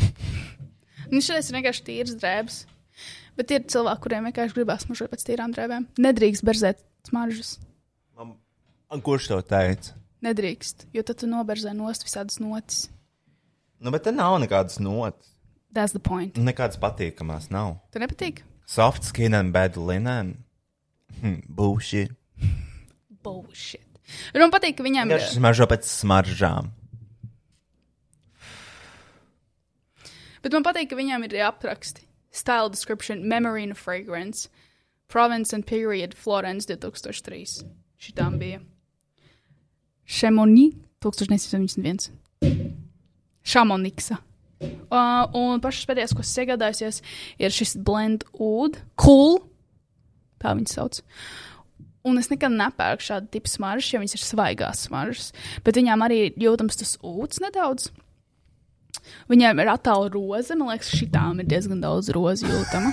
Speaker 2: Nu, šodien ir vienkārši tīras drēbes. Bet ir cilvēki, kuriem vienkārši gribās smažot pēc tīrām drēbēm. Nedrīkst berzēt smaržas.
Speaker 1: Un Kurš to teica?
Speaker 2: Nedrīkst, jo tad tu noberzē nost visādas notis.
Speaker 1: Nu, bet te nav nekādas notas.
Speaker 2: That's the point.
Speaker 1: Nu, Nekādas patīkamās nav.
Speaker 2: Tu nepatīk?
Speaker 1: Soft skin and bad linen. Hm, Bullshit.
Speaker 2: Bullshit. Un man patīk, ka viņiem ir.
Speaker 1: Vienkārši smaržo pēc smaržām.
Speaker 2: Bet man patīk, ka viņiem ir apraksti. Style description, memory and fragrance, province and period, Florence 2003. Šitām bija. Šemonī 1971. Šamoniksa. Uh, un pašas pēdējās, ko es iegādājusies, ir šis blend oud, cool. Tā viņas sauc. Un es nekad nepērku šādu tipu smaržas, jo viņas ir svaigās smaržas. Bet viņām arī ir jūtams tas ūdens nedaudz. Viņiem ir attēlu roze, man liekas, šitām ir diezgan daudz rozi jūtama.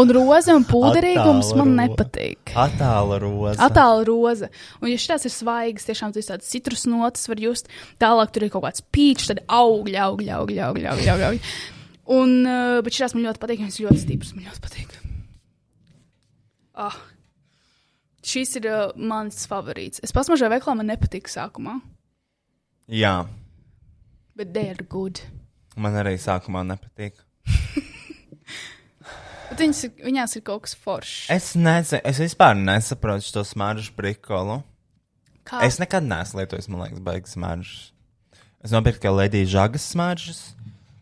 Speaker 2: Un roze un pūderīgums
Speaker 1: Attēla
Speaker 2: man
Speaker 1: ro-
Speaker 2: nepatīk.
Speaker 1: Atāla roze.
Speaker 2: Atāla roze. Un, ja šīs ir svaigas, tiešām tas tāds citrus notis var just. Tālāk tur ir kaut kāds pīčs, tad augļi, augļi, augļi, augļi. augļi, augļi. Un, uh, bet šīs man ļoti patīk, viņas ir ļoti stipras, man ļoti patīk. Ah. Šis ir uh, mans favorīts. Es pasmažēju veiklā, man nepatika sākumā,
Speaker 1: Jā,
Speaker 2: bet they are good.
Speaker 1: man arī sākumā nepatīk.
Speaker 2: Bet viņas, ir- viņās ir kaut kas foršs.
Speaker 1: Es nezinu, es vispār nesaprotu šo smaržu brikolu.
Speaker 2: Kā?
Speaker 1: Es nekad neesmu lietojis, man liekas, baigas smaržas. Es nopirku tikai Latvijas žagas smaržas,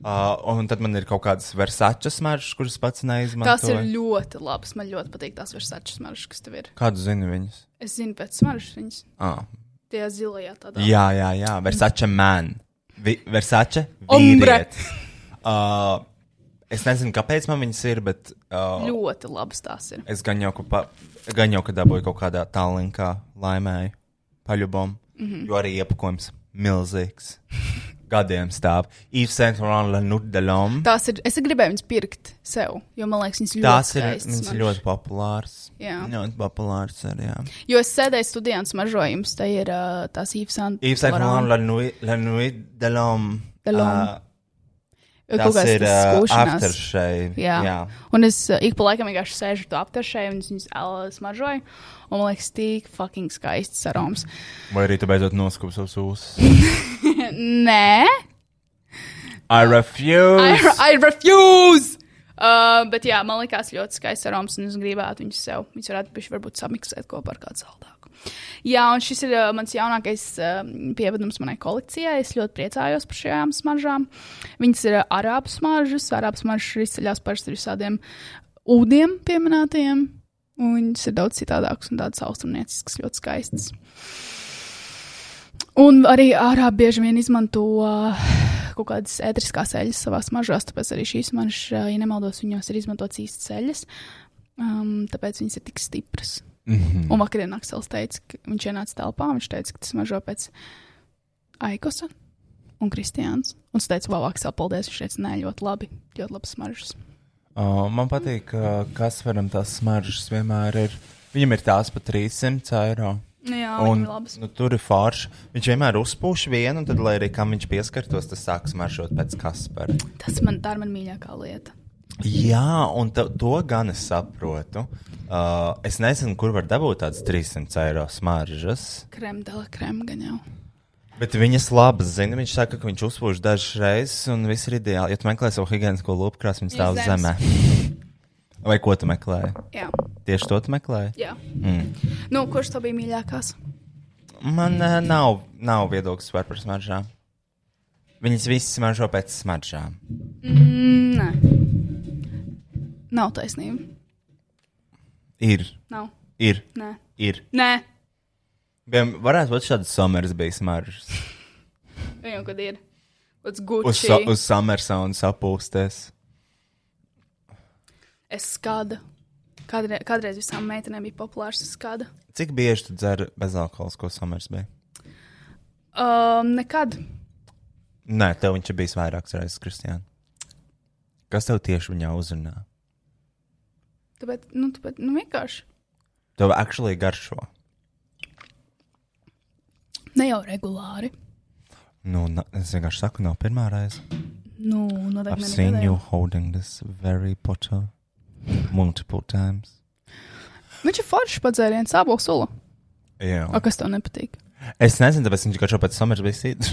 Speaker 1: uh, un tad man ir kaut kādas versāčas smaržas, kuras pats
Speaker 2: Tās ir
Speaker 1: neizmantoju.
Speaker 2: ļoti labas. Man ļoti patīk tās versāčas smaržas, kas tev ir.
Speaker 1: Kādu zinu viņas?
Speaker 2: Es zinu pēc smaržas viņas.
Speaker 1: Ah.
Speaker 2: Tie zilajā tādā.
Speaker 1: Jā, jā, jā, Versace man. Vi, Versace
Speaker 2: Ombre.
Speaker 1: vīrietis. Uh, es nezinu, kāpēc man viņas ir, bet uh,
Speaker 2: Ļoti labas tās ir.
Speaker 1: es gan jau, ka pa, gan jau, ka dabūju kaut kādā tālinkā laimēju paļubom, mm
Speaker 2: Mhm.
Speaker 1: -hmm. jo arī iepakojums
Speaker 2: [LAUGHS]
Speaker 1: milzīgs. Gadiem stāv. Yves Saint Laurent Le Nude de l'Homme.
Speaker 2: Tās ir. Es gribēju viņas pirkt sev, jo man liekas, viņas ļoti
Speaker 1: Tās ir
Speaker 2: skaistas
Speaker 1: viņas ir
Speaker 2: man.
Speaker 1: ļoti populāras.
Speaker 2: Jā.
Speaker 1: Ļoti populāras arī. jā.
Speaker 2: Jo es sēdēju studijā un smaržoju, jums tā ir uh, tās īpsāņas.
Speaker 1: Yves Saint Laurent Le Nude Le Nude de l'Homme.
Speaker 2: De l'Homme.
Speaker 1: Uh,
Speaker 2: kaut
Speaker 1: Tas
Speaker 2: kāds
Speaker 1: ir
Speaker 2: tas
Speaker 1: uh,
Speaker 2: skūšanās.
Speaker 1: aftershave.
Speaker 2: Jā. Jā.
Speaker 1: jā.
Speaker 2: Un es uh, ik pa laikam vienkārši sēžu to aptaršēju, un es viņas uh, smaržoju. Un man liekas, tik fucking skaists aroms.
Speaker 1: Vai arī tu beidzot noskup savus ūsus?
Speaker 2: [LAUGHS] Nē,
Speaker 1: I refuse!
Speaker 2: I, I refuse! Uh, bet jā, man liekas, ļoti skaists aroms, un es gribētu viņus sev. Viņus varētu bišķi varbūt samiksēt kopā ar kādu saldāku. Jā, un šis ir uh, mans jaunākais uh, pievedums manai kolekcijai. Es ļoti priecājos par šajām smaržām. Viņas ir uh, arābu smaržas, arābu smaržas izceļās parasti ar visādiem ūdiem pieminētajiem. Un viņas ir daudz citādākas un tādas austrumnieciskas, ļoti skaistas. Un arī ārā bieži vien izmanto uh, kaut kādas ētriskās eļļas savā smaržās, tāpēc arī šīs manas, uh, ja nemaldos, viņos ir izmantotas īstas eļļas. Um, tāpēc viņas ir tik stipras. Mm -hmm. Un vakarā Aksels teica, ka viņš ienāca telpā, viņš teica, ka tas mažo pēc Aikosa un Kristiāns. Un es teicu, wow, Aksel, paldies, viņš teica, nē, ļoti labi, ļoti labas smaržas.
Speaker 1: O, man patīk, ka Kasparam tās smaržas vienmēr ir. Viņam ir tās pat 300 eiro.
Speaker 2: Jā,
Speaker 1: Un,
Speaker 2: un... labas.
Speaker 1: nu, tur ir forši. Viņš vienmēr uzpūš vienu, un tad, lai arī kam viņš pieskartos, tas sāks maržot pēc Kaspara.
Speaker 2: Tas man, tā ir man mīļākā lieta.
Speaker 1: Jā, un to, to gan es saprotu. Uh, es nezinu, kur var dabūt tādas 300 eiro smaržas.
Speaker 2: Kremdela, krem gan jau.
Speaker 1: Bet viņas labas zina. Viņš saka, ka viņš uzpūš dažas reizes, un viss ir ideāli. Ja tu meklē savu higiēnisko lopkrāsu, viņš stāv
Speaker 2: Uz zemes.
Speaker 1: zemē. Vai ko tu meklēji?
Speaker 2: [LAUGHS] Jā,
Speaker 1: Tieši to tu meklēji?
Speaker 2: jā. Mm. Nu, kurš to bija mīļākās?
Speaker 1: Man eh, nav, nav viedoklis par par smaržām. Viņas visas smaržo pēc smaržām.
Speaker 2: Nē, Mm, nav taisnība.
Speaker 1: Ir,
Speaker 2: Nav.
Speaker 1: ir,
Speaker 2: Nē,
Speaker 1: ir.
Speaker 2: Nē.
Speaker 1: Vien varētu būt šāds somers bija smaržas.
Speaker 2: jau kad ir. Uz
Speaker 1: Uz,
Speaker 2: Gucci.
Speaker 1: so, uz Summersona sapūsties.
Speaker 2: Es skadu. Kādreiz, kādreiz visām meitenēm bija populārs skats.
Speaker 1: Cik bieži tu dzer bezalkoholisko somers bija?
Speaker 2: Um, nekad.
Speaker 1: Nē, tev viņš ir bijis vairākas reizes, Kristiāna. Kas tev tieši viņā uzrunā?
Speaker 2: Tāpēc, nu, tāpēc, nu, vienkārši
Speaker 1: Tev actually garšo.
Speaker 2: ne jau regulāri.
Speaker 1: Nu, na, es vienkārši saku, nav pirmā reize.
Speaker 2: Nu, noteikti
Speaker 1: I've
Speaker 2: ne
Speaker 1: seen
Speaker 2: nedēļā.
Speaker 1: you holding this very potter multiple times.
Speaker 2: Viņš ir foršs padzēriens, sābols sula.
Speaker 1: Jā.
Speaker 2: A, kas tev nepatīk?
Speaker 1: Es nezinu, tāpēc viņš garšo pēc summer visīt.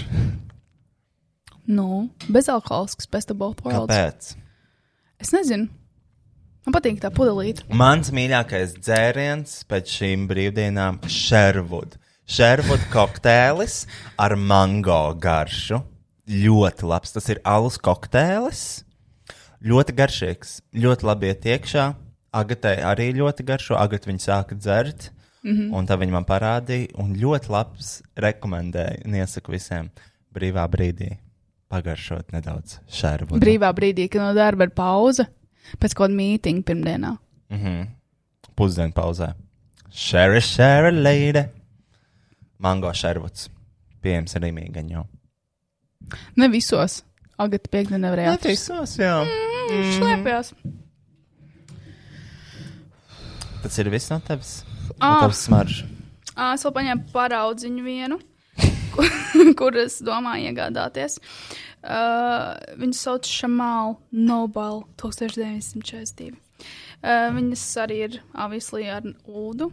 Speaker 2: Nu, bezalkoholisks, best of both worlds.
Speaker 1: Kāpēc?
Speaker 2: Es nezinu. Man patīk tā pudelīte.
Speaker 1: Mans mīļākais dzēriens pēc šīm brīvdienām - Sherwood. Sherwood kokteils ar mango garšu. Ļoti labs. Tas ir alus kokteils. Ļoti garšīgs. Ļoti labi iet iekšā. Agatē arī ļoti garšo. Agat viņa sāka dzert. Mm -hmm. Un tā viņa man parādīja. Un ļoti labs rekomendēju. Un iesaku visiem brīvā brīdī pagaršot nedaudz šervudu.
Speaker 2: Brīvā brīdī, kad no darba ir pauze, pēc kāda mītinga pirmdienā.
Speaker 1: pusdienu Mhm. pauzē. Sherry, sherry, lady. Mango šervuds. Pieejams arī mīgaņo.
Speaker 2: Ne visos. Agata piekdienā nevarēja atrast. Mm,
Speaker 1: visos, jā. Mm.
Speaker 2: Viņš slēpjas.
Speaker 1: Tas ir viss no tevis. No
Speaker 2: Ah.
Speaker 1: tavas smaržas.
Speaker 2: Ā, Es vēl paņēmu paraudziņu
Speaker 1: [LAUGHS]
Speaker 2: vienu, kur, kur es domāju iegādāties. Uh, viņu sauc Šamāla Nobel 1942. Uh, viņas arī ir avislī ar ūdu.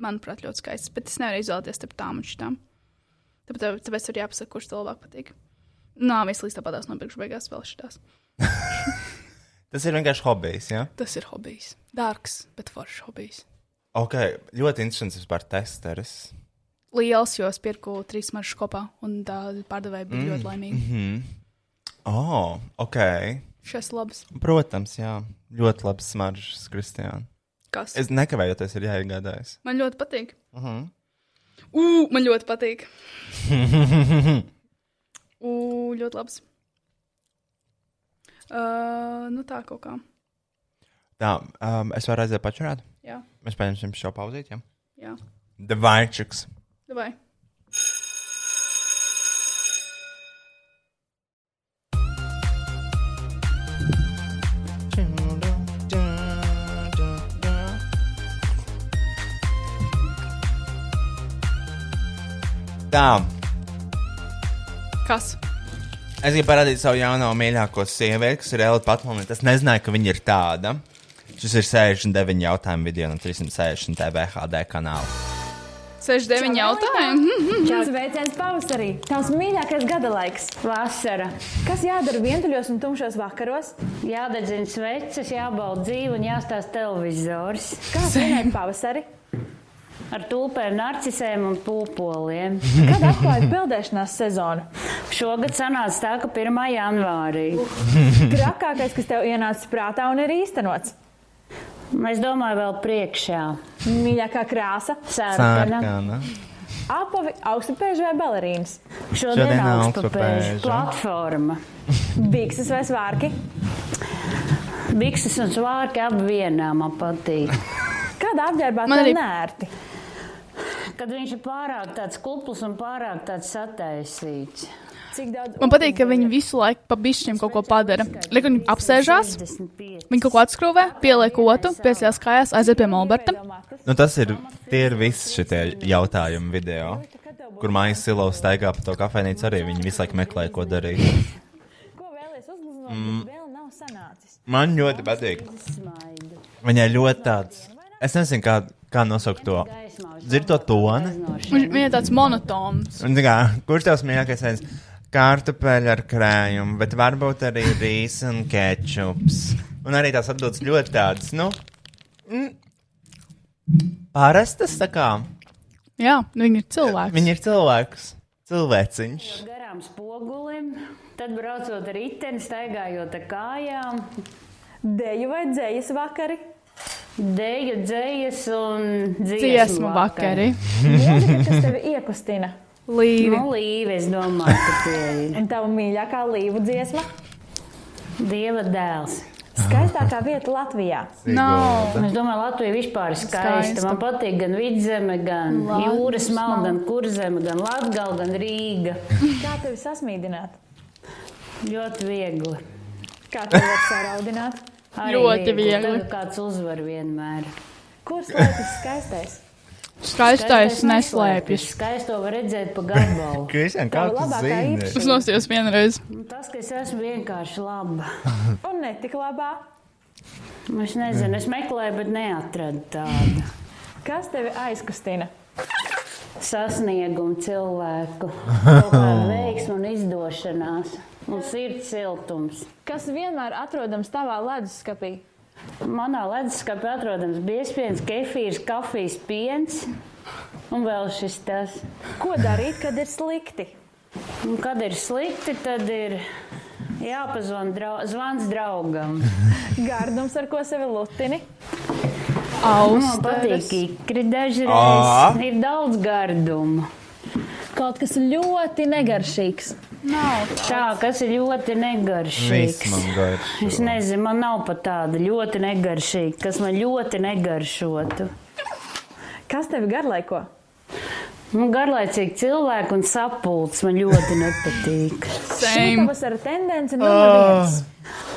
Speaker 2: Manuprāt, ļoti skaists, bet es nevaru izvēlēties starp tām un šitām. Tāpēc, tāpēc ir jāpasaka, kurš tev labāk patīk. Nu, Nā, avislīs tāpatās nopirkšu beigās vēl šitās.
Speaker 1: Tas ir vienkārši hobijs, jā.
Speaker 2: Tas ir hobijs. Dārgs, bet foršs hobijs.
Speaker 1: Ok, ļoti interesants vispār testeris.
Speaker 2: liels, jo es pirku trīs maršrutus kopā, un tā pārdevēja bija mm. ļoti laimīga.
Speaker 1: Mhm.
Speaker 2: Mm.
Speaker 1: O, oh, ok.
Speaker 2: Šis labs.
Speaker 1: Protams, jā. Ļoti labs smaržas, Kristiāna.
Speaker 2: Kas? Es...
Speaker 1: Es nekavējoties ir jāiegādājas. Mhm.
Speaker 2: Man ļoti patīk. Uh [LAUGHS] -huh. Ugh, man ļoti patīk. Ugh, ļoti labs. Uh, nu tā kaut kā.
Speaker 1: Tā, um, es varu aiziet pačurāt.
Speaker 2: Jā,
Speaker 1: Mēs paņemsim šo pauzīt, jā.
Speaker 2: jā.
Speaker 1: Dvainčiks.
Speaker 2: Davai.
Speaker 1: Tā.
Speaker 2: Kas?
Speaker 1: Es gribu parādīt savu jauno mīļāko sievieti, kas ir Elīte Patmanīte. Es nezināju, ka viņa ir tāda. Šis ir 69 jautājumu video no 360 TVHD kanāla.
Speaker 2: 69 jautājumi.
Speaker 8: Kāds veiciens pavasarī? Tās mīļākais gada laiks - vasara. Kas jādara vientuļos un tumšos vakaros?
Speaker 9: Jādedzina sveces, jābauda dzīve un jāstāsta televizors
Speaker 8: Kā svinēt pavasari?
Speaker 9: ar tulpēm, narcisēm un pūpoliem.
Speaker 8: Kad atklājat peldēšanās sezonu?
Speaker 9: Šogad sanāca tā, ka 1. janvārī.
Speaker 8: [LAUGHS] Trakākais, kas tev ienāca prātā un ir īstenots.
Speaker 9: Es domāju, vēl priekšā.
Speaker 8: Mīļākā krāsa,
Speaker 9: Sērkana.
Speaker 8: apavi, augstupēži vai balerīnas,
Speaker 9: Šodien
Speaker 1: Šodien
Speaker 9: augstupēžu
Speaker 1: augstupēža.
Speaker 9: platforma.
Speaker 8: bikses vai svārki.
Speaker 9: Bikses un svārki ap vienā man patīk.
Speaker 8: Kādā apģērbā
Speaker 2: Man
Speaker 8: tev
Speaker 2: arī-
Speaker 8: nērti?
Speaker 9: Kad viņš ir pārāk tāds kupls un pārāk tāds sataisīts.
Speaker 8: Cik daudz
Speaker 2: Man patīk, ka viņi visu laiku pa bišķiem kaut ko padara. Liek, viņi apsēžās,
Speaker 9: 65.
Speaker 2: viņi kaut ko atskrūvē, pieliek otru, piesēs kājās, aiziet pie Molberta.
Speaker 1: Nu, tas ir, tie ir visi šie jautājumi video, kur mājas silovs staigā pa to kafejnīcu. Arī viņi visu laiku meklē, ko darīt.
Speaker 8: Ko vēlies uzgleznot, mm. vēl nav sanācis.
Speaker 1: Man ļoti patīk.
Speaker 9: Smaidu.
Speaker 1: Viņai ļoti tāds, es nezinu, kā, kā nosaukt to.
Speaker 9: Gaismā uz
Speaker 1: Dzird to toni?
Speaker 9: aiznošanu.
Speaker 2: Viņš ir tāds monotons.
Speaker 1: Un, tā kā, kurš tavs mīļākais ir? Kartupeļi ar krējumu, bet varbūt arī rīsi un kečups. Un arī tās atbildes ļoti tādas, nu, mm, parastas, tā kā
Speaker 2: Jā, nu viņi ir cilvēki.
Speaker 1: viņi ir cilvēks, cilvēciņš.
Speaker 9: garām spogulim, tad braucot ar riteni, staigājot ar kājām,
Speaker 8: Deju vai dzējas vakari?
Speaker 9: dēļa dzējas un
Speaker 2: Dziesmu
Speaker 9: dziesmu
Speaker 2: vakari.
Speaker 8: Mūzika, kas tevi iekustina?
Speaker 2: Līvi.
Speaker 9: Nu, līve, es domāju, ka tie ir
Speaker 8: Un tava mīļākā līvu dziesma?
Speaker 9: Dieva dēls.
Speaker 8: Skaistākā vieta Latvijā.
Speaker 2: Nav.
Speaker 9: Un Es domāju, Latvija vispār ir skaista.
Speaker 2: Skaista.
Speaker 9: Man patīk gan vidzeme, gan jūras malna, gan kurzeme, gan Latgala, gan Rīga.
Speaker 8: Kā tevi sasmīdināt?
Speaker 9: Ļoti viegli.
Speaker 8: Kā tevi var sāraudināt?
Speaker 9: Arī
Speaker 2: Ļoti viegli.
Speaker 9: Tagad kāds uzvar vienmēr.
Speaker 8: Kur slēpjas skaistais?
Speaker 2: Skaistais neslēpjas.
Speaker 9: Skaisto var redzēt pa gabalu.
Speaker 1: [LAUGHS] Kristian, kā
Speaker 8: Tava
Speaker 1: tu
Speaker 8: labākā
Speaker 1: zini?
Speaker 8: īpašība.
Speaker 2: Es nosties vienreiz.
Speaker 9: Nu, Tas, ka es esmu vienkārši
Speaker 1: [LAUGHS]
Speaker 9: laba.
Speaker 8: Un ne tik labā.
Speaker 9: Nu, Es nezinu, es meklēju, bet neatradu tādu
Speaker 8: Kas tevi aizkustina?
Speaker 9: sasniegumu
Speaker 8: [LAUGHS]
Speaker 9: cilvēku. Kaut kāda veiksma un izdošanās. Un sirds siltums.
Speaker 8: Kas vienmēr atrodams tavā leduskapī?
Speaker 9: Manā leduskapī atrodams biezpiens, kefīrs, kafijas piens un vēl šis tas.
Speaker 8: Ko darīt, kad ir slikti?
Speaker 9: Un kad ir slikti, tad ir jāpazvan drau zvans draugam.
Speaker 8: [LAUGHS] Gardums, ar ko sevi lutini?
Speaker 9: Un Man patīk ikri dažreiz. Ir daudz gardumu.
Speaker 8: Kaut kas ļoti negaršīgs.
Speaker 9: Tā, kas ir ļoti
Speaker 1: Viss
Speaker 9: negaršīgs.
Speaker 1: man garšo.
Speaker 9: Es nezinu, man nav pat tāda ļoti negaršīga, kas man ļoti negaršotu.
Speaker 8: Kas tevi garlaiko?
Speaker 9: Nu, garlaicīgi cilvēki un sapulcs man ļoti nepatīk.
Speaker 2: Same. Ah.
Speaker 8: Pavasara tendence numur viens.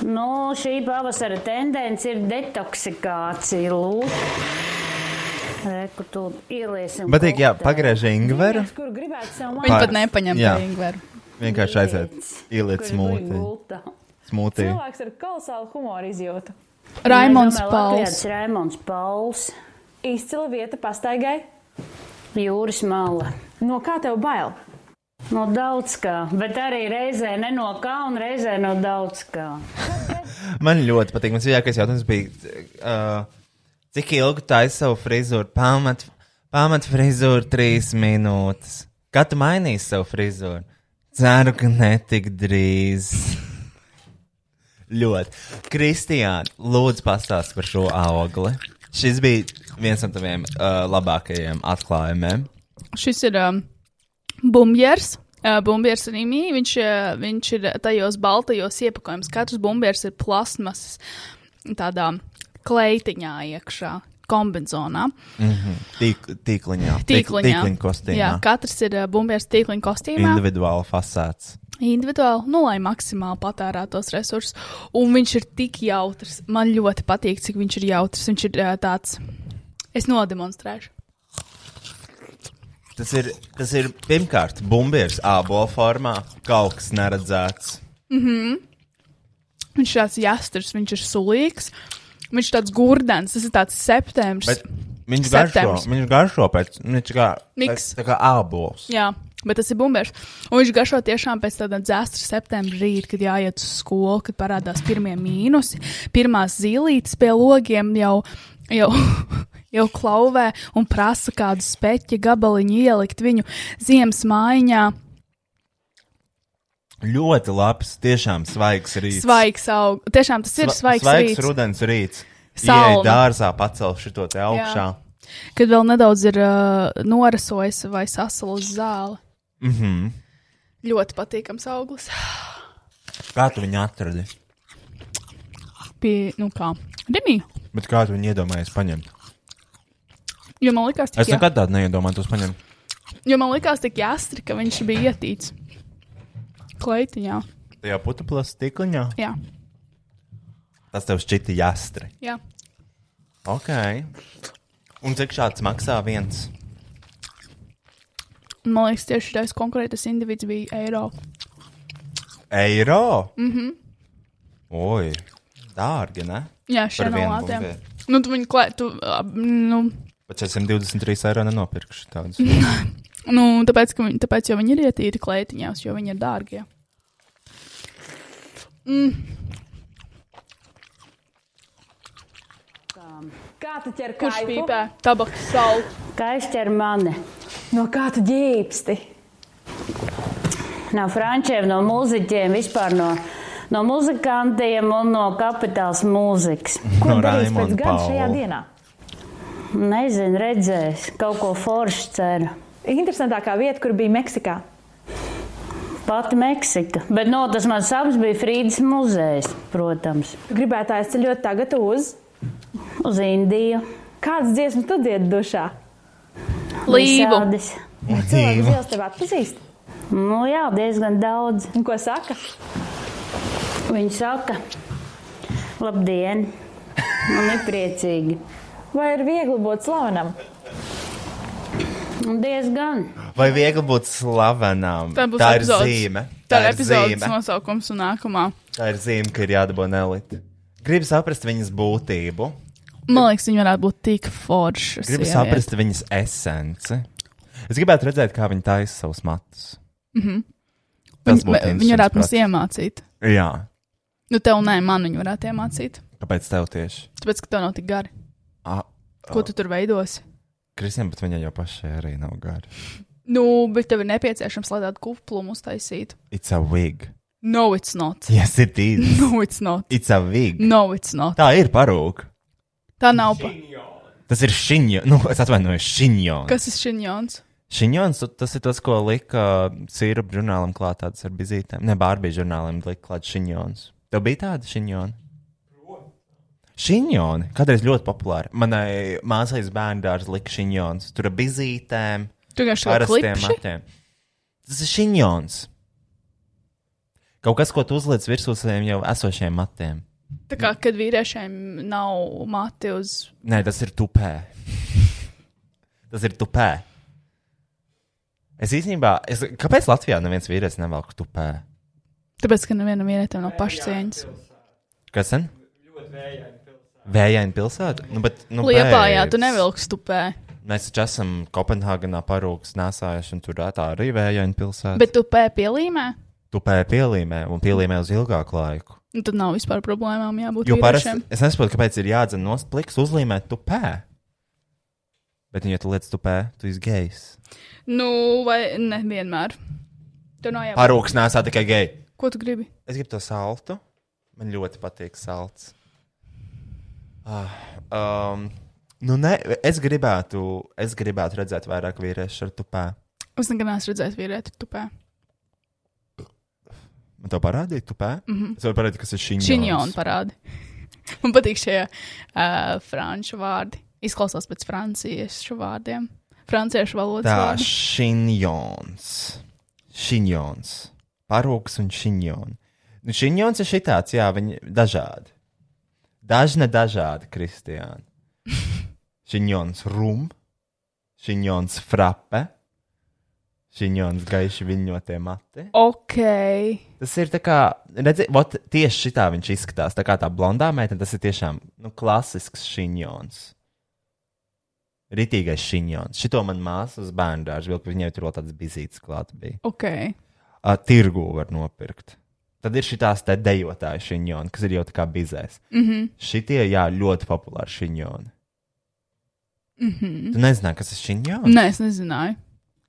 Speaker 9: Nu, šī pavasara tendence ir detoksikācija. Lūk, Reku, tu ieliesim.
Speaker 1: Patīk, jā,
Speaker 9: kokteili.
Speaker 1: pagriež ingveru.
Speaker 8: Kur gribētu sev
Speaker 2: Viņa
Speaker 1: Par-
Speaker 2: pat nepaņem
Speaker 1: jā.
Speaker 2: to ingveru.
Speaker 1: Vienkārši aiziet, ieliec
Speaker 9: Kur ir
Speaker 1: smūti.
Speaker 9: gulta?
Speaker 1: Smūti.
Speaker 8: Cilvēks ar kolosālu humoru izjūtu.
Speaker 2: Raimons
Speaker 9: Domāju,
Speaker 2: Pauls.
Speaker 9: Latvijas Raimonds Pauls,
Speaker 8: Izcila vieta pastaigai.
Speaker 9: jūras mala.
Speaker 8: No kā tev bail?
Speaker 9: No daudz kā, bet arī reizē ne no kā un reizē no daudz kā.
Speaker 1: Man ļoti patīk. Mans vieglākais jautājums bija, uh, cik ilgi taisa savu frizūru? Pamat, pamat frizūru trīs minūtes. Kad tu mainīsi savu frizūru? Ceru, ka netik drīz. [LAUGHS] ļoti. Kristiāna, lūdzu, pastāsti par šo augli. Šis bija viens no taviem uh, labākajiem atklājumiem.
Speaker 2: Šis ir um, bumbjers. Uh, bumbjers ir imī, viņš, uh, viņš ir tajos baltajos iepakojumos. Katrs bumbjers ir plasmasas tādā kleitiņā iekšā, kombinzonā.
Speaker 1: Mhm. Tīk, tīkliņā,
Speaker 2: Tīkliņā.
Speaker 1: tīkliņa kostīmā.
Speaker 2: Jā, katrs ir uh, bumbjers tīkliņa kostīmā.
Speaker 1: Individuāli fasāts.
Speaker 2: individuāli, nu, lai maksimāli patērētos resursus. Un viņš ir tik jautrs. Man ļoti patīk, cik viņš ir jautrs. Viņš ir ā, tāds, es nodemonstrēšu.
Speaker 1: Tas ir, tas ir pirmkārt bumbieris ābola formā, kaut kas neredzēts.
Speaker 2: Mm-hmm. Viņš ir tāds jastrs, viņš ir sulīgs. Viņš ir tāds gurdens, tas ir tāds septembris.
Speaker 1: Bet viņš garšo,
Speaker 2: Septembris.
Speaker 1: viņš garšo pēc, nu, viņš kā,
Speaker 2: Miks.
Speaker 1: tā kā ābols.
Speaker 2: Jā, bet tas ir bumbieris. Un viņš garšo tiešām pēc tāda dzēstra septembra rīta, kad jāiet uz skolu, kad parādās pirmie mīnusi, pirmās zīlītes pie logiem jau. jau [LAUGHS] Jau klauvē un prasa kādu speķi gabaliņu ielikt viņu ziemas mājiņā.
Speaker 1: Ļoti labs, tiešām svaigs rīts.
Speaker 2: Svaigs aug. Tiešām tas ir
Speaker 1: Sva-
Speaker 2: svaigs,
Speaker 1: svaigs
Speaker 2: rīts.
Speaker 1: rudens rīts. Iej
Speaker 2: Salma.
Speaker 1: dārzā pacel šito te augšā.
Speaker 2: Jā. Kad vēl nedaudz ir uh, norasojis vai sasalis zāle.
Speaker 1: Mhm.
Speaker 2: Ļoti patīkams auglis.
Speaker 1: Kā tu viņu atradi?
Speaker 2: Pie, nu kā, Rimī.
Speaker 1: Bet kā tu viņu iedomājies paņemt?
Speaker 2: Jo man likās,
Speaker 1: Es
Speaker 2: tik jā-
Speaker 1: nekad tādu neiedomājos paņemt.
Speaker 2: Jo man likās, tik jāstri, ka viņš bija ietīts. Kleitiņā.
Speaker 1: Tajā putuplas tīkliņā.
Speaker 2: Jā,
Speaker 1: Tas tev šķita jāstri.
Speaker 2: jā.
Speaker 1: Ok. Un cik šāds maksā viens?
Speaker 2: Un Man liekas, tieši šis konkrētais individs bija eiro.
Speaker 1: Eiro? Mhm. Oi, dārgi, ne?
Speaker 2: Jā, šeit
Speaker 1: vienu
Speaker 2: no Latvijas.
Speaker 1: bumbieru.
Speaker 2: Nu, tu viņu klāt, tu, ā, nu,
Speaker 1: Pat 423 eiro nenopirkšu tādus.
Speaker 2: [LAUGHS] nu, tāpēc, ka viņi, tāpēc, jo viņi ir ietīti kleitiņās, jo viņi ir dārgie. Mhm.
Speaker 8: Kā tu ķer
Speaker 2: Kurš
Speaker 8: kāju?
Speaker 2: pīpē? Tabaks salu.
Speaker 9: Kā izķer mani?
Speaker 8: No kā tu ģīpsti?
Speaker 9: No frančiem, no mūziķiem, vispār no, no muzikantiem un no kapitāls mūzikas.
Speaker 8: Ko
Speaker 1: No
Speaker 8: no darīs pēc
Speaker 1: Raimonda
Speaker 8: gada šajā
Speaker 1: Paula.
Speaker 8: dienā?
Speaker 9: Nezinu, redzēs, kaut ko foršu ceru.
Speaker 8: Interesantākā vieta, kur bija Meksikā.
Speaker 9: Pati Meksika. Bet no, tas mans sapnis bija Frīdas muzejs, protams,
Speaker 8: Gribētu aizceļot tagad uz.
Speaker 9: uz Indiju.
Speaker 8: Kādas dziesmas tu dziedi dušā?
Speaker 2: Līvu.
Speaker 9: Visādas.
Speaker 8: Vai cilvēki uz ielas tevi atpazīst?
Speaker 9: Nu, jā, diezgan daudz.
Speaker 8: Un ko saka?
Speaker 9: Viņa saka, Labdien! Man ir priecīgi.
Speaker 8: Vai ir viegli būt slavenam?
Speaker 9: Un diezgan.
Speaker 1: Vai viegli būt slavenam?
Speaker 2: Tā būs
Speaker 1: tā ir
Speaker 2: epizodes-
Speaker 1: zīme.
Speaker 2: Tā ir epizodes
Speaker 1: zīme.
Speaker 2: nosaukums un nākamā.
Speaker 1: Tā ir zīme, ka ir jādabū nelīti. Gribu saprast viņas būtību,
Speaker 2: Man liekas, viņi varētu būt tik forši.
Speaker 1: gribu saprast viņas esenci. Es gribētu redzēt, kā viņa taisa savus matus.
Speaker 2: Mhm.
Speaker 1: Mm
Speaker 2: Viņi,
Speaker 1: -hmm.
Speaker 2: vi- viņi varētu mums iemācīt.
Speaker 1: Jā,
Speaker 2: Nu, tev nē, man viņi varētu iemācīt.
Speaker 1: kāpēc tev tieši?
Speaker 2: Tāpēc, ka tev nav tik gari.
Speaker 1: Ah,
Speaker 2: Ko tu tur veidosi?
Speaker 1: Kristija, bet viņai jau pašai arī nav gara.
Speaker 2: Nu, bet tev ir nepieciešams, lai tādu kuplumu uztaisītu.
Speaker 1: It's a wig.
Speaker 2: No, it's not.
Speaker 1: Yes, it is.
Speaker 2: [LAUGHS] No, it's not.
Speaker 1: It's a wig.
Speaker 2: No, it's not.
Speaker 1: Tā ir parūka.
Speaker 2: Tā nav. Pa...
Speaker 1: Tas ir šinjo. Nu, es atvainojos, šinjo.
Speaker 2: Kas ir šinjons?
Speaker 1: Šinjons, tu- tas ir tas, ko lika sīrup žurnālam klāt tādas ar bizītēm. Ne, bārbīja žurnālam lika klāt šinjons. Tev bija tāda šinjona? Šinjoni kādreiz ļoti populāri. Manai māsai bērndārs lika šinjons. Tur ar bizītēm,
Speaker 2: Tu vienkārši kā
Speaker 1: parastiem
Speaker 2: klipši.
Speaker 1: matiem. Tas ir šinjons. Kaut kas, ko tu uzliec virsū saviem jau esošiem matiem.
Speaker 2: Tā kā, kad vīriešiem nav mati uz.
Speaker 1: Nē, tas ir tupē. [LAUGHS] tas ir tupē. Es īstenībā, es, kāpēc Latvijā neviens vīrietis nevelk tupē?
Speaker 2: Tāpēc, ka nevienam vīrietim nav pašcieņas.
Speaker 1: Kas sen? Vējaini pilsēta. Nu, bet, nu,
Speaker 2: Liepā, jā, tu
Speaker 1: babes,
Speaker 2: nevilksi tupē.
Speaker 1: Mēs taču esam Kopenhāgenā parūks nesājuši, un tur tā arī vējaini pilsēta. Bet
Speaker 2: Bet tupē pielīmē.
Speaker 1: tupē pielīmē un pielīmē uz ilgāku laiku.
Speaker 2: Nu, tad nav vispār problēmām jābūt.
Speaker 1: Jo parasti
Speaker 2: vīriešiem.
Speaker 1: es nesaprotu, kāpēc ir jādzen nost pliks uzlīmēt tupē. Bet, ja tu liec tupē, tu esi gejs.
Speaker 2: Nu, vai ne vienmēr. Tur nav jābūt.
Speaker 1: Parūks nesā tikai gejs.
Speaker 2: Ko tu gribi?
Speaker 1: Es gribu to saltu. Man ļoti patīk salds. Ah, um, nu, nē, es gribētu, es gribētu redzēt vairāk vīriešu ar tupē.
Speaker 2: Es nekad neesmu redzējis vīrieti tupē.
Speaker 1: Man to parādīja, tupē. Mm -hmm. Es varu parādīt, kas ir šī
Speaker 2: Šinjona Mhm. parādi. [LAUGHS] Man patīk šie uh, franču vārdi. Izklausās pēc franciešu vārdiem. Franciešu valodas
Speaker 1: Tā,
Speaker 2: vārdi.
Speaker 1: šinjons. Šinjons. Parūks un šinjons. Nu, šinjons ir šitāds, jā, viņi dažādi. Dažne dažādi, Kristiāna. Šinjons rum, šinjons frappe, šinjons gaiši viņotie mati.
Speaker 2: Ok.
Speaker 1: Tas ir tā kā, redziet, tieši šitā viņš izskatās. Tā kā tā blondā meitene, tas ir tiešām nu, klasisks šinjons. Ritīgais šinjons. Šito man māsa uz bērnu dārza vilka, viņai tur vēl tāds bizīts klāt bija.
Speaker 2: Ok.
Speaker 1: Uh, tirgu var nopirkt. Tad ir šitās te dejotāju šinjoni, kas ir jau tā kā bizēs.
Speaker 2: Mm -hmm.
Speaker 1: Šitie, jā, ļoti populāri šinjoni.
Speaker 2: Mm -hmm.
Speaker 1: Tu nezināji, kas ir šinjons?
Speaker 2: Nē, es nezināju.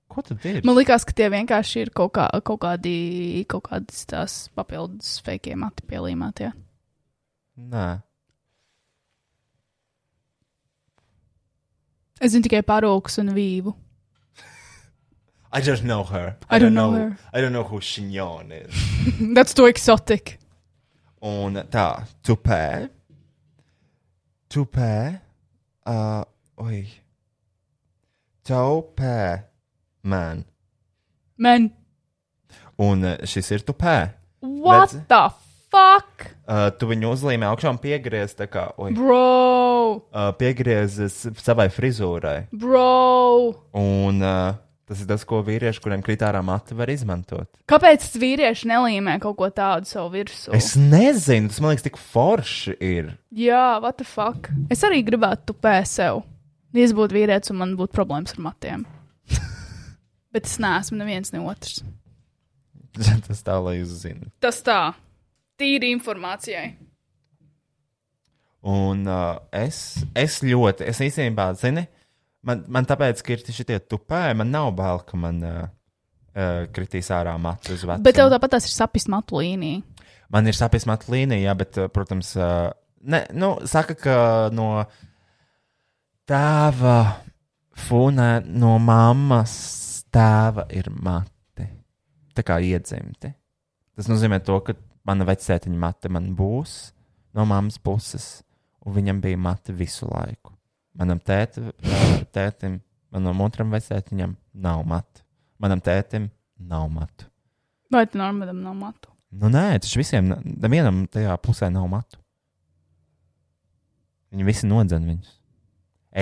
Speaker 1: Ko tad ir?
Speaker 2: Man liekas, ka tie vienkārši ir kaut, kā, kaut, kādi, kaut kādas tās papildus fake mati pielīmētie.
Speaker 1: Nē.
Speaker 2: Es zinu tikai parūks un vīvu. [LAUGHS]
Speaker 1: I don't know her.
Speaker 2: I don't know her.
Speaker 1: I don't know who šinjon is.
Speaker 2: That's too exotic.
Speaker 1: Un tā, tupē, tupē, uh, oi, taupē, man.
Speaker 2: Man,
Speaker 1: Un uh, šis ir tupē.
Speaker 2: what
Speaker 1: Redzi?
Speaker 2: the fuck?
Speaker 1: Uh, tu viņu uzlīmē augšā un piegriez, tā kā, oi,
Speaker 2: Bro,
Speaker 1: uh, piegriez s- savai frizūrai.
Speaker 2: bro.
Speaker 1: Un uh, tas ir tas, ko vīrieši, kuriem krīt ārā mati, var izmantot.
Speaker 2: Kāpēc vīrieši nelīmē kaut ko tādu sev virsū?
Speaker 1: Es nezinu, tas man liekas tik forši ir. [LAUGHS]
Speaker 2: Jā, what the fuck? Es arī gribētu tupē sev. Ja es būtu vīrietis un man būtu problēmas ar matiem. [LAUGHS] Bet es neesmu neviens ne otrs.
Speaker 1: tas tā, lai jūs zinātu.
Speaker 2: Tas tā, tīri informācijai.
Speaker 1: Un uh, es, es ļoti, es īstenībā, zini, man, man tāpēc, ka ir šie tupēji, man nav bail, ka man uh, uh, kritīs ārā matus uz vecumu.
Speaker 2: Bet tev tāpat tās ir sapnis matu līnija.
Speaker 1: Man ir sapnis matu līnija, jā, bet, uh, protams, uh, ne, nu, saka, ka no tēva fūna, no mammas tēva ir mati. Tā kā iedzimti. Tas nozīmē to, ka mana vecētiņa mate man būs no mammas puses, un viņam bija mati visu laiku. Manam tēta, tētim, manam otram vecētiņam nav matu. Manam tētim nav matu.
Speaker 2: Vai tu normālam nav matu?
Speaker 1: Nu, nē, tas visiem, nevienam tajā pusē nav matu. Viņi visi nodzen viņus.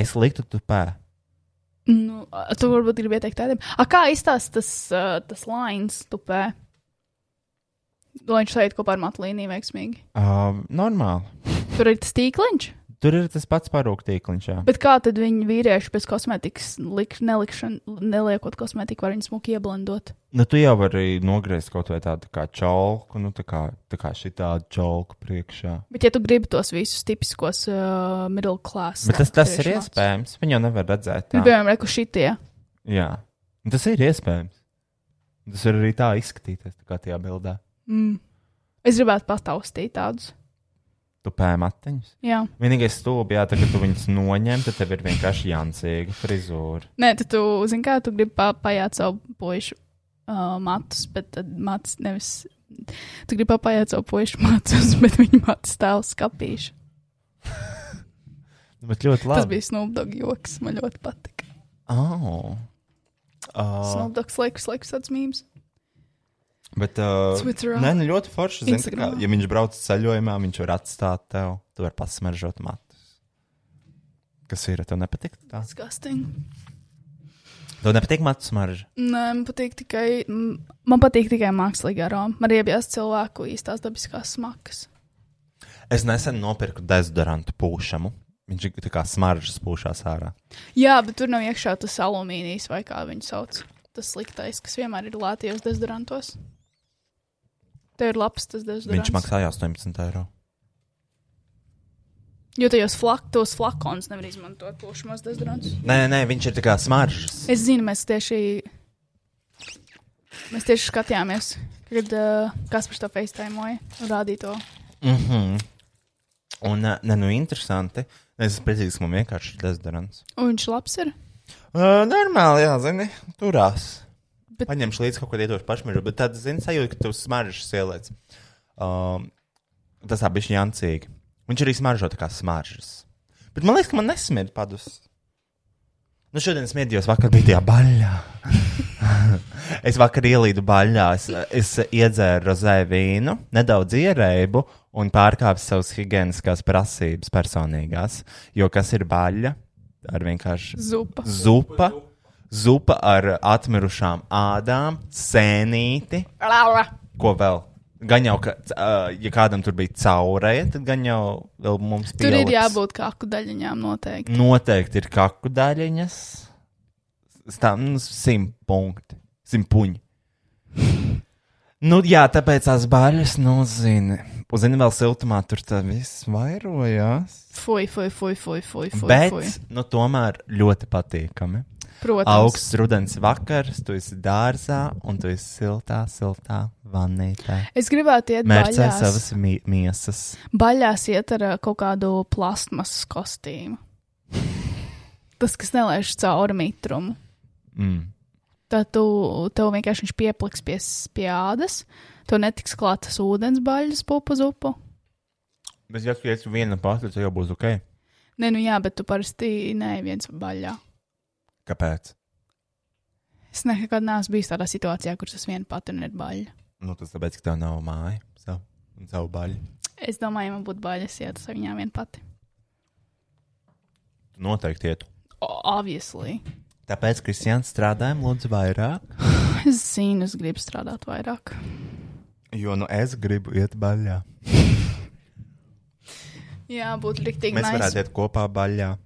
Speaker 1: Es liktu, tu pēdi.
Speaker 2: Nu, a, tu varbūt gribēji teikt tādiem. A, kā izstāsta tas, uh, tas lines tupē? Lai viņš šeit kopā ar matlīniju veiksmīgi.
Speaker 1: Uh, normāli.
Speaker 2: Tur ir tas tīkliņš,
Speaker 1: Tur ir tas pats parūktīkliņš. jā.
Speaker 2: bet kā tad viņi vīrieši bez kosmētikas, lik, nelikšana, neliekot kosmētiku, var viņu smuki ieblendot?
Speaker 1: Nu, tu jau vari nogriezt kaut vai tādu kā čauku, nu, tā kā, tā kā šī tāda čauka priekšā.
Speaker 2: Bet, ja tu gribi tos visus tipiskos uh, middle class,
Speaker 1: Bet tas, tas ir
Speaker 2: latviešu mākslu.
Speaker 1: iespējams. Viņu jau nevar redzēt.
Speaker 2: Nu,
Speaker 1: Tā.
Speaker 2: Piemēram, reku šitie.
Speaker 1: Jā, Un tas ir iespējams. Un Tas var arī tā izskatīties, tā kā tajā bildē.
Speaker 2: Mm. Es gribētu pataustīt tādus.
Speaker 1: Tu pēdi matiņus.
Speaker 2: Jā,
Speaker 1: Vienīgais stulbi, jā, tā, kad tu viņus noņem, tad tev ir vienkārši jāncīga frizūra.
Speaker 2: nē, tad tu zini, kā tu gribi pa, paiet savu pušu uh, matus, bet tad matus nevis. Tu gribi paiet savu pušu matus, [LAUGHS] bet viņa matus tēlu skapīšu.
Speaker 1: Nu, Bet ļoti labi.
Speaker 2: Tas bija snubdogs joks, man ļoti patika.
Speaker 1: Oh. Uh,
Speaker 2: Snubdogs laikus, laikus atzmības.
Speaker 1: bet, uh,
Speaker 2: Switzerland.
Speaker 1: nē, nu, ļoti forši. Zin, tā kā,
Speaker 2: Instagramā.
Speaker 1: ja viņš brauc ceļojumā, viņš var atstāt tev, tu vari pasmaržot matus. Kas ir? Tev nepatīk tā?
Speaker 2: Disgusting.
Speaker 1: Tev nepatīk matu smarža.
Speaker 2: Nē, man patīk tikai, mm, man patīk tikai mākslīgā aroma. Man riebjās cilvēku īstās dabiskās smakas.
Speaker 1: Es nesen nopirku dezodorantu pūšamu. Viņš ir tā kā smaržas pūšās ārā.
Speaker 2: Jā, bet tur nav iekšā tas alumīnijas vai kā viņu sauc. Tas sliktais, kas vienmēr ir Latvijas dezodorantos. Tev ir labs tas dezodorants.
Speaker 1: Viņš maksāja 18 eiro.
Speaker 2: Jo tajos flak, tos flakons nevar izmantot plūšamos dezodorantus.
Speaker 1: Nē, nē, viņš ir tā kā smaržas.
Speaker 2: Es zinu, mēs tieši, mēs tieši skatījāmies, kad uh, Kaspars to facetaimoja un rādīja to.
Speaker 1: Mm -hmm. Un, ā, nē, nu, interesanti. Es esmu priecīgs, ka man vienkārši ir dezodorants.
Speaker 2: Un viņš labs ir.
Speaker 1: Uh, normāli, jā, zini, turās.
Speaker 2: Bet-
Speaker 1: Bet... Paņemšu līdzi kaut ko ietošu pašmiržu, bet tad, zini, sajūta, ka tu smaržas ieliec. Um, tas abi ir jāncīgi. Viņš arī smaržo tā kā smaržas. Bet man liekas, ka man nesmird padus. Nu, šodien smirdījos, vakar bija tajā baļā. [LAUGHS] es vakar ielīdu baļā, es, es iedzēru rozē vīnu, nedaudz ierēbu un pārkāpu savas higiēniskās prasības personīgās. Jo kas ir baļā? Ar vienkārši
Speaker 2: Zupa.
Speaker 1: zupa, zupa ar atmirušām ādām, sēnīti,
Speaker 2: Laura.
Speaker 1: ko vēl. Gan jau, ka, c- ā, ja kādam tur bija caurēja, tad gan jau vēl mums
Speaker 2: Tur ir
Speaker 1: pieliks.
Speaker 2: jābūt kā kudaļiņām noteikti.
Speaker 1: Noteikti ir kaku daļiņas. Stāv nu, simt punkti, simt puņi. Nu, jā, tāpēc tās baļas, nu, zini, zini vēl siltumā tur tas viss vairojās.
Speaker 2: Fui, fui, fui, fui, fui. fui,
Speaker 1: Bet,
Speaker 2: fui.
Speaker 1: nu, tomēr ļoti patīkami.
Speaker 2: protams,
Speaker 1: Augsts rudens vakars, tu esi dārzā un tu esi siltā, siltā vannītē.
Speaker 2: Es gribētu iet
Speaker 1: Mērķē
Speaker 2: baļās.
Speaker 1: savas mi miesas.
Speaker 2: baļās iet ar ā, kaut kādu plasmasas kostīmu. Tas, kas nelaiž cauri mitrumu.
Speaker 1: Mm.
Speaker 2: Tad tu, tev vienkārši viņš piepliks pie, s- pie ādas, tu netiks klātas ūdens baļas pupu zupu.
Speaker 1: Bet, ja tu iesi viena pati, tad jau būs ok.
Speaker 2: Nē, nu jā, bet tu parasti neej viens baļā.
Speaker 1: Kāpēc?
Speaker 2: Es nekad neesmu bijis tādā situācijā, kur es vienu pati un ir baļa.
Speaker 1: Nu, tas tāpēc, ka tev nav māja, savu, un savu baļu.
Speaker 2: Es domāju, ja man būtu baļas, ja tas viņā vien pati.
Speaker 1: Tu noteikti iet.
Speaker 2: O, obviously.
Speaker 1: Tāpēc, Kristians, strādājam, lūdzu, vairāk.
Speaker 2: Es zinu, es gribu strādāt vairāk.
Speaker 1: Jo, nu, es gribu iet baļā.
Speaker 2: Jā, būtu liktīgi.
Speaker 1: Mēs varētu iet kopā baļā.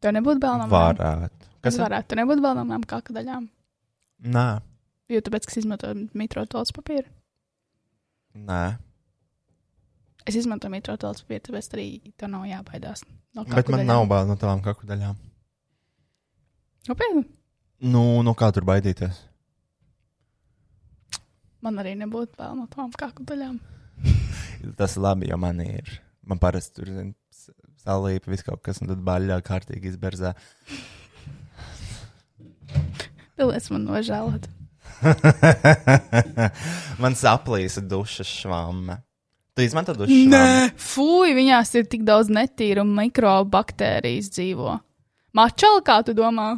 Speaker 2: Tev nebūtu bail no manām.
Speaker 1: Varētu.
Speaker 2: Kas
Speaker 1: Kas ir?
Speaker 2: varētu? Tev nebūtu bail no manām kāka daļām.
Speaker 1: Nē,
Speaker 2: Jo tāpēc, ka es izmantoju mitro tautas papīru.
Speaker 1: nē.
Speaker 2: Es izmantoju mitro tautas papīru, tāpēc arī tev nav jābaidās. No
Speaker 1: Bet
Speaker 2: kaku
Speaker 1: man
Speaker 2: daļām.
Speaker 1: nav bail no tavām kaku daļām.
Speaker 2: Nopietni.
Speaker 1: Nu, no kā tur baidīties?
Speaker 2: Man arī nebūtu bail no tām kāku daļām.
Speaker 1: Tas ir labi, jo man ir. Man parasti tur zin, s- salīpa viss kaut kas, un tad baļā kārtīgi izberzē.
Speaker 2: Tāpēc man nožēlot.
Speaker 1: man saplīsa duša švama. Tu izmanto dušu švamu?
Speaker 2: Fui, viņās ir tik daudz netīru mikrobaktērijas dzīvo. Mačal, kā tu domā?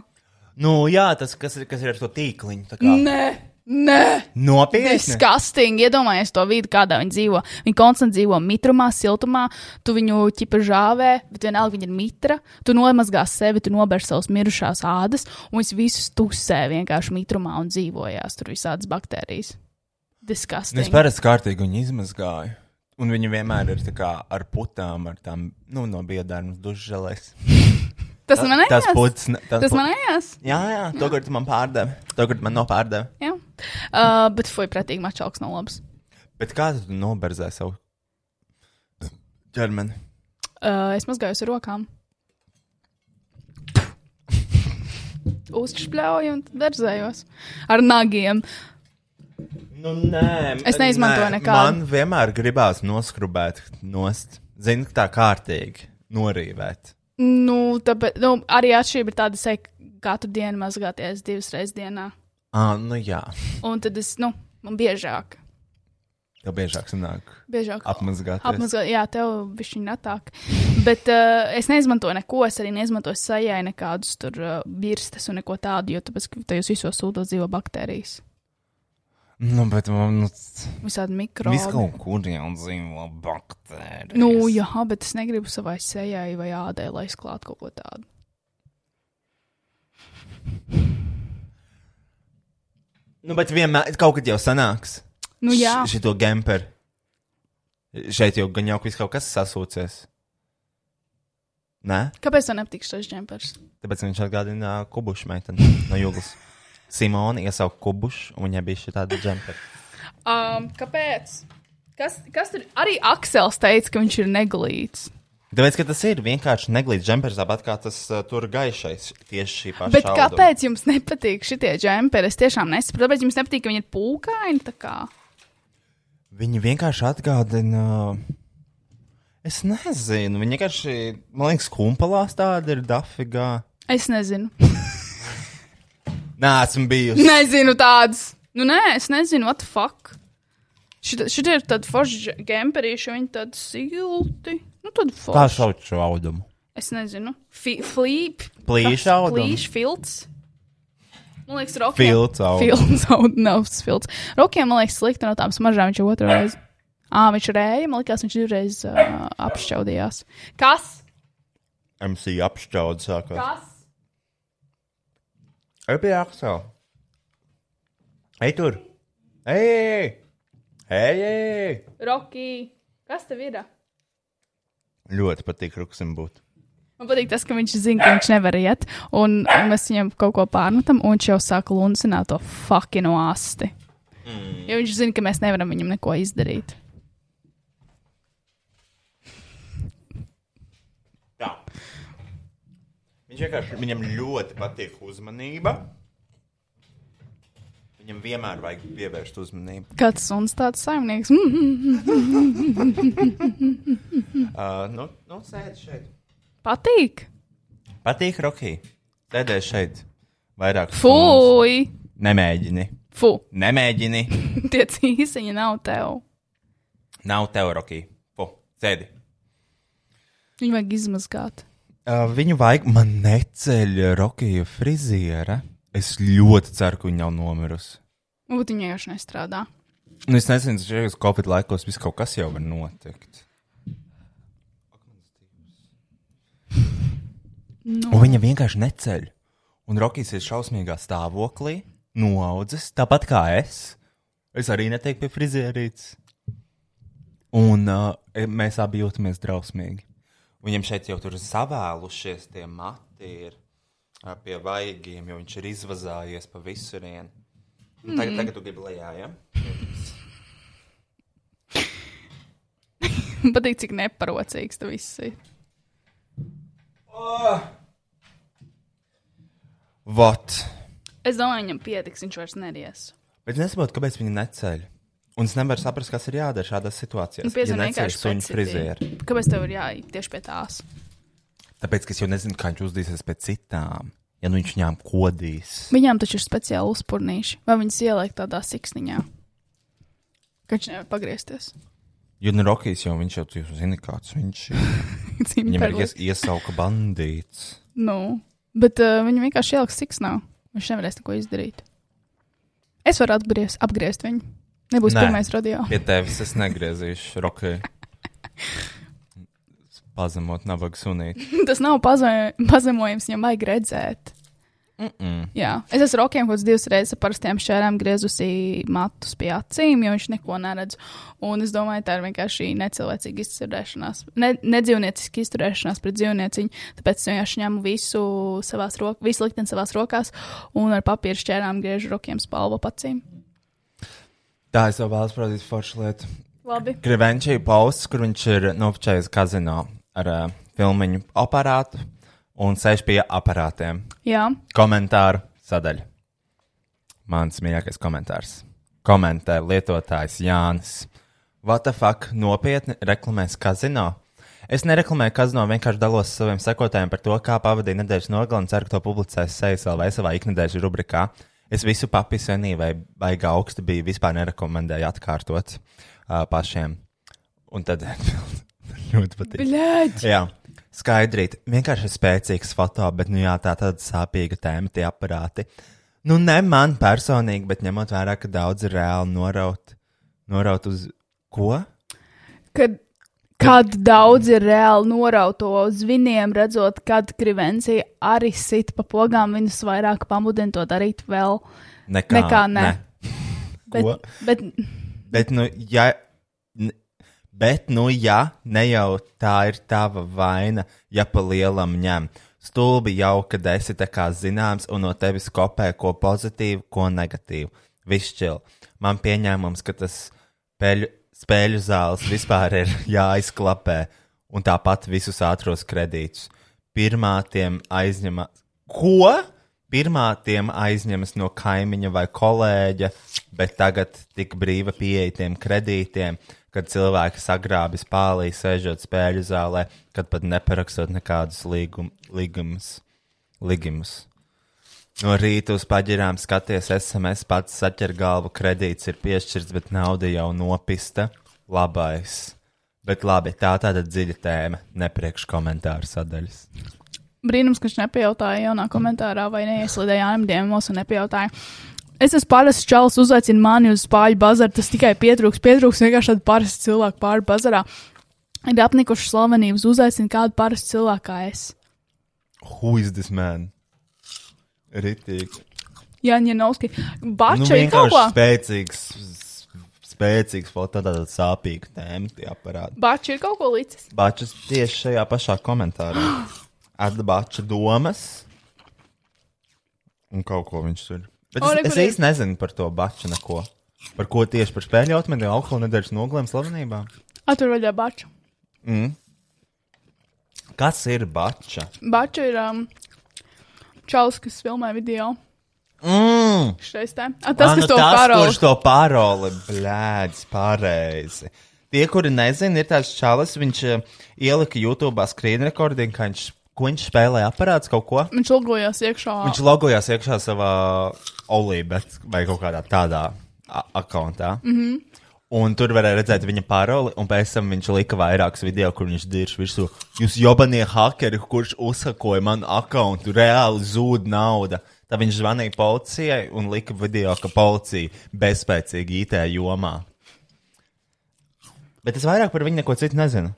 Speaker 1: Nu, jā, tas kas ir, kas ir ar to tīkliņu. tā kā.
Speaker 2: Nē, Nē,
Speaker 1: Nopietni!
Speaker 2: Disgusting. Iedomājies to vidi, kādā viņi dzīvo. Viņi konstantā dzīvo mitrumā, siltumā, tu viņu ķipa žāvē, bet vienalga viņa ir mitra. Tu nomazgā sevi, tu nobērš savas mirušās ādas, un viņas visas tusē vienkārši mitrumā un dzīvojās tur visādas baktērijas.
Speaker 1: Nu, Es
Speaker 2: Disgusting.
Speaker 1: parasti kārtīgi viņu izmazgāju. Un viņi vienmēr ir tā kā ar putām, ar tām nu, no biedrām, dušas.
Speaker 2: Tas man
Speaker 1: tas
Speaker 2: neies.
Speaker 1: puts. ne- Tas
Speaker 2: Tas
Speaker 1: puts.
Speaker 2: man neies.
Speaker 1: Jā, jā, to gadu tu man pārdevi. To gadu man nopārdeva.
Speaker 2: Jā, uh, bet fuj, pretīgi mačāks nav labs.
Speaker 1: Bet kā tu noberzē savu ķermeni?
Speaker 2: Uh, es mazgājos ar rokām. [LAUGHS] Uzšpļauju un tad dērzējos ar nagiem.
Speaker 1: Nu, nē,
Speaker 2: Es neizmantoju
Speaker 1: nē,
Speaker 2: nekādu.
Speaker 1: Man vienmēr gribās noskrubēt, nost. Zini, tā kārtīgi norīvēt.
Speaker 2: Nu, tāpēc, nu, arī atšķirība ir tāda, ka es katru dienu mazgāties divas reizes dienā.
Speaker 1: Ah, nu jā,
Speaker 2: Un tad es, nu, man biežāk,
Speaker 1: jau biežāk sanāk
Speaker 2: biežāk
Speaker 1: apmazgāt.
Speaker 2: apmazgāt. Jā, tev viņš ir natāk. Bet uh, es neizmantoju neko, es arī neizmantoju sajai nekādus tur uh, birstes un neko tādu, jo tāpēc, ka tajos visos sūdos dzīvo baktērijas.
Speaker 6: Nu, bet man nu,
Speaker 2: Visādi mikrobi.
Speaker 6: viss kaut kur jau dzīvo baktērijas.
Speaker 2: Nu, jā, bet es negribu savai sejai vai ādai, lai izklātu kaut ko tādu.
Speaker 1: Nu, bet vienmēr kaut kad jau sanāks.
Speaker 2: Nu, jā,
Speaker 1: Š- Šito gemperu. Šeit jau gan jau viss kaut kas sasūcies. Nē,
Speaker 2: kāpēc man nepatīk šis džempers?
Speaker 1: tāpēc viņš atgādina kubušu meiteni no jūgas. Simona iesauka kubušu, un viņai bija šī tāda džempera.
Speaker 2: Um, kāpēc? Kas, kas tur arī Aksels teica, ka viņš ir neglīts?
Speaker 1: Tāpēc, ka tas ir vienkārši neglīts džempers, tāpat kā tas uh, tur gaišais tieši šī paša.
Speaker 2: Bet
Speaker 1: auduma.
Speaker 2: kāpēc jums nepatīk šie džemperi? Es tiešām nesaprotu, kāpēc jums nepatīk, ka viņi ir pūkaini. tā kā?
Speaker 1: Viņi vienkārši atgādina. Es nezinu, viņi vienkārši, man liekas, kumpalās tāda ir dafigā.
Speaker 2: Es nezinu.
Speaker 1: Nē, esmu bijusi.
Speaker 2: [LAUGHS] Nezinu tādas. Nu, nē, es nezinu, what the fuck. Šita- Šitie ir tādi forši džemperīši, viņi tādi silti. Nu, tad
Speaker 1: Tā
Speaker 2: forši.
Speaker 1: sauc šo audumu.
Speaker 2: Es nezinu. Fi- Flīp.
Speaker 1: Plīša
Speaker 2: Kas?
Speaker 1: audums.
Speaker 2: Plīša filts. Man liekas, rokas.
Speaker 1: Filts audums.
Speaker 2: Filts audums. [LAUGHS] Nav tas filts. Rokiem, man liekas, slikti no tām smaržām. Viņš jau otru reizi. Ā, viņš rēja. Man liekas, viņš divreiz uh, apšķaudījās. Kas?
Speaker 1: MC apšķauda sākās.
Speaker 2: Kas?
Speaker 1: Ej pie Aksela. Ej tur. Ej, ej, ej. ej, ej.
Speaker 2: Roki. Kas tev ir?
Speaker 1: Ļoti patīk ruksim būt.
Speaker 2: Man patīk tas, ka viņš zina, ka viņš nevar iet, un mēs viņam kaut ko pārmetam, un viņš jau sāk luncināt to fucking asti. Mm. Jo viņš zina, ka mēs nevaram viņam neko izdarīt.
Speaker 1: Jā. Viņš vienkārši, viņam ļoti patīk uzmanība. Viņam vienmēr vajag pievērst uzmanību.
Speaker 2: Kāds suns tāds saimnieks? [LAUGHS] Mm -hmm.
Speaker 1: Uh, nu, nu sēdi šeit.
Speaker 2: Patīk!
Speaker 1: Patīk Rocky. Sēdēs šeit. Vairāk.
Speaker 2: Fui! [LAUGHS]
Speaker 1: Nemēģini.
Speaker 2: Fu!
Speaker 1: Nemēģini.
Speaker 2: Tie cīsiņi nav tev.
Speaker 1: Nav tev Rocky. Fu. Sēdi.
Speaker 2: Viņu vajag izmazgāt.
Speaker 1: Uh, viņu vajag, man neceļ Rokija friziera. Es ļoti ceru, ka viņa jau nomirusi.
Speaker 2: Varbūt viņa vienkārši nestrādā. [LAUGHS]
Speaker 1: Nu, es nezinu, tas šajos Covid laikos viss kaut kas jau var notikt. No. Un viņa vienkārši neceļ. Un Rokijs ir šausmīgā stāvoklī, noaudzis, tāpat kā es. Es arī neteiktu pie frizierītes. Un uh, e- mēs abi jūtamies drausmīgi. Viņam šeit jau tur savēlušies tie mati ir uh, pie vaigiem, jo viņš ir izvazājies pa visurienu. Mm. Tagad, tagad tu gribi lejā, jā? Ja?
Speaker 2: Man patīk, cik neparocīgs tas viss ir.
Speaker 1: Vot.
Speaker 2: Es domāju, viņam pietiks, viņš vairs neries.
Speaker 1: Bet es nesaprotu, kāpēc viņi neceļ. Un es nevaru saprast, kas ir jādara šādās situācijās.
Speaker 2: Nu, piezvan
Speaker 1: neceļ
Speaker 2: vienkārši
Speaker 1: suņu
Speaker 2: pēc
Speaker 1: frizieru.
Speaker 2: citiem. Kāpēc tev ir jāiet tieši pie tās?
Speaker 1: Tāpēc, ka es jau nezinu, kā viņš uzdīsies pēc citām. Ja nu viņš viņām kodīs.
Speaker 2: Viņām taču ir speciāli uzpūnīši, vai viņas ieliek tādā siksniņā, ka viņš nevar pagriezties.
Speaker 1: Jo nu Rokijs jau viņš jau jūs zina, kāds viņš
Speaker 2: [LAUGHS]
Speaker 1: ir. Viņam ir ies,
Speaker 2: Cimperlis.
Speaker 1: iesauka bandīts.
Speaker 2: eh, nu, bet uh, viņi vienkārši ieliks siksnā. Viņš nevarēs neko izdarīt. Es varu atgriezt, apgriezt viņu. Nebūs
Speaker 1: Nē.
Speaker 2: Nē. pirmais radio.
Speaker 1: Pie tevis es negriezīšu
Speaker 2: [LAUGHS]
Speaker 1: rokai. Pazemot nabaga sunīti.
Speaker 2: [LAUGHS] Tas nav pazo- pazemojums, viņam vajag redzēt.
Speaker 1: Mm.
Speaker 2: Jā, es esmu rokiem kaut kādas divas reizes ar parastiem šērām griezusi matus pie acīm, jo viņš neko neredz. Un es domāju, tā ir vienkārši necilvēcīga izturēšanās, ne, nedzīvnieciska izturēšanās pret dzīvnieciņu. Tāpēc es vienkārši ņemu visu, savās rok, visu likteni savā rokās un ar papīra šķērām griežu rokiem spalvu pacīm.
Speaker 1: Tā es jau vēlos parādīt foršu lietu.
Speaker 2: Labi.
Speaker 1: Grivenčī pausts, kur viņš ir nopčējis kazino ar uh, filmu aparātu un sēž pie aparātiem.
Speaker 2: Jā,
Speaker 1: Komentāru sadaļa. Mans mīļākais komentārs. Komentē lietotājs Jānis. What the fuck? Nopietni reklamēs kazino. Es nereklamēju kazino, vienkārši dalos ar saviem sekotājiem par to, kā pavadīju nedēļas nogalnu. Ceru, ka to publicēs SESL vai savā iknedēļas rubrikā. Es visu papīru senību vai, vai augstu biju vispār nerekomendēju atkārtot uh, pašiem. Un tad [LAUGHS] ļoti patīk.
Speaker 2: blēģi.
Speaker 1: Jā, skaidrīt. Vienkārši ir spēcīgs foto, bet nu jā, tā tāda sāpīga tēma, tie aparāti. Nu, ne man personīgi, bet ņemot vērā, ka daudz ir reāli norauti. Noraut uz ko?
Speaker 2: Kad, kad daudzi reāli norauto uz viniem, redzot, kad krivencija arī sit pa pogām, viņus vairāk pamudina to darīt vēl.
Speaker 1: Nekā,
Speaker 2: Nekā ne.
Speaker 1: Ko?
Speaker 2: Bet, bet
Speaker 1: Bet, nu, ja, n- bet, nu, ja ne jau tā ir tava vaina, ja pa lielam ņem. Stulbi jau, kad esi tā kā zināms, un no tevis kopē ko pozitīvu, ko negatīvu. Višķil. Man pieņēmums, ka tas peļu, spēļu zāles vispār ir [LAUGHS] jāizklapē, un tāpat visus ātros kredītus. Pirmā tiem aizņema. Ko? Pirmā tiem aizņemas no kaimiņa vai kolēģa, bet tagad tik brīva pieeja tiem kredītiem, kad cilvēki sagrābis pālī, sēžot spēļu zālē, kad pat neparakstot nekādus līgum, līgumus. Līgumus. No rīta uz paģirām skaties, SMS pats saķer galvu, kredīts ir piešķirts, bet nauda jau nopista. Labais. Bet labi, tā tāda dziļa tēma, nepriekš komentāru sadaļas.
Speaker 2: brīnums, ka viņš nepajautāja jaunā komentārā vai neieslidēja Jānam Diemamos un nepajautāja. Es esmu parasts čels, uzaicinu mani uz spāļu bazaru, tas tikai pietrūks, pietrūks vienkārši tādu parastu cilvēku pāri bazarā. Ir apnikuši slavenības, uzaicinu kādu parastu cilvēku kā es.
Speaker 1: Who is this man? Ritīgi.
Speaker 2: Jā, Janovski.
Speaker 1: Nu,
Speaker 2: Bača ir kaut
Speaker 1: vienkārši
Speaker 2: ko.
Speaker 1: spēcīgs, s- spēcīgs foto, tāda sāpīga tēma, tie aparāti.
Speaker 2: Bača ir kaut ko līdzīgs.
Speaker 1: Bačas tieši šajā pašā komentārā. Atbača domas. Un kaut ko viņš tur. Bet
Speaker 2: O,
Speaker 1: es,
Speaker 2: re,
Speaker 1: es
Speaker 2: kur ir.
Speaker 1: īsti nezinu par to baču neko. Par ko tieši par spēļu jautājumiem, alkohola nedēļas noglēm slavenībā.
Speaker 2: Atver vaļā baču.
Speaker 1: Kas ir bača?
Speaker 2: Bača ir um, čels, kas filmē video.
Speaker 1: Mm!
Speaker 2: Šreiz tā. A,
Speaker 1: Ā,
Speaker 2: Tas,
Speaker 1: nu
Speaker 2: kas to
Speaker 1: tas,
Speaker 2: karo.
Speaker 1: Kurš to paroli, blēdz, pareizi. Tie, kuri nezina, ir tāds čalis, viņš eh, ielika YouTube screen recording, kā viņš, ko viņš spēlēja aparāts kaut ko.
Speaker 2: Viņš ilgojās iekšā.
Speaker 1: Viņš logojās iekšā savā olībet vai kaut kādā tādā a- akkontā. Mm
Speaker 2: Mhm.
Speaker 1: -hmm. Un tur varēja redzēt viņa paroli, un pēc tam viņš lika vairākus video, kur viņš dirž virsū. Jūs jobanie hakeri, kurš uzsakoja manu akkontu, reāli zūd nauda. Tad viņš zvanīja policijai un lika video, ka policija bezspēcīga IT jomā. Bet es vairāk par viņu neko citu nezinu.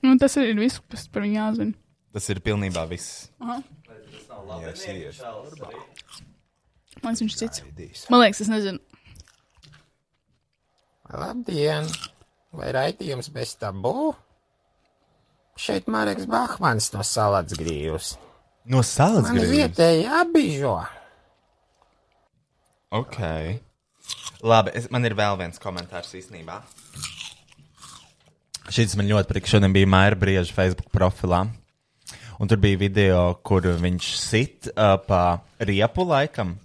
Speaker 2: Nu, tas ir viss, kas par viņu jāzina.
Speaker 1: Tas ir pilnībā viss.
Speaker 2: Man liekas, viņš cits. Man liekas, es nezinu.
Speaker 10: Labdien! Vai raidījums bez tabū? Šeit Marks Bahmans no Salats grīvs.
Speaker 1: No salas
Speaker 10: Man
Speaker 1: gribas.
Speaker 10: vietēji apbižo.
Speaker 1: Ok. Labi, es, man ir vēl viens komentārs īstenībā. Šis man ļoti patīk. Šodien bija Maija Brieža Facebook profilā. Un tur bija video, kur viņš sit uh, pa riepu laikam.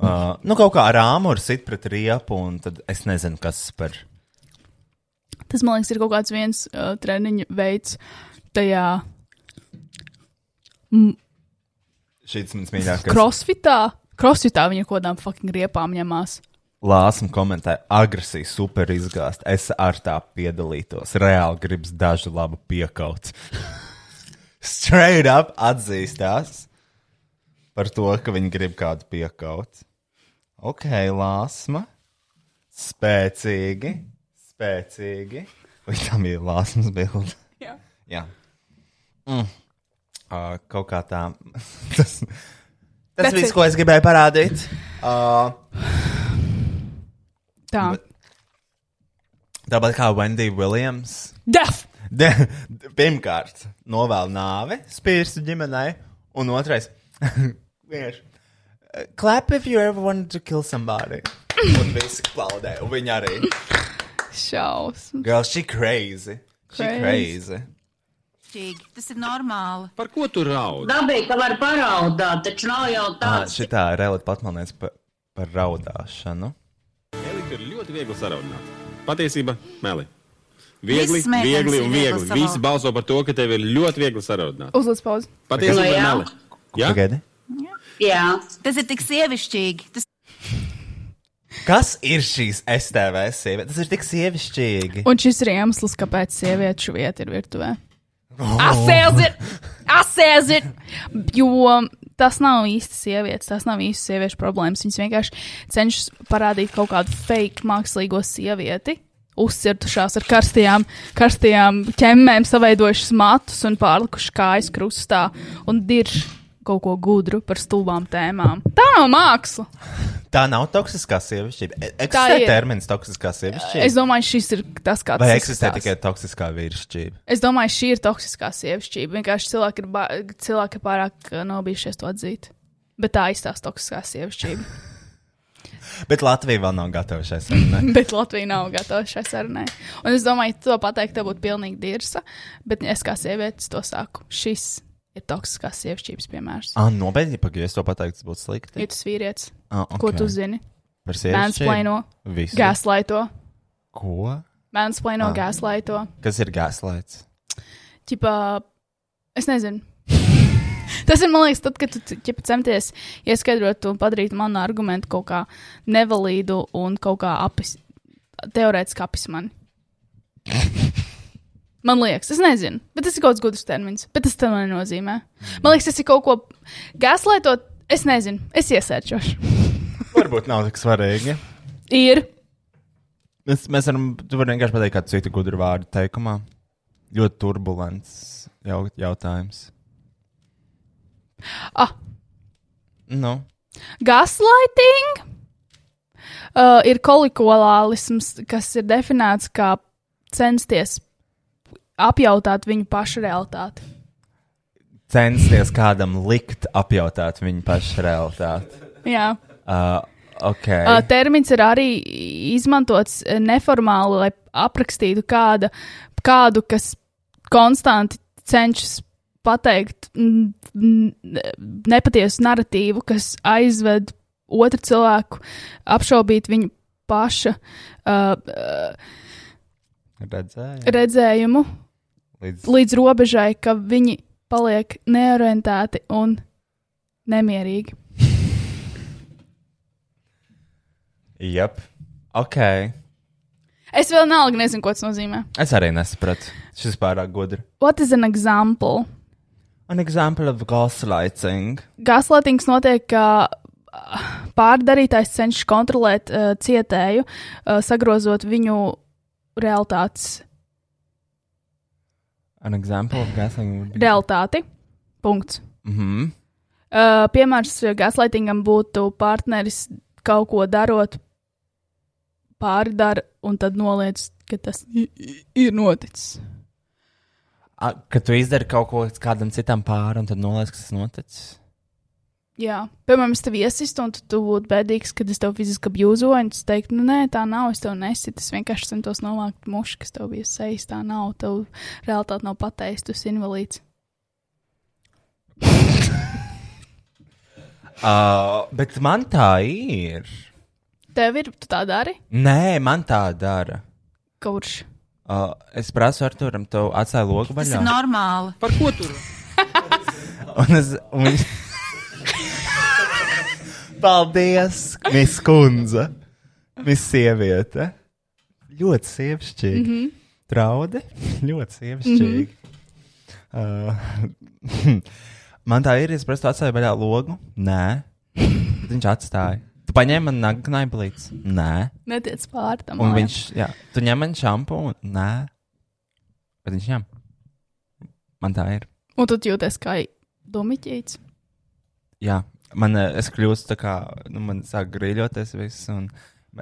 Speaker 1: Uh, nu, kaut kā ar āmuru sit pret riepu, un tad es nezinu, kas par.
Speaker 2: Tas, man liekas, ir kaut kāds viens uh, treniņu veids tajā
Speaker 1: Šis mans mīļākais.
Speaker 2: crossfitā. Crossfitā viņa kaut kādām fucking riepām ņemās.
Speaker 1: Lāsam komentē, agresija super izgāzt. Es ar tā piedalītos. Reāli gribas dažu labu piekaut. [LAUGHS] Straight up atzīstās par to, ka viņi grib kādu piekaut. Ok, lāsma. Spēcīgi. Spēcīgi. Vai tā bija lāsmas bilde?
Speaker 2: Jā.
Speaker 1: Jā. Mm. Uh, kaut kā tā. [LAUGHS] tas tas
Speaker 2: That's
Speaker 1: viss,
Speaker 2: it.
Speaker 1: ko es gribēju parādīt. Uh,
Speaker 2: Tā.
Speaker 1: tāpat kā Wendy Williams.
Speaker 2: Def!
Speaker 1: De, de- pirmkārt, novēlu nāvi spīrstu ģimenei, un otrais [LAUGHS] vienkārši, Clap if you ever wanted to kill somebody. Un visi klaudē, un viņa arī.
Speaker 2: [LAUGHS] Šausmas.
Speaker 1: Girl, she crazy. She
Speaker 2: Crazy.
Speaker 1: crazy.
Speaker 11: Čīgi. Tas ir normāli.
Speaker 12: Par ko tu raud?
Speaker 11: Dabīgi, ka var paraudāt, taču nav jau
Speaker 1: Ah, šitā Relija patmanēs par, par raudāšanu.
Speaker 12: Elīte ir ļoti viegli sarunāt. Patiesība, meli. Viegli,
Speaker 2: Viss meitenes
Speaker 12: viegli
Speaker 2: ir
Speaker 12: un
Speaker 2: viegli
Speaker 12: viegli.
Speaker 2: sarunāt.
Speaker 12: Visi balso par to, ka tev ir ļoti viegli sarunāt.
Speaker 2: Uzliec pauzi.
Speaker 12: Patiesība,
Speaker 11: Nu, jā.
Speaker 12: meli. Jā,
Speaker 1: Pagaidi.
Speaker 11: Jā. Tas ir tik sievišķīgi. Tas
Speaker 1: Kas ir šīs STV sievietes? Tas ir tik sievišķīgi.
Speaker 2: Un šis ir iemesls, kāpēc sieviešu vieta ir virtuvē.
Speaker 1: Oh.
Speaker 2: Asēzi! Asēzi! Jo tas nav īsti sievietes, tas nav īsti sieviešu problēmas. Viņas vienkārši cenšas parādīt kaut kādu fake mākslīgo sievieti. Uzcirtušās ar karstajām, karstajām ķemmēm, savaidojušas matus un pārlikušas kājas krustā un dirž kaut ko gudru par stulbām tēmām. Tā nav māksla!
Speaker 1: Tā nav toksiskā sievišķība. E-
Speaker 2: ir.
Speaker 1: Eksistē termins toksiskā sievišķība.
Speaker 2: Es domāju, šis ir tas, kāds
Speaker 1: Vai
Speaker 2: tas
Speaker 1: eksistē
Speaker 2: izskatās.
Speaker 1: tikai toksiskā vīrišķība?
Speaker 2: Es domāju, šī ir toksiskā sievišķība. Vienkārši cilvēki ir, ba- cilvēki ir pārāk uh, nobijušies to atzīt. Bet tā izstāsta toksiskā sievišķība.
Speaker 1: [LAUGHS] Bet Latvija vēl nav gatava šai sarunai.
Speaker 2: [LAUGHS] bet Latvija nav gatava šai sarunai. Un es domāju, to pateikt, tev būtu pilnīgi dirsa. Bet es kā sieviete to saku. Šis ir toksiskās sievišķības piemērs.
Speaker 1: Ah, nobeigti, pagaidi, es to pateiktu, tas būtu slikti.
Speaker 2: Ja tu esi vīrietis,
Speaker 1: Ah, ok.
Speaker 2: ko tu zini?
Speaker 1: Par sievišķību?
Speaker 2: Mēnesplaino,
Speaker 1: Visu.
Speaker 2: gāzlaito,
Speaker 1: Ko?
Speaker 2: mēnesplaino,
Speaker 1: Ah.
Speaker 2: gāzlaito.
Speaker 1: Kas ir gāzlaits?
Speaker 2: Ķipā, es nezinu. [LAUGHS] Tas ir, man liekas, tad, kad tu ķipa, centies ieskaidrot un padarīt manu argumentu kaut kā nevalīdu un kaut kā apis, teorētiski apis mani. Man liekas, es nezinu, bet tas ir kaut kāds gudrs termins, bet tas tam nenozīmē. Man liekas, tas ir kaut ko gaslaitot, es nezinu, es iesērčošu.
Speaker 1: Varbūt nav tik svarīgi.
Speaker 2: Ir,
Speaker 1: Mēs, mēs varam, tu vari vienkārši pateikt kādu citu gudru vārdu teikumā. Ļoti turbulents jau, jautājums.
Speaker 2: ah,
Speaker 1: Nu,
Speaker 2: Gaslighting uh, ir kolikolālisms, kas ir definēts kā censties apjautāt viņu pašu realitāti.
Speaker 1: censties kādam likt apjautāt viņu pašu realitāti.
Speaker 2: Jā.
Speaker 1: Uh, ok.
Speaker 2: Uh, termins ir arī izmantots eh, neformāli, lai aprakstītu kāda, kādu, kas konstanti cenšas pateikt mm, mm, nepatiesu narratīvu, kas aizved otru cilvēku apšaubīt viņu paša uh, uh,
Speaker 1: Redzēju.
Speaker 2: redzējumu
Speaker 1: Līdz...
Speaker 2: līdz robežai, ka viņi paliek neorientēti un nemierīgi.
Speaker 1: Jep. Ok.
Speaker 2: Es vēl vienalga nezinu, ko tas nozīmē.
Speaker 1: Es arī nesapratu. Šis pārāk gudri.
Speaker 2: What is an example?
Speaker 1: An example of gaslighting.
Speaker 2: Gaslatings notiek, ka uh, pārdarītājs cenšas kontrolēt uh, cietēju, uh, sagrozot viņu realitātes,
Speaker 1: An example of gaslighting would be.
Speaker 2: realitāti. Punkts.
Speaker 1: Mhm.
Speaker 2: Uh, piemērs gaslightingam būtu partneris kaut ko darot, pārdara un tad noliedz, ka tas i- i- ir noticis.
Speaker 1: A, Kad tu izdari kaut ko kādam citam pāri, un tad noliec, kas tas noticis.
Speaker 2: Jā, piemēram, es tevi iesistu, un tu, tu būtu bēdīgs, kad es tev fiziski apjūzoju, un tu teiktu, nu, nē, tā nav, es tev nesitu. Es vienkārši centos novākt mušu, kas tev bija sejas, tā nav. Tev realitāte nav pateicis, tu esi invalīds.
Speaker 1: Uh, bet man tā ir.
Speaker 2: Tev ir, tu tā dari?
Speaker 1: Nē, man tā dara.
Speaker 2: Kurš?
Speaker 1: Uh, es prasu Arturam, tu atstāji loku
Speaker 11: tas ir
Speaker 1: vaļā.
Speaker 11: normāli.
Speaker 12: Par ko tu
Speaker 1: Un es, un viņš... Paldies, Miss Kundze. Miss Sieviete. Ļoti sievišķīgi. Mm
Speaker 11: Mhm.
Speaker 1: -hmm. Traudi. Ļoti
Speaker 2: Mhm.
Speaker 1: sievišķīgi. Mm -hmm. uh, man tā ir, es prasu atstāju vaļā logu. Nē, Bet viņš atstāja. Tu paņēma man nagu knaiblīts. Nē.
Speaker 2: Netiec pāri tam.
Speaker 1: Un
Speaker 2: lai.
Speaker 1: viņš, jā, tu ņem man šampūnu. Nē. Bet viņš ņem. Man tā ir.
Speaker 2: Un tu jūties kā domiķīts.
Speaker 1: Jā. Man, eh, es kļūstu tā kā, nu, man sāk grīļoties viss, un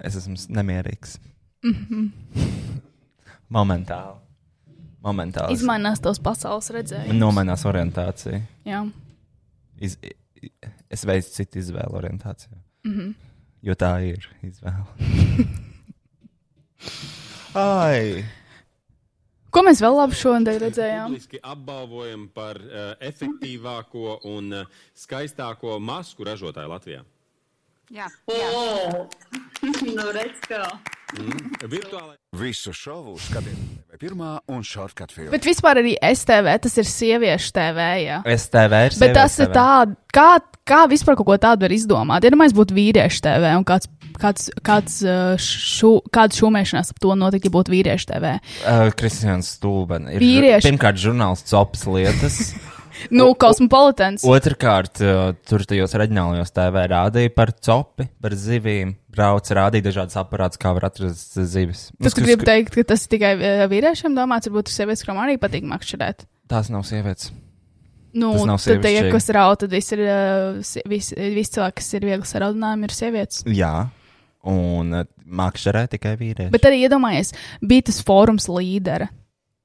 Speaker 1: es esmu s- nemierīgs.
Speaker 2: Mhm.
Speaker 1: Momentāli. Momentāli. es-
Speaker 2: Izmainās tavs pasaules redzējums.
Speaker 1: Nomainās orientācija.
Speaker 2: Jā.
Speaker 1: Iz, i- es veicu citu izvēlu orientācijā.
Speaker 2: Mhm.
Speaker 1: Jo tā ir izvēle. [LAUGHS] Ai!
Speaker 2: Ko mēs vēl labi šodien redzējām?
Speaker 12: Publiski apbalvojam par uh, efektīvāko un uh, skaistāko masku ražotāju Latvijā.
Speaker 11: Jā,
Speaker 7: O! nu, redz, kā.
Speaker 12: Virtuālai.
Speaker 13: Visu šovu skatiet TV pirmā un shortcut filmā.
Speaker 2: Bet vispār arī STV, tas ir sieviešu TV. Jā.
Speaker 1: STV ir
Speaker 2: Bet tas ir
Speaker 1: sieviešu TV.
Speaker 2: tāds, kā, kā vispār kaut ko tādu var izdomāt. Ja nu mēs būtu vīriešu TV un kāds, kāds, kāds, uh, šu, kāds šūmēšanās ap to notiktu, ja būtu vīriešu TV.
Speaker 1: Uh, Kristians Stūbens ir
Speaker 2: Vīrieši.
Speaker 1: žur- pirmkārt žurnālists opas
Speaker 2: [LAUGHS]
Speaker 1: lietas.
Speaker 2: Nu, kosmopolitāns.
Speaker 1: Otrakārt, uh, tur tajos reģionālajos TV rādīja par copi, par zivīm. Brauc, rādīja dažādas aparātus, kā var atrast uh, zivis. Nu,
Speaker 2: Tas, ko gribu teikt, ka tas ir tikai uh, vīriešiem domāts, varbūt sievietes, kurām arī patīk makšķerēt.
Speaker 1: Tās nav sievietes.
Speaker 2: Nu,
Speaker 1: Tas nav
Speaker 2: tad, ja
Speaker 1: sievišķīgi.
Speaker 2: kas rauta, tad viss ir, uh, si- visi vis cilvēki, kas ir viegli saraudinājumi, ir sievietes.
Speaker 1: Jā, un uh, makšķerē tikai vīrieši.
Speaker 2: Bet arī iedomājies, bija tas fórums līdera.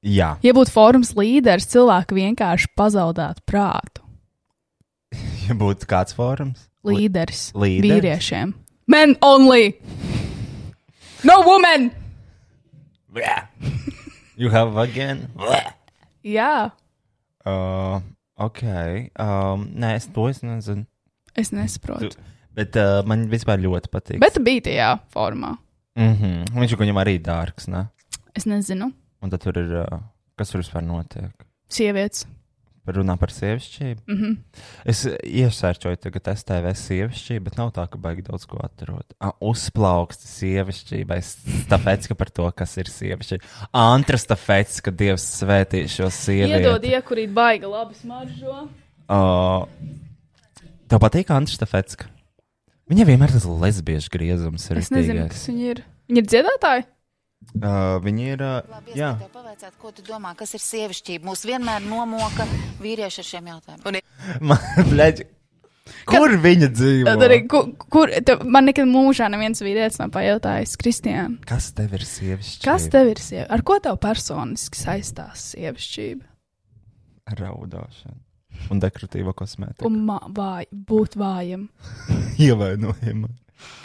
Speaker 1: Jā, [LAUGHS]
Speaker 2: Ja būtu fórums līderis, cilvēki vienkārši pazaudētu prātu.
Speaker 1: ja būtu kāds fórums.
Speaker 2: [LAUGHS] Līderis.
Speaker 1: Līderis?
Speaker 2: Vīriešiem. Men only! No women!
Speaker 1: Bleh. You have again. Bleh.
Speaker 2: Jā,
Speaker 1: Uh, ok. Um, nē, es to es nezinu.
Speaker 2: es nesaprotu.
Speaker 1: Tu, bet uh, man vispār ļoti patīk.
Speaker 2: Bet tu biji tajā formā.
Speaker 1: Mm -hmm. Viņš ir viņam arī dārgs. Ne?
Speaker 2: Es nezinu.
Speaker 1: Un tad tur ir. Uh, kas tur vispār notiek?
Speaker 2: Sievietes.
Speaker 1: Runā par sievišķību.
Speaker 2: Mhm.
Speaker 1: Es uh, iesērčoju, tagad STV sievišķību, bet nav tā, ka baigi daudz ko atrod. Uh, uzplaukst sievišķībai. Stafetska par to, kas ir sievišķība. Antra stafetska, Dievs svētī šo sievieti.
Speaker 2: Iedod iekurīt baigi labi smaržo.
Speaker 1: Uh, tev patīk Antūna Stefetska? Viņa vienmēr tas lesbiešu griezums ir
Speaker 2: Es nezinu,
Speaker 1: rītīgais.
Speaker 2: kas viņi ir. Viņi ir dziedātāji?
Speaker 1: Uh, viņa ir. Uh, jā, [LAUGHS]
Speaker 11: Tev pavaicāt, ko tu domā, kas ir sievišķība? Mūs vienmēr nomoka vīrieši ar šiem jautājumiem.
Speaker 1: Bleģi, kur Kad... viņa dzīvo?
Speaker 2: Tad arī, kur, kur tev, man nekad mūžā neviens vīrietis nav pajautājis, Kristiāna,
Speaker 1: Kas tev ir sievišķība?
Speaker 2: kas tev ir sieviete? Ar ko tev personiski saistās sievišķība?
Speaker 1: Raudāšana un dekoratīva kosmētika. [LAUGHS]
Speaker 2: Un ma- vāj, būt vājam.
Speaker 1: Ievainojama.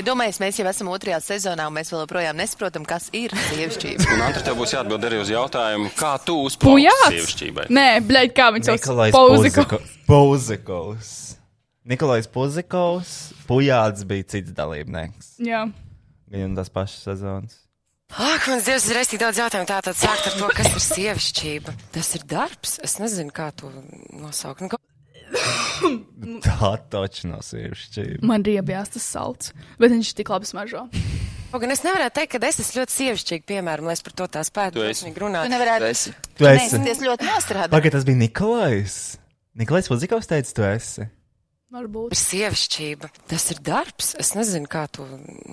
Speaker 14: Domāju, mēs jau esam otrajā sezonā, un mēs vēl joprojām nesaprotam, kas ir sievišķība.
Speaker 12: Un Antru tev būs jāatbild arī uz jautājumu, kā tu
Speaker 2: Pujāts?
Speaker 12: uzplaukst sievišķībai.
Speaker 2: Nē, bļaigi, kā viņš sauc?
Speaker 1: Nikolais
Speaker 2: Pauziko.
Speaker 1: Puzikovs. Nikolais Puzikovs. Pujāts bija cits dalībnieks.
Speaker 2: Jā.
Speaker 1: Viņam tas pašas sezonas. [LAUGHS]
Speaker 15: Ak, mans dievs, ir tik daudz jautājumu. Tā tad sākt ar to, kas ir sievišķība. Tas ir darbs. Es nezinu, kā to nosaukt. Nu,
Speaker 1: Tā taču nav sievišķība.
Speaker 2: [COUGHS] Man riebjās tas salds, bet viņš tik labi smaržo.
Speaker 15: Kaut gan es nevaru teikt, ka es esmu ļoti sievišķīga, piemēram, lai es par to tā spētu
Speaker 1: Tu esi.
Speaker 15: drosmīgi runāt.
Speaker 11: Tu nevarētu- Tu
Speaker 15: esi.
Speaker 1: Tu esi.
Speaker 11: Es ļoti nostrādāju.
Speaker 1: Pagaidā, tas bija Nikolais. Nikolais Puzikovs teica, tu esi.
Speaker 2: Varbūt.
Speaker 15: Ir sievišķība. Tas ir darbs. Es nezinu, kā to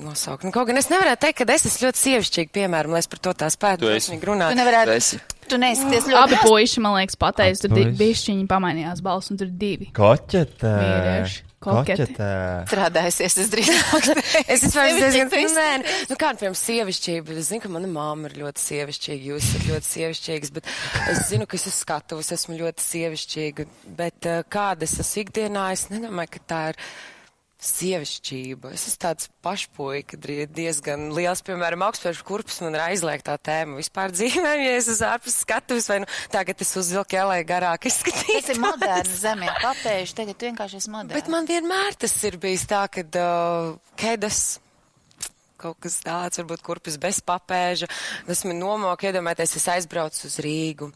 Speaker 15: nosaukt. Nu, kaut gan es nevaru teikt, ka es esmu ļoti sievišķīga, piemēram, lai es par to tā spētu
Speaker 11: Tu esi.
Speaker 15: drosmīgi runāt.
Speaker 11: Tu nevarētu- Tu esi. Tu neizskaties ļoti
Speaker 2: Abi
Speaker 11: nost-
Speaker 2: puiši, man liekas, pateica, tur
Speaker 1: puiši.
Speaker 2: bija šķiņi pamainījās balss, un tur ir divi.
Speaker 1: Koķetē.
Speaker 2: Vīrieši. Koketi.
Speaker 1: Koķetē.
Speaker 15: Strādājusies, es drīzāk.
Speaker 2: [LAUGHS]
Speaker 15: es
Speaker 11: [LAUGHS]
Speaker 15: esmu
Speaker 11: Sievišķīgs
Speaker 15: diezgan tālu. Nu, kā piemēram, sievišķība. Es zinu, ka mana māma ir ļoti sievišķīga, jūs esat ļoti sievišķīgs, bet es zinu, ka es uz skatuves esmu ļoti sievišķīga. Bet eh, kāda es esmu ikdienā, es nedomāju, ka tā ir. Sievišķība. Es esmu tāds pašpuika, drie- diezgan liels, piemēram, augstspēļu kurpes man ir aizliegtā tēma vispār dzīvēm, ja es uz ārpus skatos, vai nu tagad es uzvilku jālai garāk izskatīties.
Speaker 11: Tas ir moderns zemē, papējuši, tagad tu vienkārši esi moderns.
Speaker 15: Bet man vienmēr tas ir bijis tā, ka uh, kēdes. Kaut kas tāds, varbūt kurpes bez papēža. Tas man nomok, iedomājieties, es aizbraucu uz Rīgu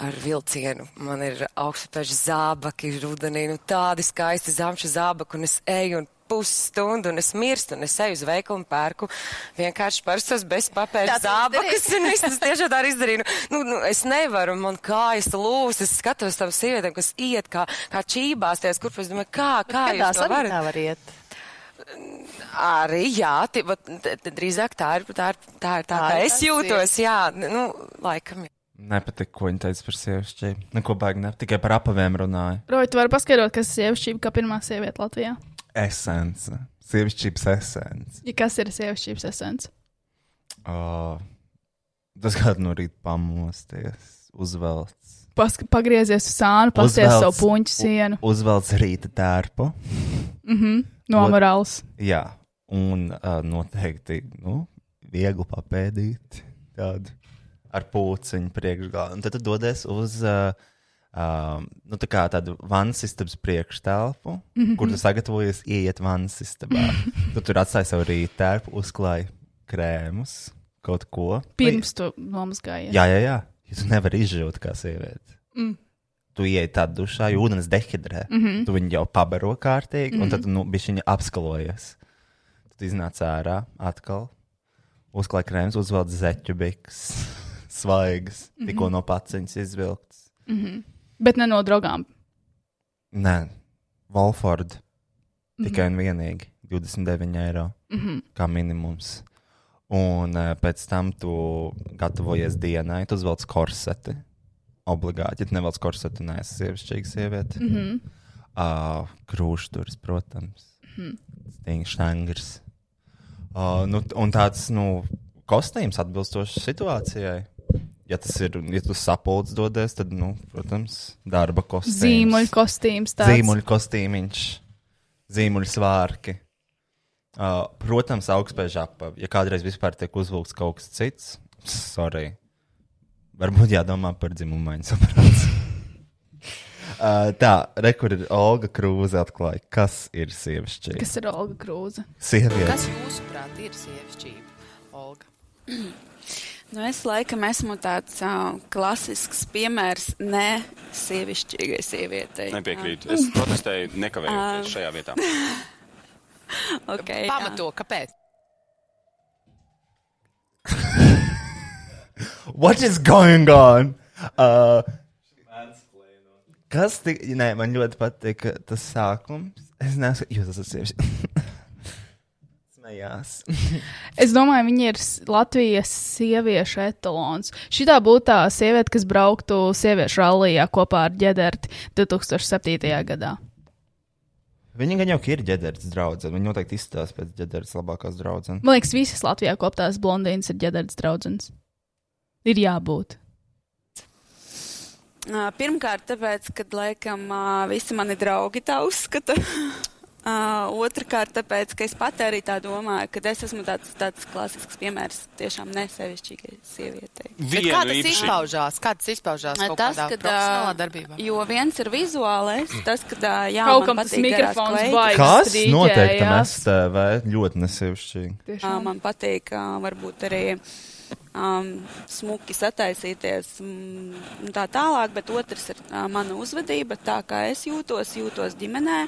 Speaker 15: ar vilcienu. Man ir augstspēļu zābaki, rudenī, nu tādi skaisti zamši zābaki, un es eju un pusstundu, un es mirstu, un es eju uz veikalu un pērku vienkārši parstos bez papēža
Speaker 11: Tā tu
Speaker 15: zābakus,
Speaker 11: izdarīji.
Speaker 15: un es tas tiešām tā arī izdarīju. Nu, nu, es nevaru, man kājas lūs, es skatos tam sievietēm, kas iet kā, kā čībās tajās kurpēs, domāju, kā, kā
Speaker 11: Kādā
Speaker 15: jūs to
Speaker 11: sarakstā
Speaker 15: varat?
Speaker 11: var iet?
Speaker 15: Arī, jā, ti, vat, t- t- drīzāk tā ir tā, ir, tā, ir tā, kā
Speaker 14: ir
Speaker 15: es
Speaker 14: tā
Speaker 15: jūtos, jā, nu, laikam. jā.
Speaker 1: Nepatika, ko viņa teica par sievišķību. Neko Nu, baigi, ne tikai par apaviem runāja.
Speaker 2: Roja, tu vari paskaidrot, kas ir sievišķība, kā pirmā sieviete Latvijā?
Speaker 1: Esence. Sievišķības esence.
Speaker 2: Ja kas ir sievišķības esence?
Speaker 1: Oh, tas kādā no rīta pamosties, uzvelc.
Speaker 2: Pask pagriezies uz sānu, pasties savu puņu sienu.
Speaker 1: u- Uzvelc rīta tērpu.
Speaker 2: Mhm, no
Speaker 1: Ot-
Speaker 2: amorāls.
Speaker 1: Jā, un uh, noteikti nu, viegli papēdīt tādu ar pūciņu priekšgalā. Un tad tu dodies uz uh, uh, nu, tā kā tādu vansistabas priekštelpu, mm
Speaker 2: Mhm.
Speaker 1: -hmm. kur tu sagatavojies ieiet vansistabā.
Speaker 2: [LAUGHS]
Speaker 1: tu tur atstāji savu rītērpu, uzklāji krēmus, kaut ko.
Speaker 2: Pirms tu nomazgājies.
Speaker 1: Jā, jā, jā. Jo Tu nevari izžūt kā sieviete.
Speaker 2: Mm.
Speaker 1: Tu ienāc tādā dušā, jau ūdens dehidrē. Mm
Speaker 2: Mhm.
Speaker 1: -hmm. Tu viņu jau pabaro kārtīgi, mm -hmm.
Speaker 2: Mhm.
Speaker 1: un tad tu, nu, viņa apskalojas. Tad iznāc ārā atkal, uzklāj krēms, uzvelk zeķu biks, [LAUGHS] svaigas, mm -hmm.
Speaker 2: Mhm.
Speaker 1: tikko no paciņas izvilktas.
Speaker 2: Mhm. Bet ne no draugām.
Speaker 1: Nē, Volford tikai mm -hmm. un
Speaker 2: Mhm.
Speaker 1: vienīgi 29 eiro
Speaker 2: Mhm.
Speaker 1: kā minimums. Un eh, pēc tam tu gatavojies dienai, tu uzvelc korseti. Obligāti, ja tu nevelc korseti, neesi sievišķīga sieviete.
Speaker 2: Mhm.
Speaker 1: Uh, Krūšturis, protams.
Speaker 2: Mhm.
Speaker 1: Stingrs. Uh, nu, t- un tāds nu, kostīms atbilstošs situācijai. Ja tas ir, ja tu sapulcēs dodies, tad, nu, protams, darba kostīms.
Speaker 2: Zīmuļu kostīms tāds.
Speaker 1: Zīmuļu kostīmiņš, zīmuļu svārki. Uh, protams, augstspēja apava. Ja kādreiz vispār tiek uzvilkts kaut kas cits, sorry. Varbūt jādomā par dzimumu maiņas operāciju. [LAUGHS] Uh, tā, rekur ir Olga Krūze atklāja, kas ir sievišķīga.
Speaker 2: Kas ir Olga Krūze?
Speaker 1: Sieviete.
Speaker 16: Kas jūsuprāt ir sievišķība, Olga? Nu, es laikam esmu tāds uh, klasisks piemērs ne sievišķīgai sievietei.
Speaker 2: Ah.
Speaker 17: Nepiekrītu. Es protestēju, nekavēju
Speaker 16: Ā.
Speaker 17: šajā
Speaker 2: [LAUGHS]
Speaker 17: vietā.
Speaker 16: [LAUGHS] okay,
Speaker 14: Pamato, kāpēc?
Speaker 1: What is going on? Uh, kas tik, nē, man ļoti patika tas sākums. Es nesaku, jūs esat sievišķīga. [LAUGHS] Smējās.
Speaker 2: Es domāju, viņa ir s- Latvijas sieviešu etalons. Šitā būtu tā sieviete, kas brauktu sieviešu rallijā kopā ar Gederti 2007. gadā.
Speaker 1: Viņa gan jau ir ģederis draudzene. Viņa noteikti izstāsta pēc ģederis labākās draudzenes.
Speaker 2: Man liekas, visas Latvijā koptās blondīnas ir Gederts draugs. Ir jābūt.
Speaker 16: Ā, Pirmkārt, tāpēc, ka laikam ā, visi mani draugi tā uzskata. Ā, Otrakārt, tāpēc, ka es pati arī tā domāju, ka es esmu tāds, tāds klasisks piemērs tiešām nesevišķīgai sievietei.
Speaker 14: Bet kā tas izpaužās? Kā tas izpaužās? Kaut
Speaker 16: Tas,
Speaker 14: kādā
Speaker 16: kad,
Speaker 14: profesionālā
Speaker 16: ā,
Speaker 14: darbībā.
Speaker 16: Jo viens ir vizuālais, tas, ka jā,
Speaker 2: Kaut
Speaker 16: man
Speaker 2: kam tas
Speaker 16: patīk garās
Speaker 2: mikrofons
Speaker 16: kleitas.
Speaker 2: baigs
Speaker 1: Kas
Speaker 2: strīķējās.
Speaker 1: notiek tam STV? Ļoti nesievišķīgi.
Speaker 16: Ā, Man patīk ā, varbūt arī um, smuki sataisīties mm, un tā tālāk, bet otrs ir uh, mana uzvedība, tā kā es jūtos, jūtos ģimenē,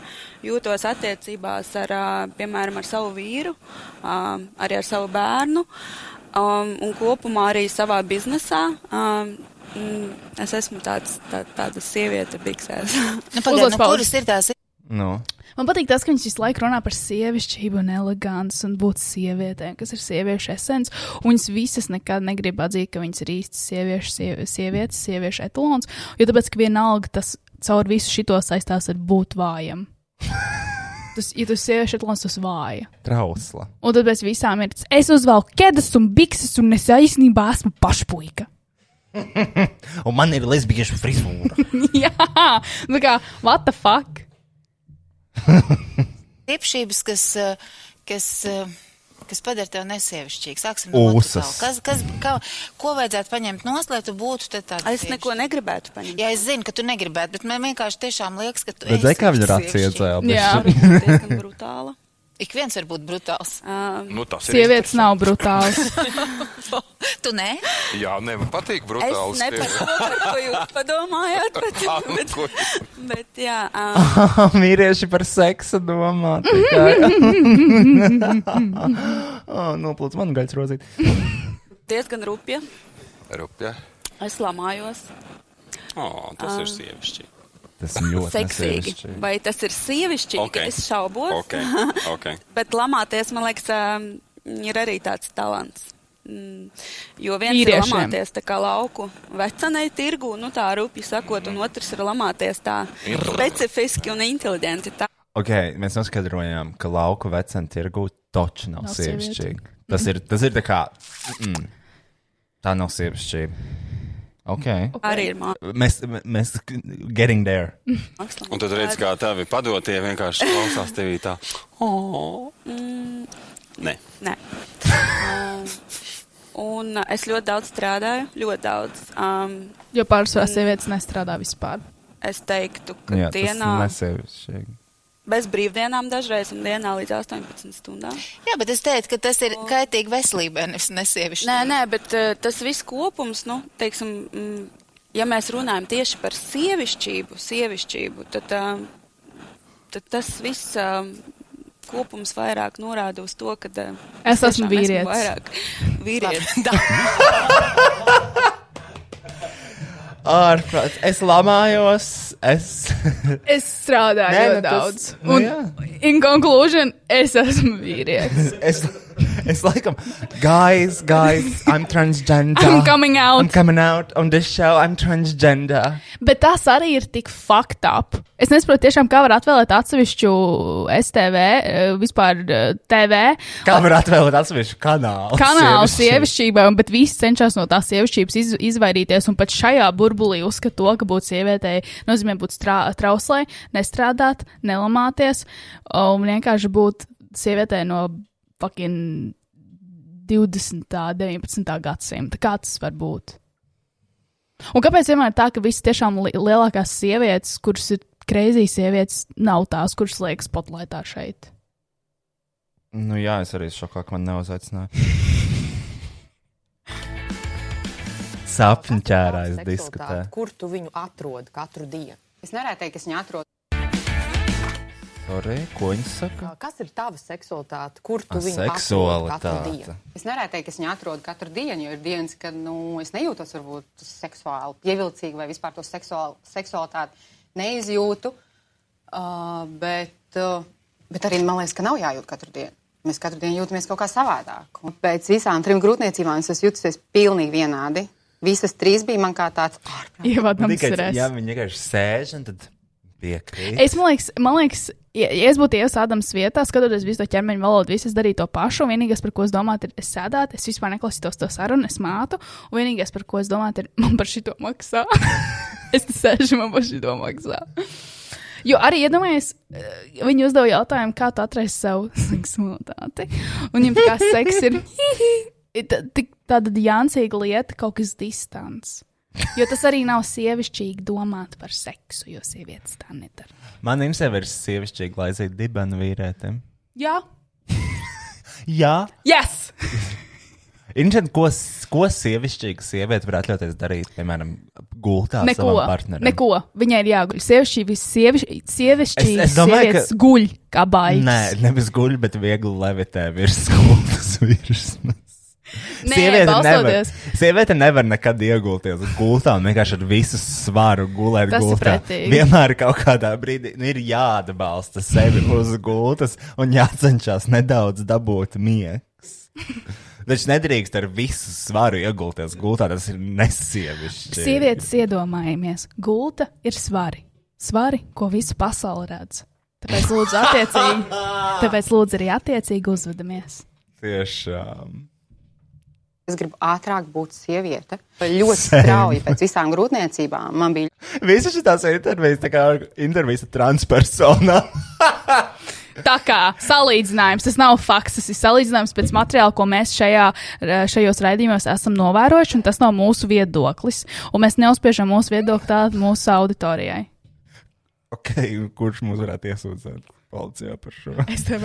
Speaker 16: jūtos attiecībās ar, uh, piemēram, ar savu vīru, um, arī ar savu bērnu um, un kopumā arī savā biznesā. Um, mm, es esmu tāds, tā, tāda sieviete biksēs.
Speaker 14: Nu, pagaid, nu, kuras ir tās
Speaker 1: Nu.
Speaker 2: Man patīk tas, ka viņš visu laiku runā par sievišķību un eleganci un būt sievietēm, kas ir sieviešu esence. Un viņas visas nekad negrib atzīt, ka viņas ir īstas sieviešu, sievi- sievietes, sieviešu etalons. Jo tāpēc, ka vienalga tas caur visu šito saistās ar būt vājam. Tas, ja tu esi sieviešu etalons, tas vāja.
Speaker 1: Trausla.
Speaker 2: Un tad pēc visām ir tas, es uzvelku ķēdes un bikses, un es īstenībā esmu pašpuika.
Speaker 1: Un man ir lesbiešu frizūra.
Speaker 2: Jā, tā kā, what the
Speaker 14: [LAUGHS]
Speaker 2: fuck?
Speaker 14: stiepšības, kas, eh, kas, eh, kas padara tevi nesievišķīgu? Sāksim
Speaker 1: Ūsas.
Speaker 14: otras. Kas, kas, kā, ko vajadzētu paņemt no slēpta, tu būtu te tāds?
Speaker 16: Es neko negribētu paņemt.
Speaker 14: Jā, es zinu, ka tu negribētu, bet man vienkārši tiešām liekas, ka tu.
Speaker 1: Bet
Speaker 14: esi
Speaker 1: zekāvļu rāci
Speaker 14: sievišķīga.
Speaker 1: iedzēla
Speaker 11: [LAUGHS]
Speaker 2: Jā.
Speaker 1: bišķi.
Speaker 16: Diezgan [LAUGHS] brutāla.
Speaker 14: Ik viens var būt brutāls.
Speaker 16: Um,
Speaker 17: Nu, tas
Speaker 2: Sievietes nav brutālas.
Speaker 14: [LAUGHS] tu ne?
Speaker 18: Jā, nevar patīk
Speaker 16: Es
Speaker 18: brutāls.
Speaker 16: nepateiktu, ko jūs padomājāt. Bet, bet, bet jā, ā,
Speaker 1: [LAUGHS] Mīrieši par seksu domā.
Speaker 2: [LAUGHS]
Speaker 1: [LAUGHS] tikai. Ā, Noplūc Oh, nu, man gaļas rozīt.
Speaker 16: diezgan rupja.
Speaker 18: Rupja.
Speaker 16: Es lamājos.
Speaker 17: O, tas
Speaker 16: Ā.
Speaker 2: Ah.
Speaker 17: ir sievišķīgi.
Speaker 1: tas ir ļoti
Speaker 16: seksīgi.
Speaker 1: nesievišķīgi.
Speaker 16: Vai tas ir sievišķīgi?
Speaker 1: Ok.
Speaker 16: Es šaubos. [LAUGHS]
Speaker 1: Ok, ok.
Speaker 16: Bet lamāties, man liekas, ām, ir arī tāds talants. Mm, Jo viens ir
Speaker 2: Vīriešiem.
Speaker 16: lamāties tā kā lauku vecenai tirgu, nu tā rupji sakot,
Speaker 17: Mhm.
Speaker 16: un otrs ir lamāties tā specifiski un inteliģenti. Tā.
Speaker 1: Ok, mēs noskaidrojām, ka lauku vecuma tirgu toču nav,
Speaker 16: Nav
Speaker 1: nav
Speaker 16: sieviete.
Speaker 1: sievišķīgi. Tas ir, tas ir tā kā. Mm, tā nav sievišķība. Okay.
Speaker 16: Ok. Arī ir mā-
Speaker 1: Mēs, mēs getting there.
Speaker 16: Mākslinieks.
Speaker 17: Un tad redz, kā tavi padotie vienkārši klausās tevī tā.
Speaker 16: Oh. Mm,
Speaker 17: Nē.
Speaker 16: Nē. um, un uh, es ļoti daudz strādāju, ļoti daudz. Um,
Speaker 2: Jo pārsvarā sievietes nestrādā vispār.
Speaker 16: es teiktu, ka
Speaker 1: Jā,
Speaker 16: Jā,
Speaker 1: tas
Speaker 16: dienā,
Speaker 1: nav
Speaker 16: nes...
Speaker 1: sievišķīgi.
Speaker 16: bez brīvdienām dažreiz, un dienā līdz 18 stundām. Nu.
Speaker 11: Jā, bet es teicu, ka tas ir kaitīgi veselībai, nevis nesievišķi.
Speaker 16: Nē, nē, bet uh, tas viss kopums, nu, teiksim, mm, ja mēs runājam tieši par sievišķību, sievišķību tad, uh, tad tas viss uh, kopums vairāk norāda uz to, ka uh,
Speaker 2: Es esmu
Speaker 16: tiešām
Speaker 11: [LAUGHS]
Speaker 2: vīrietis.
Speaker 16: vairāk vīrietis.
Speaker 1: Ārprāt, es lamājos, es.
Speaker 2: Es strādāju
Speaker 1: Nē,
Speaker 2: Nē,
Speaker 1: nu
Speaker 2: ļoti daudz.
Speaker 1: tas- nu
Speaker 2: Nu,
Speaker 1: jā.
Speaker 2: un, in conclusion, es esmu
Speaker 1: [LAUGHS]
Speaker 2: vīrietis.
Speaker 1: es, es laikam, guys, guys, I'm transgender.
Speaker 2: I'm coming out.
Speaker 1: I'm coming out on this show, I'm transgender.
Speaker 2: Bet tas arī ir tik fucked up. Es nesaprotu, tiešām, kā var atvēlēt atsevišķu STV, eh, vispār eh, TV.
Speaker 1: Kā var atvēlēt atsevišķu kanālu?
Speaker 2: Kanāla
Speaker 1: Sievišķi.
Speaker 2: sievišķībai, un pat visi cenšas no tās sievišķības iz, izvairīties. Un pat šajā burbulī uzskata to, ka būt sievietei nozīmē būt strā, trauslai, nestrādāt, nelamāties un vienkārši būt sievietei no fucking 20. un 19. gadsimta. Kā tas var būt? Un kāpēc vienmēr tā, ka visas tiešām li lielākās sievietes, kuras ir kreizīs sievietes, nav tās, kuras liekas spotlaitā šeit?
Speaker 1: Nu jā, es arī šokā, ka man neuzaicināja. [LAUGHS] Sapņu ķērājs diskutē.
Speaker 18: Kur tu viņu atrod katru dienu? Es nevarētu teikt, ka es viņu atrodu.
Speaker 1: Sorry, ko viņi saka?
Speaker 18: Kas ir tava seksualitāte? Kur tu
Speaker 1: A,
Speaker 18: viņu atrod katru
Speaker 1: seksualitāte.
Speaker 18: dienu? Es nevarētu teikt, ka es viņu atrodu katru dienu, jo ir dienas, kad nu, es nejūtos varbūt seksuāli pievilcīgi vai vispār to seksuāli, seksualitāti neizjūtu. Uh, bet, uh, bet arī man liekas, ka nav jājūt katru dienu. Mēs katru dienu jūtamies kaut kā savādāk. Un pēc visām trim grūtniecībām es esmu jutusies pilnīgi vienādi. Visas trīs bija man kā tāds ārprātīgs.
Speaker 2: Ievadams
Speaker 1: Nu, Tikai-
Speaker 2: ir es.
Speaker 1: Jā, viņi vienkārši sēž un tad piekrīt.
Speaker 2: Es man liekas, man liekas ja, ja es būtu ies Ādams vietā, skatoties visu to ķermeņa valodu, visu es darītu to pašu. un Vienīgais, par ko es domāju, ir, es sēdētu, es vispār neklausītos to sarunu, es mātu. Un vienīgais, par ko es domāju, ir, man par šito maksā. [LAUGHS] es te sēžu, man par šito maksā. Jo arī iedomājies, eh, viņi uzdeva jautājumu, kā tu atraisi savu [LAUGHS] seksualitāti. Un viņam tā kā seks ir [LAUGHS] ir tā- tik tāda jāncīga lieta, kaut kas distants. Jo tas arī nav sievišķīgi domāt par seksu, jo sievietes tā nedara.
Speaker 1: Man jums jau ir sievišķīgi, lai aiziet dibenu vīrietim.
Speaker 2: Jā,
Speaker 1: Jā.
Speaker 2: yes!
Speaker 1: Interesanti, ko, s- ko sievišķīga sieviete varētu ļauties darīt, piemēram, gultā ar
Speaker 2: Neko,
Speaker 1: savam partnerim.
Speaker 2: neko. Viņai ir jāguļ. Sievišķīgi, sievišķīgi, sievišķīgi
Speaker 1: Es- es domāju,
Speaker 2: sievietes
Speaker 1: ka-
Speaker 2: guļ kā baigta.
Speaker 1: Nē, nevis guļ, bet viegli levitē virs [LAUGHS] gultas virsmas.
Speaker 2: Nē,
Speaker 1: Sieviete nevar,
Speaker 2: balsoties.
Speaker 1: sieviete nevar nekad iegulties gultā un vienkārši ar visu svaru gulēt
Speaker 2: Tas ir
Speaker 1: gultā.
Speaker 2: pretīgi.
Speaker 1: Vienmēr kaut kādā brīdī nu, ir jāatbalsta sevi uz gultas un jācenšas nedaudz dabūt miegs.
Speaker 2: [LAUGHS]
Speaker 1: Taču nedrīkst ar visu svaru iegulties gultā, tas ir nesievišķi.
Speaker 2: Sievietes iedomājamies, gulta ir svari. Svari, ko visa pasaule redz. Tāpēc lūdzu,
Speaker 1: [LAUGHS]
Speaker 2: attiecīgi, tāpēc lūdzu arī attiecīgi uzvedamies.
Speaker 1: Tiešām.
Speaker 18: Es gribu ātrāk būt sieviete. Ļoti
Speaker 1: Same.
Speaker 18: strauji pēc visām grūtniecībām man bija.
Speaker 1: Visas šīs intervijas, tā kā intervijas ar transpersonām.
Speaker 2: Tā kā salīdzinājums, tas nav fakts, tas ir salīdzinājums pēc materiāla, ko mēs šajā, eh, šajos raidījumos esam novērojuši, un tas nav mūsu viedoklis. Un mēs neuzspiežam mūsu viedokli tādā mūsu auditorijai.
Speaker 1: [LAUGHS] Okay, kurš mums varētu iesūdzēt policijā par šo? [LAUGHS]
Speaker 2: Es tev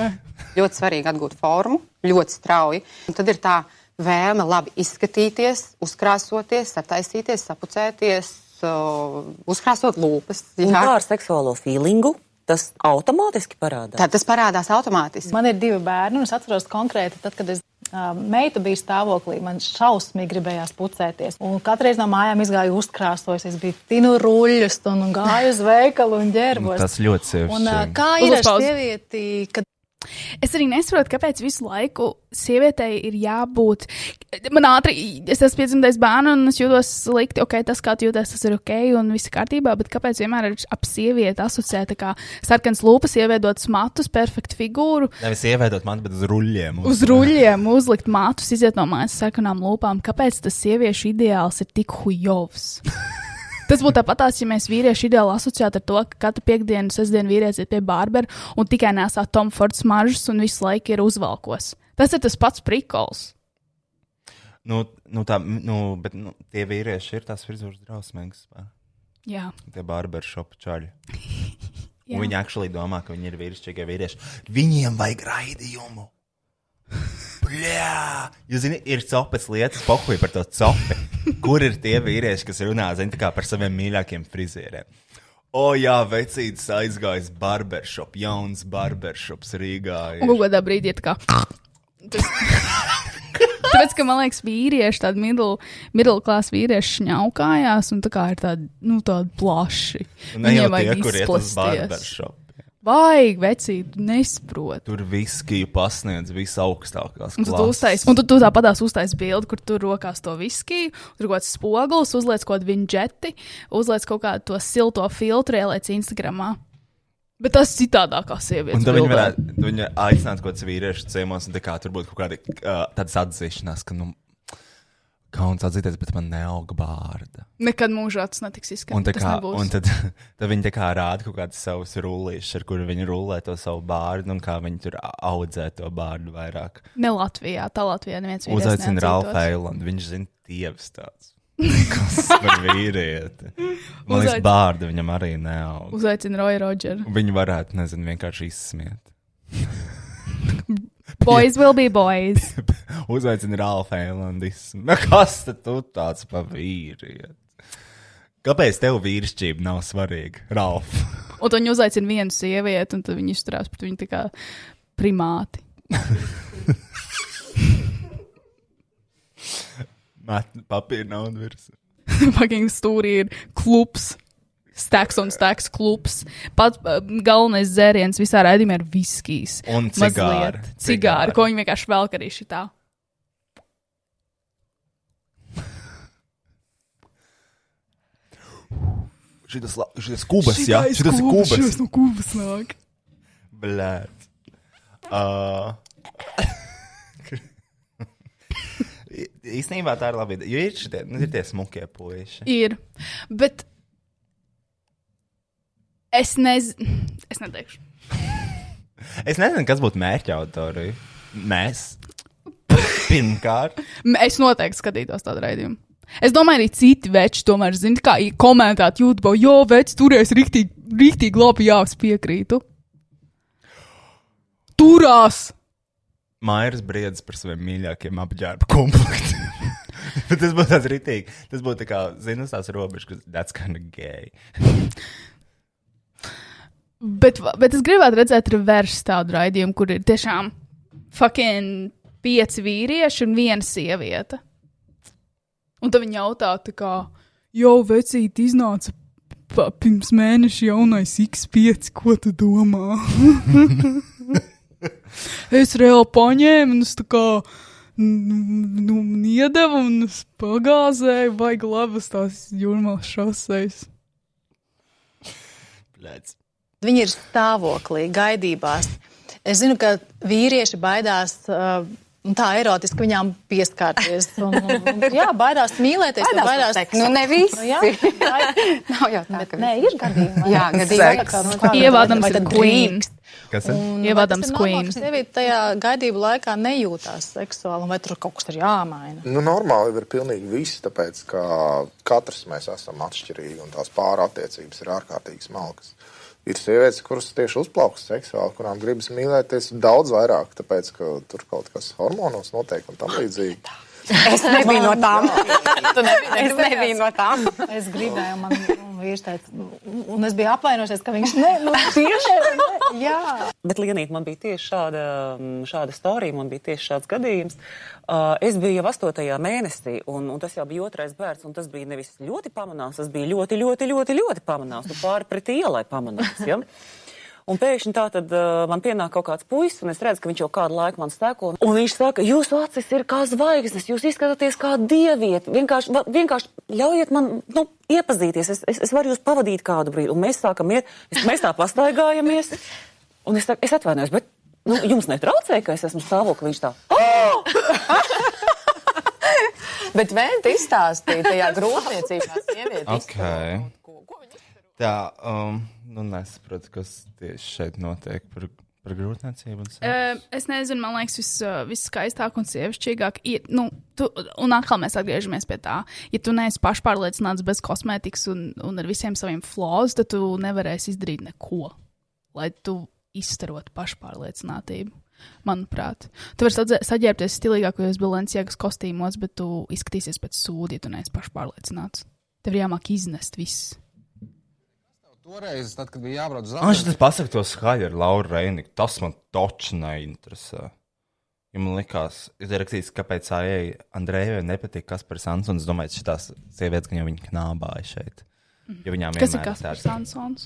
Speaker 18: Ļoti svarīgi atgūt formu, ļoti strauji. Un tad ir tā vēlme labi izskatīties, uzkrāsoties, sataisīties, sapucēties, uh, uzkrāsot lūpas.
Speaker 19: Un kā ar seksuālo feelingu tas automātiski parādās?
Speaker 18: Tad tas parādās automātiski.
Speaker 20: Man ir divi bērni, un es atceros konkrēti, tad, kad es uh, uh, meita bija stāvoklī. Man šausmīgi gribējās pucēties. Un katreiz no mājām izgāju uzkrāsojos. Es biju tinu ruļļus un gāju uz veikalu un ģērbos.
Speaker 1: Nu, Tas ļoti sieviešu.
Speaker 20: Un, uh, kā ir ar sievieti, kad
Speaker 2: Es arī nesaprotu, kāpēc visu laiku sievietei ir jābūt. Man ātri, es esmu piedzimtais bērns, un es jūtos slikti. Ok, tas, kā tu jūties, tas ir ok, un viss kārtībā. Bet kāpēc vienmēr ir ap sievieti asociēta kā sarkans lūpas, ievedotas matus, perfektu figūru,
Speaker 1: Nevis ievēdot man, bet uz ruļļiem.
Speaker 2: uz ruļļiem, uzlikt matus, iziet no mājas ar sarkanām lūpām? Kāpēc tas sieviešu ideāls ir tik
Speaker 1: [LAUGHS]
Speaker 2: hujovs? Tas būtu tāpat, tās, ja mēs vīrieši ideāli asociētu ar to, ka katru piekdienu, sestdienu vīrietis ir pie bārbera un tikai nesā Tom Fords maržas un visu laiku ir uzvalkos. Tas ir tas pats prikols.
Speaker 1: Nu, nu tā, nu, bet nu, tie vīrieši ir tās frizūras drausmīgas.
Speaker 2: Jā.
Speaker 1: Tie barberšopu čaļi.
Speaker 2: [LAUGHS] Jā.
Speaker 1: Un Viņi actually domā, ka viņi ir vīrišķīgie vīrieši. Viņiem vajag raidījumu. Bļā! Jūs zināt, ir cepts lietas, pohuļi par to cepu.
Speaker 2: [LAUGHS]
Speaker 1: Kur ir tie vīrieši, kas runā zin, tā kā par saviem mīļākajiem frizieriem? O, jā, vecītis aizgājis barbershop, jauns barbershops Rīgā.
Speaker 2: Un kaut kādā brīdī ir tā kā. [LAUGHS] Tas... [LAUGHS] Tāpēc, ka man liekas, vīrieši, tādi middle, middle class vīrieši šņaukājās un tā kā ir tādi, nu, tādi plaši.
Speaker 1: Ne jau
Speaker 2: Viņiem
Speaker 1: tie,
Speaker 2: vajag
Speaker 1: kur iet uz
Speaker 2: izplasties.
Speaker 1: barbershop.
Speaker 2: Vajag, vecīt, nesprot.
Speaker 1: Tur viskiju pasniedz visaugstākās.
Speaker 2: Un tu, tu
Speaker 1: klases.
Speaker 2: uztais, un tu, tu tāpatās uztaisīji bildi, kur tur rokās to viskiju, tur kaut kāds spogulis, uzliec kaut kādu vinžeti, uzliec kaut kādu to silto filtru, ieliec Instagramā. Bet tas ir citādākā sieviete.
Speaker 1: Un tad viņi varētu tad viņi aicināt kaut kādus vīriešus ciemos, un tā kā tur būtu kaut kāda uh, tādas atzīšanās, ka, nu, kauns atzīties, bet man neauga bārda.
Speaker 2: Nekad mūžā tas netiks
Speaker 1: Un, tā
Speaker 2: izskatīts.
Speaker 1: kā, un tad, [LAUGHS] tad viņi tā kā rāda kaut kādas savas rullīšas, ar kuriem viņi rullē to savu bārdu, un kā viņi tur audzē to bārdu vairāk.
Speaker 2: [LAUGHS] Ne Latvijā, tā Latvijā neviens vīrietis
Speaker 1: Uzaicina
Speaker 2: neatzītos.
Speaker 1: Ralfu Eilandu. Viņš zina, tievs
Speaker 2: [LAUGHS]
Speaker 1: tāds. Kas par vīrieti? Man liekas,
Speaker 2: Uzaic-
Speaker 1: bārda viņam arī neauga.
Speaker 2: Uzaicina Roju Rodžeru.
Speaker 1: Viņu varētu, nezinu, vienkārši izsmiet.
Speaker 2: Boys will be boys.
Speaker 1: [LAUGHS] Uzaicina Ralfu Eilandis. [LAUGHS] Kas tad tu tāds par vīrieti? Kāpēc tev vīrišķība nav svarīga, Ralf? [LAUGHS]
Speaker 2: Un tad viņi uzaicina vienu sievieti, un tad viņi izturās pret viņu tā kā primāti.
Speaker 1: Met papīra naudu virsū.
Speaker 2: [LAUGHS] Fucking stūrī ir klubs. Stacks un stacks klubs. Pats uh, galvenais dzēriens visā raidījumā ir viskijs.
Speaker 1: Un
Speaker 2: Mazliet.
Speaker 1: cigāri. Cigāri.
Speaker 2: Cigāri, ko viņi vienkārši velk arī šitā.
Speaker 1: Šitas, la- šitas kubas, jā,
Speaker 2: Šitais
Speaker 1: šitas ir
Speaker 2: kubas, šitas
Speaker 1: kubas.
Speaker 2: no kubas nāk.
Speaker 1: Blēd. Uh, I- [LAUGHS] Īsnībā tā ir laba ideja. Jo ir šitie, nu, ir tie smukie puiši.
Speaker 2: Ir. Bet es nezinu. Es neteikšu.
Speaker 1: Es nezinu, kas būtu mērķa autori.
Speaker 2: [LAUGHS]
Speaker 1: Mēs. Pirmkārt,
Speaker 2: M- Es noteikti skatītos tādu raidījumu. Es domāju, arī citi veči tomēr zina, kā i- komentēt YouTube. Jo, veči, turēs rīktīgi, rīktīgi labi, jā, es piekrītu. Turās!
Speaker 1: Maijas briedz par saviem mīļākajiem apģērba komplektiem. [LAUGHS] Bet tas būtu tāds rītīgi. Tas būtu tā kā, zinu, tās robežas, kas that's kind of gay. [LAUGHS]
Speaker 2: Bet, va- bet es gribētu redzēt reverse tādu raidījumu, kur ir tiešām fucking pieci vīrieši un viena sieviete. Un tad viņi jautā, tā kā, jau vecīt iznāca pa- pirms mēneša jaunais X5, ko tu domā? [LAUGHS] es reāli paņēmu, un es tā kā. Nu, nu, iedevu un es pagāzēju, vajag labas tās jūrmā šoseis.
Speaker 1: Blēds.
Speaker 21: Viņi ir stāvoklī, gaidībās. Es zinu, ka vīrieši baidās. Uh, un Tā erotiski viņām pieskarties. Un, un, jā, baidās mīlēties. jo
Speaker 18: Baidās no seksa. Nu, ne visi.
Speaker 21: jā, baid-
Speaker 18: Nav jau tā, ka
Speaker 21: Nē, ir gadījumā.
Speaker 22: [LAUGHS]
Speaker 18: Jā, gadījumā. Seks.
Speaker 21: Ievādams
Speaker 18: Vai tad
Speaker 21: ir queen.
Speaker 1: Kas
Speaker 21: Ievādams queen. Sieviete tajā gaidību laikā nejūtās seksuāli, un vai tur kaut kas ir jāmaina.
Speaker 23: Nu, normāli ir pilnīgi viss, tāpēc ka katrs mēs esam atšķirīgi un tās pārattiecības ir ārkārtīgi smalkas. Ir sievietes, kuras tieši uzplaukas seksuāli, kurām gribas mīlēties daudz vairāk, tāpēc ka tur kaut kas hormonos notiek un tam līdzīgi.
Speaker 18: Es nebiju no tām. Tu nebija, es nebiju no tām.
Speaker 21: Es gribēju, man un vīrs teica,
Speaker 20: Un es biju apvainojusies, ka viņš ne, nu, tieši ne, jā.
Speaker 3: Bet, Lienīt, man bija tieši šāda, šāda storija, man bija tieši šāds gadījums. Uh, Es biju jau astotajā mēnesī, un, un tas jau bija otrais bērns, un tas bija nevis ļoti pamanāms, tas bija ļoti, ļoti, ļoti, ļoti pamanāms. Tu pāri pretī ielai pamanāms. Ja? Un pēkšņi tā tad uh, man pienāk kaut kāds puisis, un es redzu, ka viņš jau kādu laiku man stāvo. Un viņš saka, jūsu acis ir kā zvaigznes, jūs izskatāties kā dieviete. Vienkārši, va- vienkārši ļaujiet man nu, iepazīties, es, es, es varu jūs pavadīt kādu brīdi. Un mēs sākam iet, es, mēs tā pastaigājamies. Un es, tā, es atvainojos, bet nu, jums netraucēja, ka es esmu stāvoklī. Viņš tā,
Speaker 4: Bet vēl te
Speaker 20: [LAUGHS]
Speaker 21: [LAUGHS]
Speaker 4: izstāstīja tajā
Speaker 22: [LAUGHS]
Speaker 4: grūtniecībā sieviete.
Speaker 1: Okay. Tā, um, nu nesaprotu, kas tieši šeit notiek par, par grūtniecību. un sevi.
Speaker 2: Eh, Es nezinu, man liekas, vis, eh, viskaistāk un sievišķīgāk ir. Nu, tu, un atkal mēs atgriežamies pie tā, ja tu neesi pašpārliecināts bez kosmētikas un, un ar visiem saviem flaws, tad tu nevarēsi izdarīt neko, lai tu izstarotu pašpārliecinātību. Manuprāt, tu vari sadze- saģērbties stilīgākajos bilancijas kostīmos, bet tu izskatīsies pēc sūdi, ja tu neesi pašpārliecināts. Tev ir jāmāk iznest viss.
Speaker 22: Toreiz, tad, kad bija jābrauc uz
Speaker 1: Man Ah, šis tas pasaka to skaļi ar Lauru Reiniku. Tas man točs neinteresē. Ja man likās, ir rakstīts, kāpēc Aijai Andrejai nepatīk Kaspars Ansons. Es domāju, šitās sievietes, ka jau viņa knābāja šeit. Jo viņām
Speaker 2: Mhm. Kas ir
Speaker 1: vienmēr
Speaker 2: Kaspars
Speaker 1: tāds-
Speaker 2: Ansons?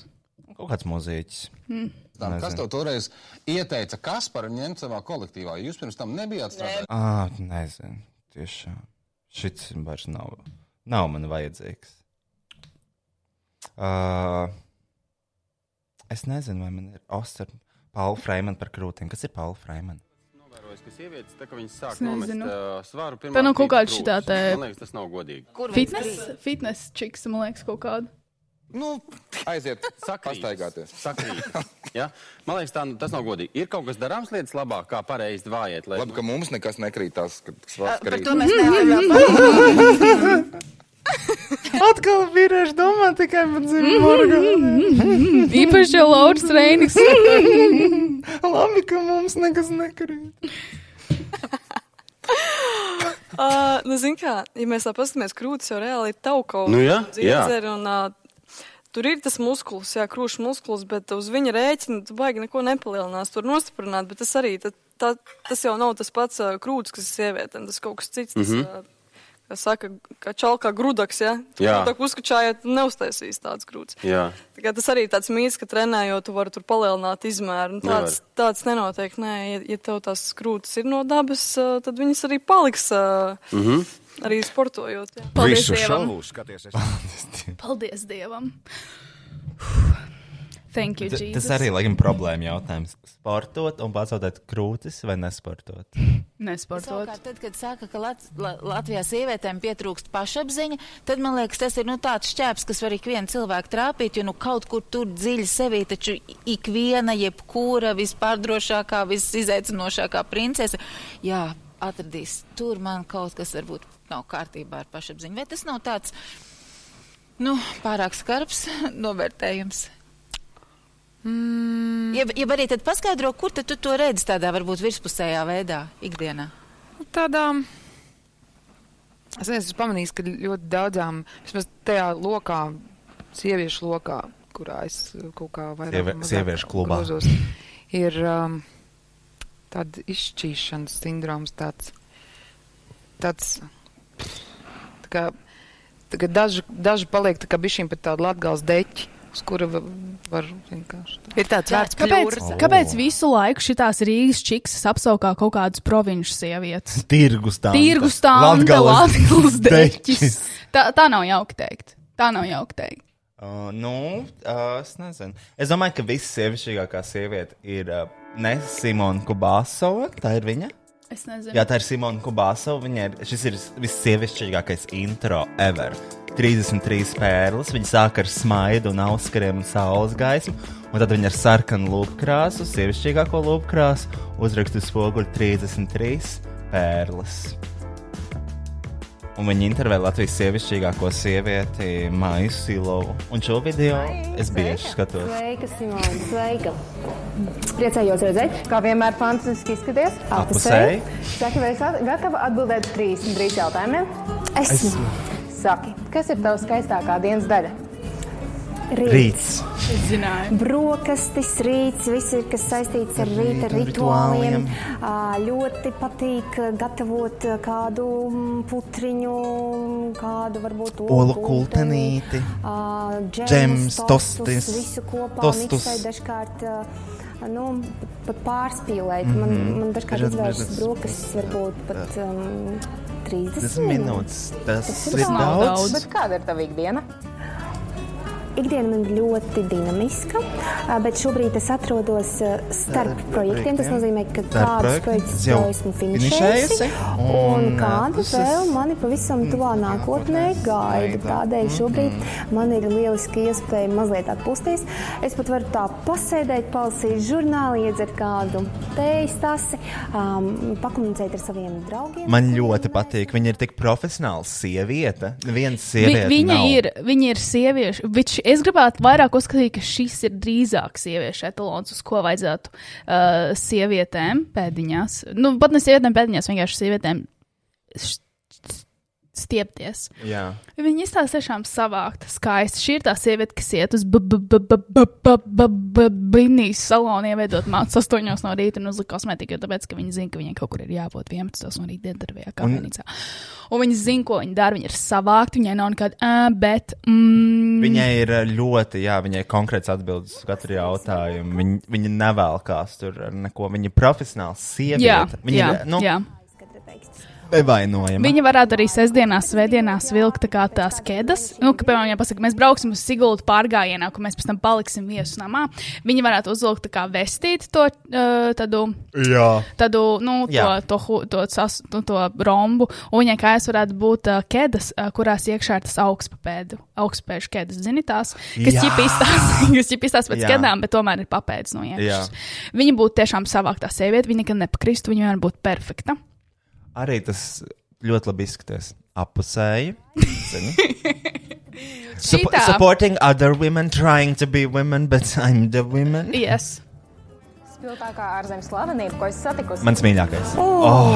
Speaker 1: Kaut kāds mūziķis.
Speaker 2: Mm.
Speaker 22: Tā,
Speaker 1: Nezinu.
Speaker 22: kas tev toreiz ieteica Kasparu ņemt savā kolektīvā? Jūs pirms tam nebijāt strādājis.
Speaker 1: Ah, nezinu. Tiešām. Šis vairs nav, nav man vajadzīgs. Uh, es nezinu, vai man ir Osakas, Paula Freimana par krūtīm. Kas ir Paula Freimana?
Speaker 12: Novērojis, ka sievietes, tā kā viņas sāk
Speaker 2: Es nezinu.
Speaker 12: nomest uh, svaru,
Speaker 2: Tā
Speaker 12: pirmā
Speaker 2: nav kaut
Speaker 12: krīt
Speaker 2: kāda
Speaker 12: krūtis.
Speaker 2: šitā te-
Speaker 12: Man liekas, tas nav godīgi.
Speaker 2: Fitness, fitness čiks, man liekas, kaut kāda.
Speaker 22: Nu,
Speaker 12: [LAUGHS] Aiziet, pastaigāties. Sakrīt. [LAUGHS] Ja? Man liekas, tā, nu, tas nav godīgi. Ir kaut kas darāms lietas labāk, kā pareizi vājiet. Lai... Labi, ka mums nekas nekrītās, kad svars
Speaker 22: par
Speaker 7: to mēs
Speaker 22: [LAUGHS]
Speaker 7: nevaram.
Speaker 1: Atkal vīrieši domā tikai par dzimumu
Speaker 7: orgānu.
Speaker 2: Mhm, Īpaši jau Lauris
Speaker 1: [LAUGHS]
Speaker 2: Reiniks.
Speaker 7: Labi, ka mums nekas nekrīt.
Speaker 24: Uh, nu, zin kā, ja mēs tā paskatāmies, krūtis jau reāli ir tauko.
Speaker 12: Nu jā, jā.
Speaker 24: Un, uh, tur ir tas muskulis, jā, krūšs muskulis, bet uz viņa rēķina tu baigi neko nepalielinās, tur nostiprināt, bet tas arī, tad, tā, tas jau nav tas pats uh, krūtis, kas ir sievietēm, tas kaut kas cits. Tas, mm
Speaker 12: Mhm.
Speaker 24: -hmm. Kā saka, kā čalkā grudaks, ja? Tu
Speaker 12: Jā.
Speaker 24: tā uzkačājot, neuztaisīs tāds grūts.
Speaker 12: Jā.
Speaker 24: Tā kā tas arī ir tāds mīts, ka trenējot, tu vari tur palielināt izmēru. Nu, Tāds, tāds nenotiek. Nē, ja, ja tev tās krūtis ir no dabas, ā, tad viņas arī paliks. ā,
Speaker 12: Mhm.
Speaker 24: Arī sportojot. jā.
Speaker 13: Visu
Speaker 24: Dievam.
Speaker 13: šovu skaties. Es...
Speaker 2: Paldies Dievam! [SIGHS] Thank you,
Speaker 1: Tas
Speaker 2: Jesus.
Speaker 1: tas arī laikam problēma jautājums. Sportot un pacautēt krūtis vai nesportot?
Speaker 2: Nesportot.
Speaker 11: Savukārt, tad, kad saka, ka Lat La Latvijā sievietēm pietrūkst pašapziņa, tad man liekas, tas ir nu, tāds šķēps, kas var ikvienu cilvēku trāpīt, jo nu, kaut kur tur dziļi sevī taču ikviena, jebkura vispārdrošākā, visizaicinošākā princese, jā, atradīs tur man kaut kas varbūt nav kārtībā ar pašapziņu. Vai tas nav tāds, nu, pārāk skarbs [LAUGHS] novērtējums? Mm. Ja, ja arī tad paskaidro, kur tad tu to redzi tādā varbūt virspusējā veidā ikdienā?
Speaker 25: Tādām. Es nezinu, es pamanīju, ka ļoti daudzām, vismaz tajā lokā, sieviešu lokā, kurā es uh, kaut kā vairāk
Speaker 1: Sieve-
Speaker 25: vai mazāk
Speaker 1: sieviešu klubā.
Speaker 25: grozos, ir um, tāds izšķīšanas sindroms, tāds, tāds tā kā, tā kā daži, daži paliek tā kā bišķiņ pat tādu latgals deķi, uz kura va- var vienkārši. tā.
Speaker 2: kāpēc,
Speaker 1: Oh.
Speaker 2: kāpēc visu laiku šitās Rīgas čiksas apsaukā kaut kādas
Speaker 1: [LAUGHS]
Speaker 2: provinču sievietes?
Speaker 1: Tirgus tā.
Speaker 2: Tirgus tā, Latvijas
Speaker 12: [LAUGHS]
Speaker 2: deķis. Tā, tā nav jauki teikt. Tā nav jauki teikt.
Speaker 1: Uh, nu, uh, es nezinu. Es domāju, ka vissievišķīgākā sieviete ir uh, ne Simona Kubāsova. Tā ir viņa.
Speaker 2: Es nezinu.
Speaker 1: Jā, tā ir Simona Kubāsova. Viņa ir šis ir vissievišķīgākais intro ever. 33 pērles. Viņa sāk ar smaidu un auskariem un saules gaismu. Un tad viņa ar sarkanu lūpkrāsu, sievišķīgāko lūpkrāsu, uzrakstu spoguļu 33 pērles. Un viņa intervēja Latvijas sievišķīgāko sievieti, Maiju Silovu. Un šo video es bieži skatos.
Speaker 26: Sveika, Simona! Sveika! Priecājos redzēt, kā vienmēr fantastiski izskaties.
Speaker 1: Apusēji.
Speaker 26: Saki, vai esi gatava atbildēt uz trīs, trīs jautājumiem? Esmu. Saki, kas ir tavs skaistākā dienas daļa?
Speaker 1: Rīts.
Speaker 2: Zināju.
Speaker 26: Brokastis, rīts, viss ir kas saistīts ar rīta rituāliem. Ā, Ļoti patīk gatavot kādu mm, putriņu, kādu varbūt
Speaker 1: Olu kultenīti.
Speaker 26: ā,
Speaker 1: Džems, tostis,
Speaker 26: visu kopā.
Speaker 1: tostus.
Speaker 26: miksē Dažkārt, ā, nu, pat pārspīlēt. Mm -hmm.
Speaker 1: Mhm.
Speaker 26: man, man dažkārt
Speaker 1: Dažādi
Speaker 26: izvērst
Speaker 1: brokastis.
Speaker 26: brokastis varbūt pat um, 30
Speaker 1: 30 minūtes. Tas,
Speaker 26: ir
Speaker 1: ir
Speaker 26: daudz.
Speaker 1: daudz.
Speaker 26: Bet kāda ir tava ikdiena? Ikdiena man ļoti dinamiska, ā, bet šobrīd es atrodos ā, starp projektiem. Tas nozīmē, ka
Speaker 1: Starp
Speaker 26: kādus
Speaker 1: projektiem
Speaker 26: projektus
Speaker 1: jau
Speaker 26: jau esmu finišējusi,
Speaker 1: finišējusi, un,
Speaker 26: un
Speaker 1: ā,
Speaker 26: kādu
Speaker 1: tas
Speaker 26: vēl
Speaker 1: es-
Speaker 26: mani pavisam tuvā nākotnē gaida. Tādēļ šobrīd man ir lieliski iespēja mazliet atpūsties. Es pat varu tā pasēdēt, palasīt žurnālu, iedzert kādu tējas tasi, um, pakomunicēt ar saviem draugiem.
Speaker 1: Man ļoti patīk. Viņa ir tik profesionāla sieviete. Neviena
Speaker 2: Vi,
Speaker 1: sieviete.
Speaker 2: viņa,
Speaker 1: nav.
Speaker 2: ir, viņa ir sieviešu. Viņš, es gribētu vairāk uzskatīt, ka šis ir drīzāk sieviešu etalons, uz ko vajadzētu uh, sievietēm pēdiņās. Nu, pat ne sievietēm pēdiņās, vienkārši sievietēm š- stiepties.
Speaker 1: Jā.
Speaker 2: Viņa izstāsta tiešām savākt, skaisti. Šī ir tā sieviete, kas iet uz bimnijas salonu, ieveidot mācas 8 no rīta un uzlikt kosmētiku, jo tāpēc, ka viņi zina, ka viņai kaut kur ir jābūt 11 no rīta darbā, kā
Speaker 1: Un-
Speaker 2: vienīcā. Un viņi zina, ko viņi dara, viņi ir savākti, viņai nav nekāda, "Ā, bet. Mm,
Speaker 1: Viņai ir ā, ļoti, jā, viņai ir konkrēts atbildes uz katru jautājumu. Viņa, viņa nevēlkās tur ar neko. Viņa ir profesionāla sieviete.
Speaker 2: Jā,
Speaker 1: viņa
Speaker 2: jā,
Speaker 1: ir nu,
Speaker 2: jā.
Speaker 1: nevainojama.
Speaker 2: Viņa varētu arī sestdienās, svētdienās vilkt tā kā tās kēdes. Nu, ka, piemēram, ja pasaka, mēs brauksim uz Sigultu pārgājienā, kur mēs pēc tam paliksim viesu namā, viņi varētu uzvilkt tā kā vestīt to uh, tādu.
Speaker 1: Jā.
Speaker 2: tādu nu, to,
Speaker 1: Jā.
Speaker 2: to, hu- to, sas, nu, to rombu, un viņai kājas varētu būt uh, ķēdes, uh, kurās iekšā ir tas augstpapēdu, augstspēļu ķēdes, zinot tās, kas
Speaker 1: Jā.
Speaker 2: [LAUGHS] jau pistās pēc
Speaker 1: Jā.
Speaker 2: ķēdām, bet tomēr ir papēdis no
Speaker 1: Jā.
Speaker 2: iekšas. Viņa būtu tiešām savāktā sieviete, viņa nekad nepakristu, viņa vienmēr būtu perfekta.
Speaker 1: Arī tas ļoti labi izskaties. Apusēji. zini. Sup
Speaker 2: [LAUGHS] Šitā.
Speaker 1: supporting other women, trying to be women, but I'm the woman.
Speaker 2: Yes.
Speaker 26: Spilgtākā ārzemes slavenība, ko es satikusi.
Speaker 1: Mans mīļākais.
Speaker 26: Oh,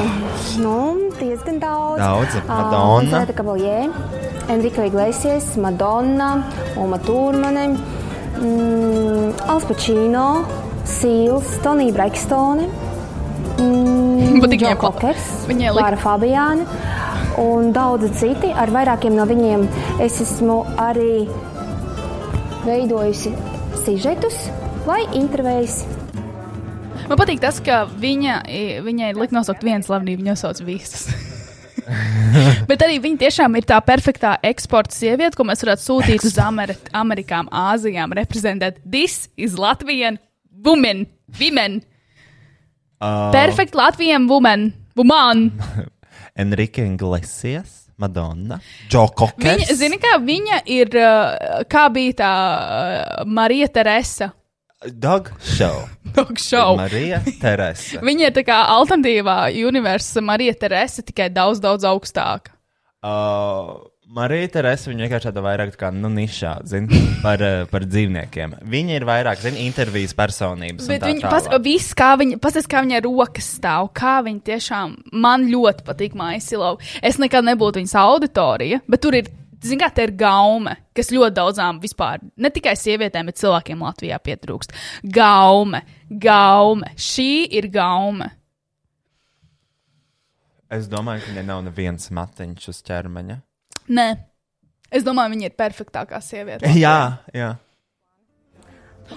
Speaker 26: nu, diezgan daudz.
Speaker 1: Daudz,
Speaker 2: Oh.
Speaker 26: Ā,
Speaker 1: Madonna.
Speaker 26: Zeta Kabaljē, Enrico Iglesias, Madonna, Uma Turmane, mm, Al Pacino, Sīls, Tonija Brekstone,
Speaker 2: [LAUGHS] Bet tik
Speaker 26: Džona
Speaker 2: ņem-
Speaker 26: Kokers,
Speaker 2: viņai likt-
Speaker 26: Lara Fabiāna un daudzi citi. Ar vairākiem no viņiem es esmu arī veidojusi sižetus vai intervējusi.
Speaker 2: Man patīk tas, ka viņa, i- viņai likt nosaukt vienu slavenību, viņa sauc
Speaker 1: [LAUGHS]
Speaker 2: visas. Bet arī viņa tiešām ir tā perfektā eksporta sieviete, ko mēs varētu sūtīt uz Amer Amerikām, Āzijām, reprezentēt. This is Latvian woman, women.
Speaker 1: Uh,
Speaker 2: Perfect Latvian woman, woman.
Speaker 1: Enrique Iglesias, Madonna, Joe Cocker.
Speaker 2: Viņa, zini, kā viņa ir, uh, kā bija tā uh, Marija Teresa.
Speaker 1: Dog show.
Speaker 2: [LAUGHS] Dog show. [LAUGHS]
Speaker 1: Marija Teresa.
Speaker 2: Viņa ir tā kā alternatīvā universa Marija Teresa, tikai daudz, daudz augstāka.
Speaker 1: Uh, Marija Teresa, viņa vienkārši tāda vairāk tā kā nu, nišā, zina, par, eh, par dzīvniekiem. Viņa ir vairāk, zina, intervijas personības.
Speaker 2: Bet viņa pas, viss, kā viņa, pasties, kā viņa rokas stāv, kā viņa tiešām man ļoti patīk Maisilova. Es nekad nebūtu viņas auditorija, bet tur ir, zināmā mērā, tā ir gaume, kas ļoti daudzām vispār, ne tikai sievietēm, bet cilvēkiem Latvijā pietrūkst. Gaume, gaume, šī ir gaume.
Speaker 1: Es domāju, ka viņai nav neviens matiņš uz ķermeņa.
Speaker 2: Nē, es domāju, viņa ir perfektākā sieviete.
Speaker 1: Jā, jā.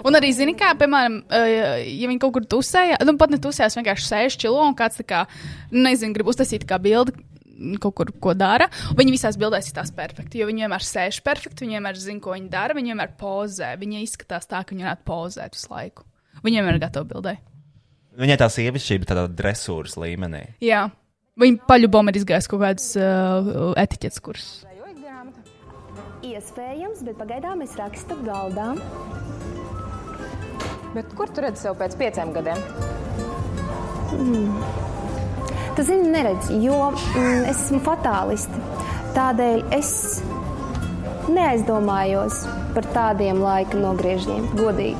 Speaker 2: Un arī, zini, kā, piemēram, eh, ja viņi kaut kur tusējās, nu pat ne tusējās, vienkārši sēž čilo un kāds, tā kā, nu, nezinu, grib uztaisīt kā bildi. mm, Kaut kur ko dara. un Viņi visās bildēs ir tās perfekti. Jo viņi vienmēr sēž perfekti, viņi vienmēr zina, ko viņi dara, viņi vienmēr pozē. Viņi izskatās tā, ka viņi varētu pozēt visu laiku. Viņi vienmēr ir gatavi bildē.
Speaker 1: Viņai tā sievišķība tādā dresūras līmenī.
Speaker 2: Jā, viņi paļubom ir izgājis kaut kāds uh, etiķetes kurs.
Speaker 26: Iespējams, bet pagaidām es rakstu galdā. Bet kur tu redzi sev pēc pieciem gadiem? Mm. Tu zini, neredz, jo mm, es esmu fatālisti. Tādēļ es neaizdomājos par tādiem laika nogriežiem, godīgi.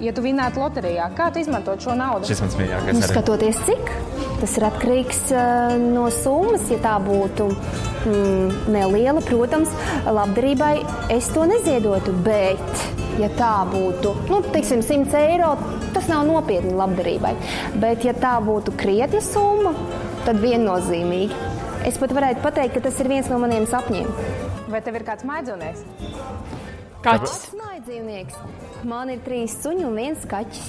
Speaker 5: ja tu vinnētu loterijā, kā tu izmantot šo naudu?
Speaker 1: Šis mans mīļākais.
Speaker 26: Nu,
Speaker 1: arī.
Speaker 26: skatoties, cik tas ir atkarīgs eh, no summas, ja tā būtu mm, neliela, protams, labdarībai es to neziedotu. Bet, ja tā būtu, nu, teiksim, 100 eiro, tas nav nopietni labdarībai. Bet, ja tā būtu krietna summa, tad viennozīmīgi. Es pat varētu pateikt, ka tas ir viens no maniem sapņiem.
Speaker 5: Vai tev ir kāds maidzunieks?
Speaker 26: Kaķis. Mājdzīvnieks. Man ir trīs suņi un viens kaķis.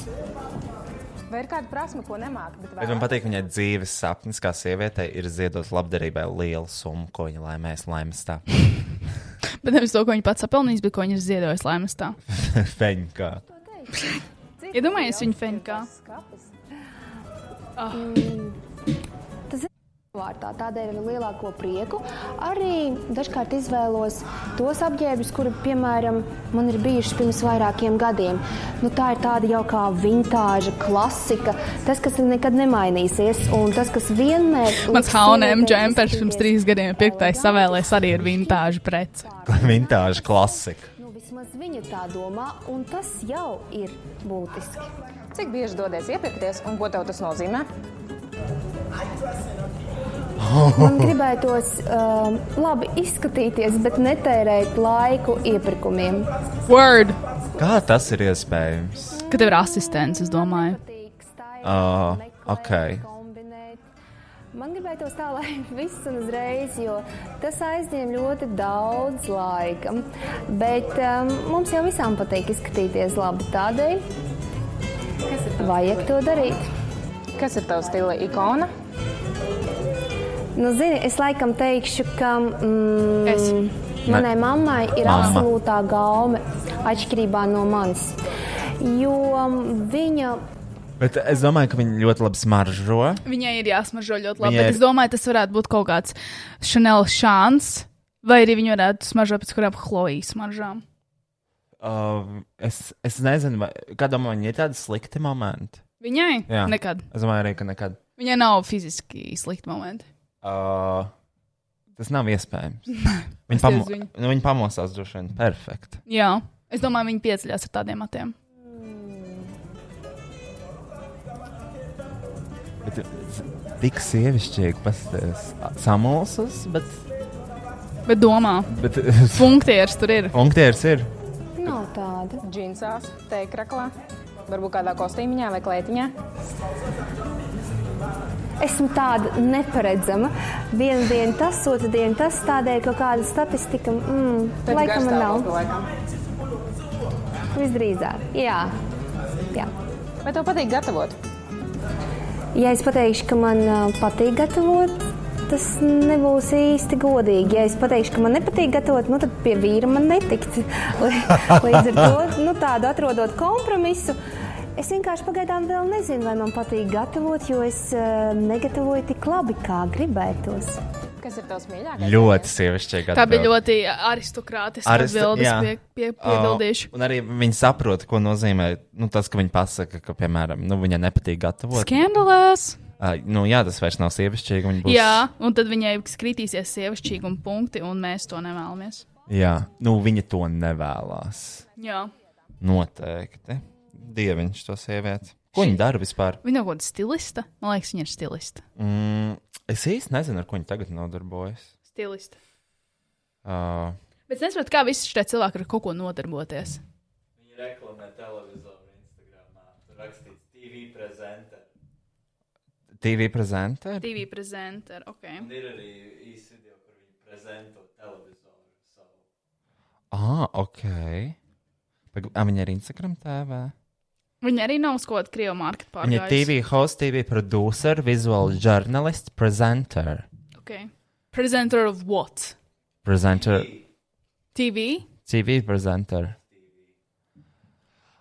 Speaker 5: Vai ir kāda prasme, ko nemāki? bet
Speaker 1: Bet man patīk, ka viņai dzīves sapnis, kā sievietei, ir ziedot labdarībai lielu summu, ko viņa laimēs laimes [LAUGHS] tā.
Speaker 2: Bet nevis to, ko viņa pats sapelnījis, bet ko viņa ir ziedojis laimestā.
Speaker 1: Feņkā.
Speaker 2: Iedomājies viņu feņkā.
Speaker 26: Mm, Tas ir vārtā. Tādēļ ar lielāko prieku arī dažkārt izvēlos tos apģērbus, kuri, piemēram, man ir bijuši pirms vairākiem gadiem. Nu, tā ir tāda jau kā vintāža, klasika. Tas, kas nekad nemainīsies, un tas, kas vienmēr
Speaker 2: Mans haunēm džempers pirms trīs gadiem ir pirktais savēlēs arī ir vintāžu prece.
Speaker 1: Vintāža klasika.
Speaker 26: Nu, vismaz viņa tā domā, un tas jau ir būtiski.
Speaker 5: Cik bieži dodies iepirkties un ko tev tas nozīmē?
Speaker 26: Man gribētos um, labi izskatīties, bet netērēt laiku iepirkumiem.
Speaker 2: Word!
Speaker 1: Kā tas ir iespējams?
Speaker 2: Ka tev ir asistents, es domāju.
Speaker 1: Uh, ok.
Speaker 26: Man gribētos tā, lai [LAUGHS] viss un uzreiz, jo tas aizņem ļoti daudz laika. Bet um, mums jau visām patīk izskatīties labi tādēļ. Vajag to darīt.
Speaker 5: Kas ir tavs stila ikona?
Speaker 26: Nu, zini, es laikam teikšu, ka mm, manai
Speaker 2: Ne.
Speaker 26: mammai ir
Speaker 2: Mamma.
Speaker 26: absolūtā gaume atšķirībā no manis. Jo mm, viņa
Speaker 1: Bet es domāju, ka viņi ļoti labi smaržo.
Speaker 2: Viņai ir jāsmaržo ļoti labi.
Speaker 1: Viņai
Speaker 2: Bet
Speaker 1: ir-
Speaker 2: es domāju, tas varētu būt kaut kāds Chanel šāns, vai arī viņi varētu smaržot pēc kurām Chloe's smaržām.
Speaker 1: Uh, es, es nezinu, vai- kad domā, viņi ir tādi slikti momenti.
Speaker 2: Viņai? Nekad.
Speaker 1: Es domāju, arī, ka nekad.
Speaker 2: Viņai nav fiziski slikti momenti.
Speaker 1: Uh, tas nav
Speaker 2: [LAUGHS]
Speaker 1: iespējams.
Speaker 2: Es
Speaker 1: Viņa, pamo
Speaker 2: tiesu viņu.
Speaker 1: nu, viņa pamostās droši vien perfekti.
Speaker 2: Jā, es domāju, viņi pieceļās ar tādiem matiem.
Speaker 1: Bet, eh, s- tik sievišķīgi pasties. Samulsas, bet.
Speaker 2: Bet domā,
Speaker 1: bet
Speaker 2: funktieris tur ir.
Speaker 1: Funktieris ir.
Speaker 26: nav tāda.
Speaker 5: Džinsās, teikraklā, varbūt kādā kostīmiņā vai klētiņā.
Speaker 26: Esmu tāda neparedzama. Vienu dienu tas, otru dienu tas, tādēļ kaut kāda statistika, mm,
Speaker 5: Pēc
Speaker 26: laikam, man
Speaker 5: garstāvokļa
Speaker 26: nav.
Speaker 5: laikam.
Speaker 26: Visdrīzāk, jā. jā.
Speaker 5: Vai tev patīk gatavot?
Speaker 26: Ja es pateikšu, ka man ā, patīk gatavot, tas nebūs īsti godīgi. Ja es pateikšu, ka man nepatīk gatavot, nu, tad pie vīra man netikt. [LAUGHS] Lī- Līdz ar to nu, tādu atrodot kompromisu. Es vienkārši pagaidām vēl nezinu, vai man patīk gatavot, jo es ā, negatavoju tik labi, kā gribētos.
Speaker 5: Kas ir tavs mīļākais?
Speaker 1: Ļoti sievišķīgi.
Speaker 2: Tā bija ļoti aristokrātiska atbildes pie, pie, piebildīšu.
Speaker 1: Uh, un arī viņi saprot, ko nozīmē nu, tas, ka viņi pasaka, ka, piemēram, nu, viņai nepatīk gatavot.
Speaker 2: Skandalās!
Speaker 1: Uh, nu, jā, tas vairs nav sievišķīgi. Viņa būs.
Speaker 2: Jā, un tad viņai kritīsies sievišķīguma punkti, un mēs to nevēlamies.
Speaker 1: jā. Nu, viņa to nevēlas.
Speaker 2: Jā.
Speaker 1: Noteikti. Dieviņš to sievieti. Ko viņa dara vispār?
Speaker 2: Viņa nav kaut kāda stilista. Man liekas, viņa ir stilista.
Speaker 1: Mm, es īsti nezinu, ar ko viņa tagad nodarbojas.
Speaker 2: Stilista.
Speaker 1: Uh,
Speaker 2: Bet es nesaprotu, kā visi šie cilvēki ar kaut ko nodarboties.
Speaker 1: TV prezentē.
Speaker 2: TV prezenter, ok.
Speaker 6: Ir arī īsi video, kur viņi prezento televizoru.
Speaker 1: Ah, ok. Pag- ā, Viņa ir Instagram tēvā.
Speaker 2: Viņa arī nav skot krievu marketu
Speaker 1: Viņa ir TV host, TV producer, visual journalist, presenter.
Speaker 2: Okay. Presenter of what?
Speaker 1: Presenter.
Speaker 2: TV?
Speaker 1: TV presenter.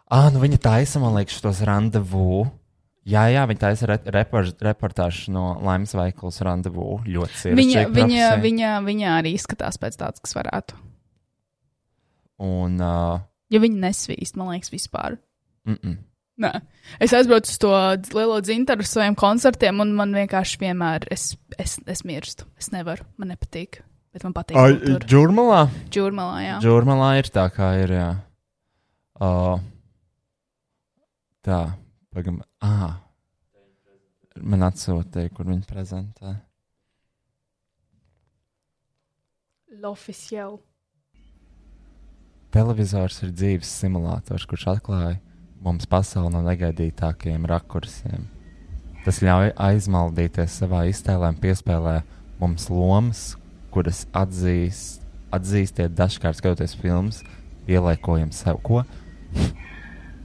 Speaker 1: Ah, nu viņa taisa, man liekas, tos randevu. Jā, jā, viņa taisa re repor- reportāžu no Laimas Vaikulas randevu. Ļoti sievišķīga
Speaker 2: Viņa, viņa,
Speaker 1: profesija.
Speaker 2: viņa, viņa arī izskatās pēc tādas, kas varētu.
Speaker 1: Un, uh,
Speaker 2: Ja viņa nesvīst, man liekas, vispār.
Speaker 1: mm -mm.
Speaker 2: Nē. Es aizbraucu uz to dz- lielo dzintaru ar saviem koncertiem, un man vienkārši vienmēr es, es, es mirstu. Es nevaru, man nepatīk. Bet man patīk.
Speaker 1: Ai,
Speaker 2: būt tur.
Speaker 1: Džurmalā?
Speaker 2: Džurmalā, jā.
Speaker 1: Žurnālā ir tā, kā ir. Jā. Uh, Tā, pagam, ah. Man atsūtīja, kur viņi prezentē.
Speaker 2: L'officiel.
Speaker 1: Televizors ir dzīves simulators, kurš atklāja mums pasauli no negaidītākajiem rakursiem. Tas ļauj aizmaldīties savā iztēlē un piespēlē mums lomas, kuras atzīst, atzīstiet dažkārt skatoties filmas, pieliekojam sev ko.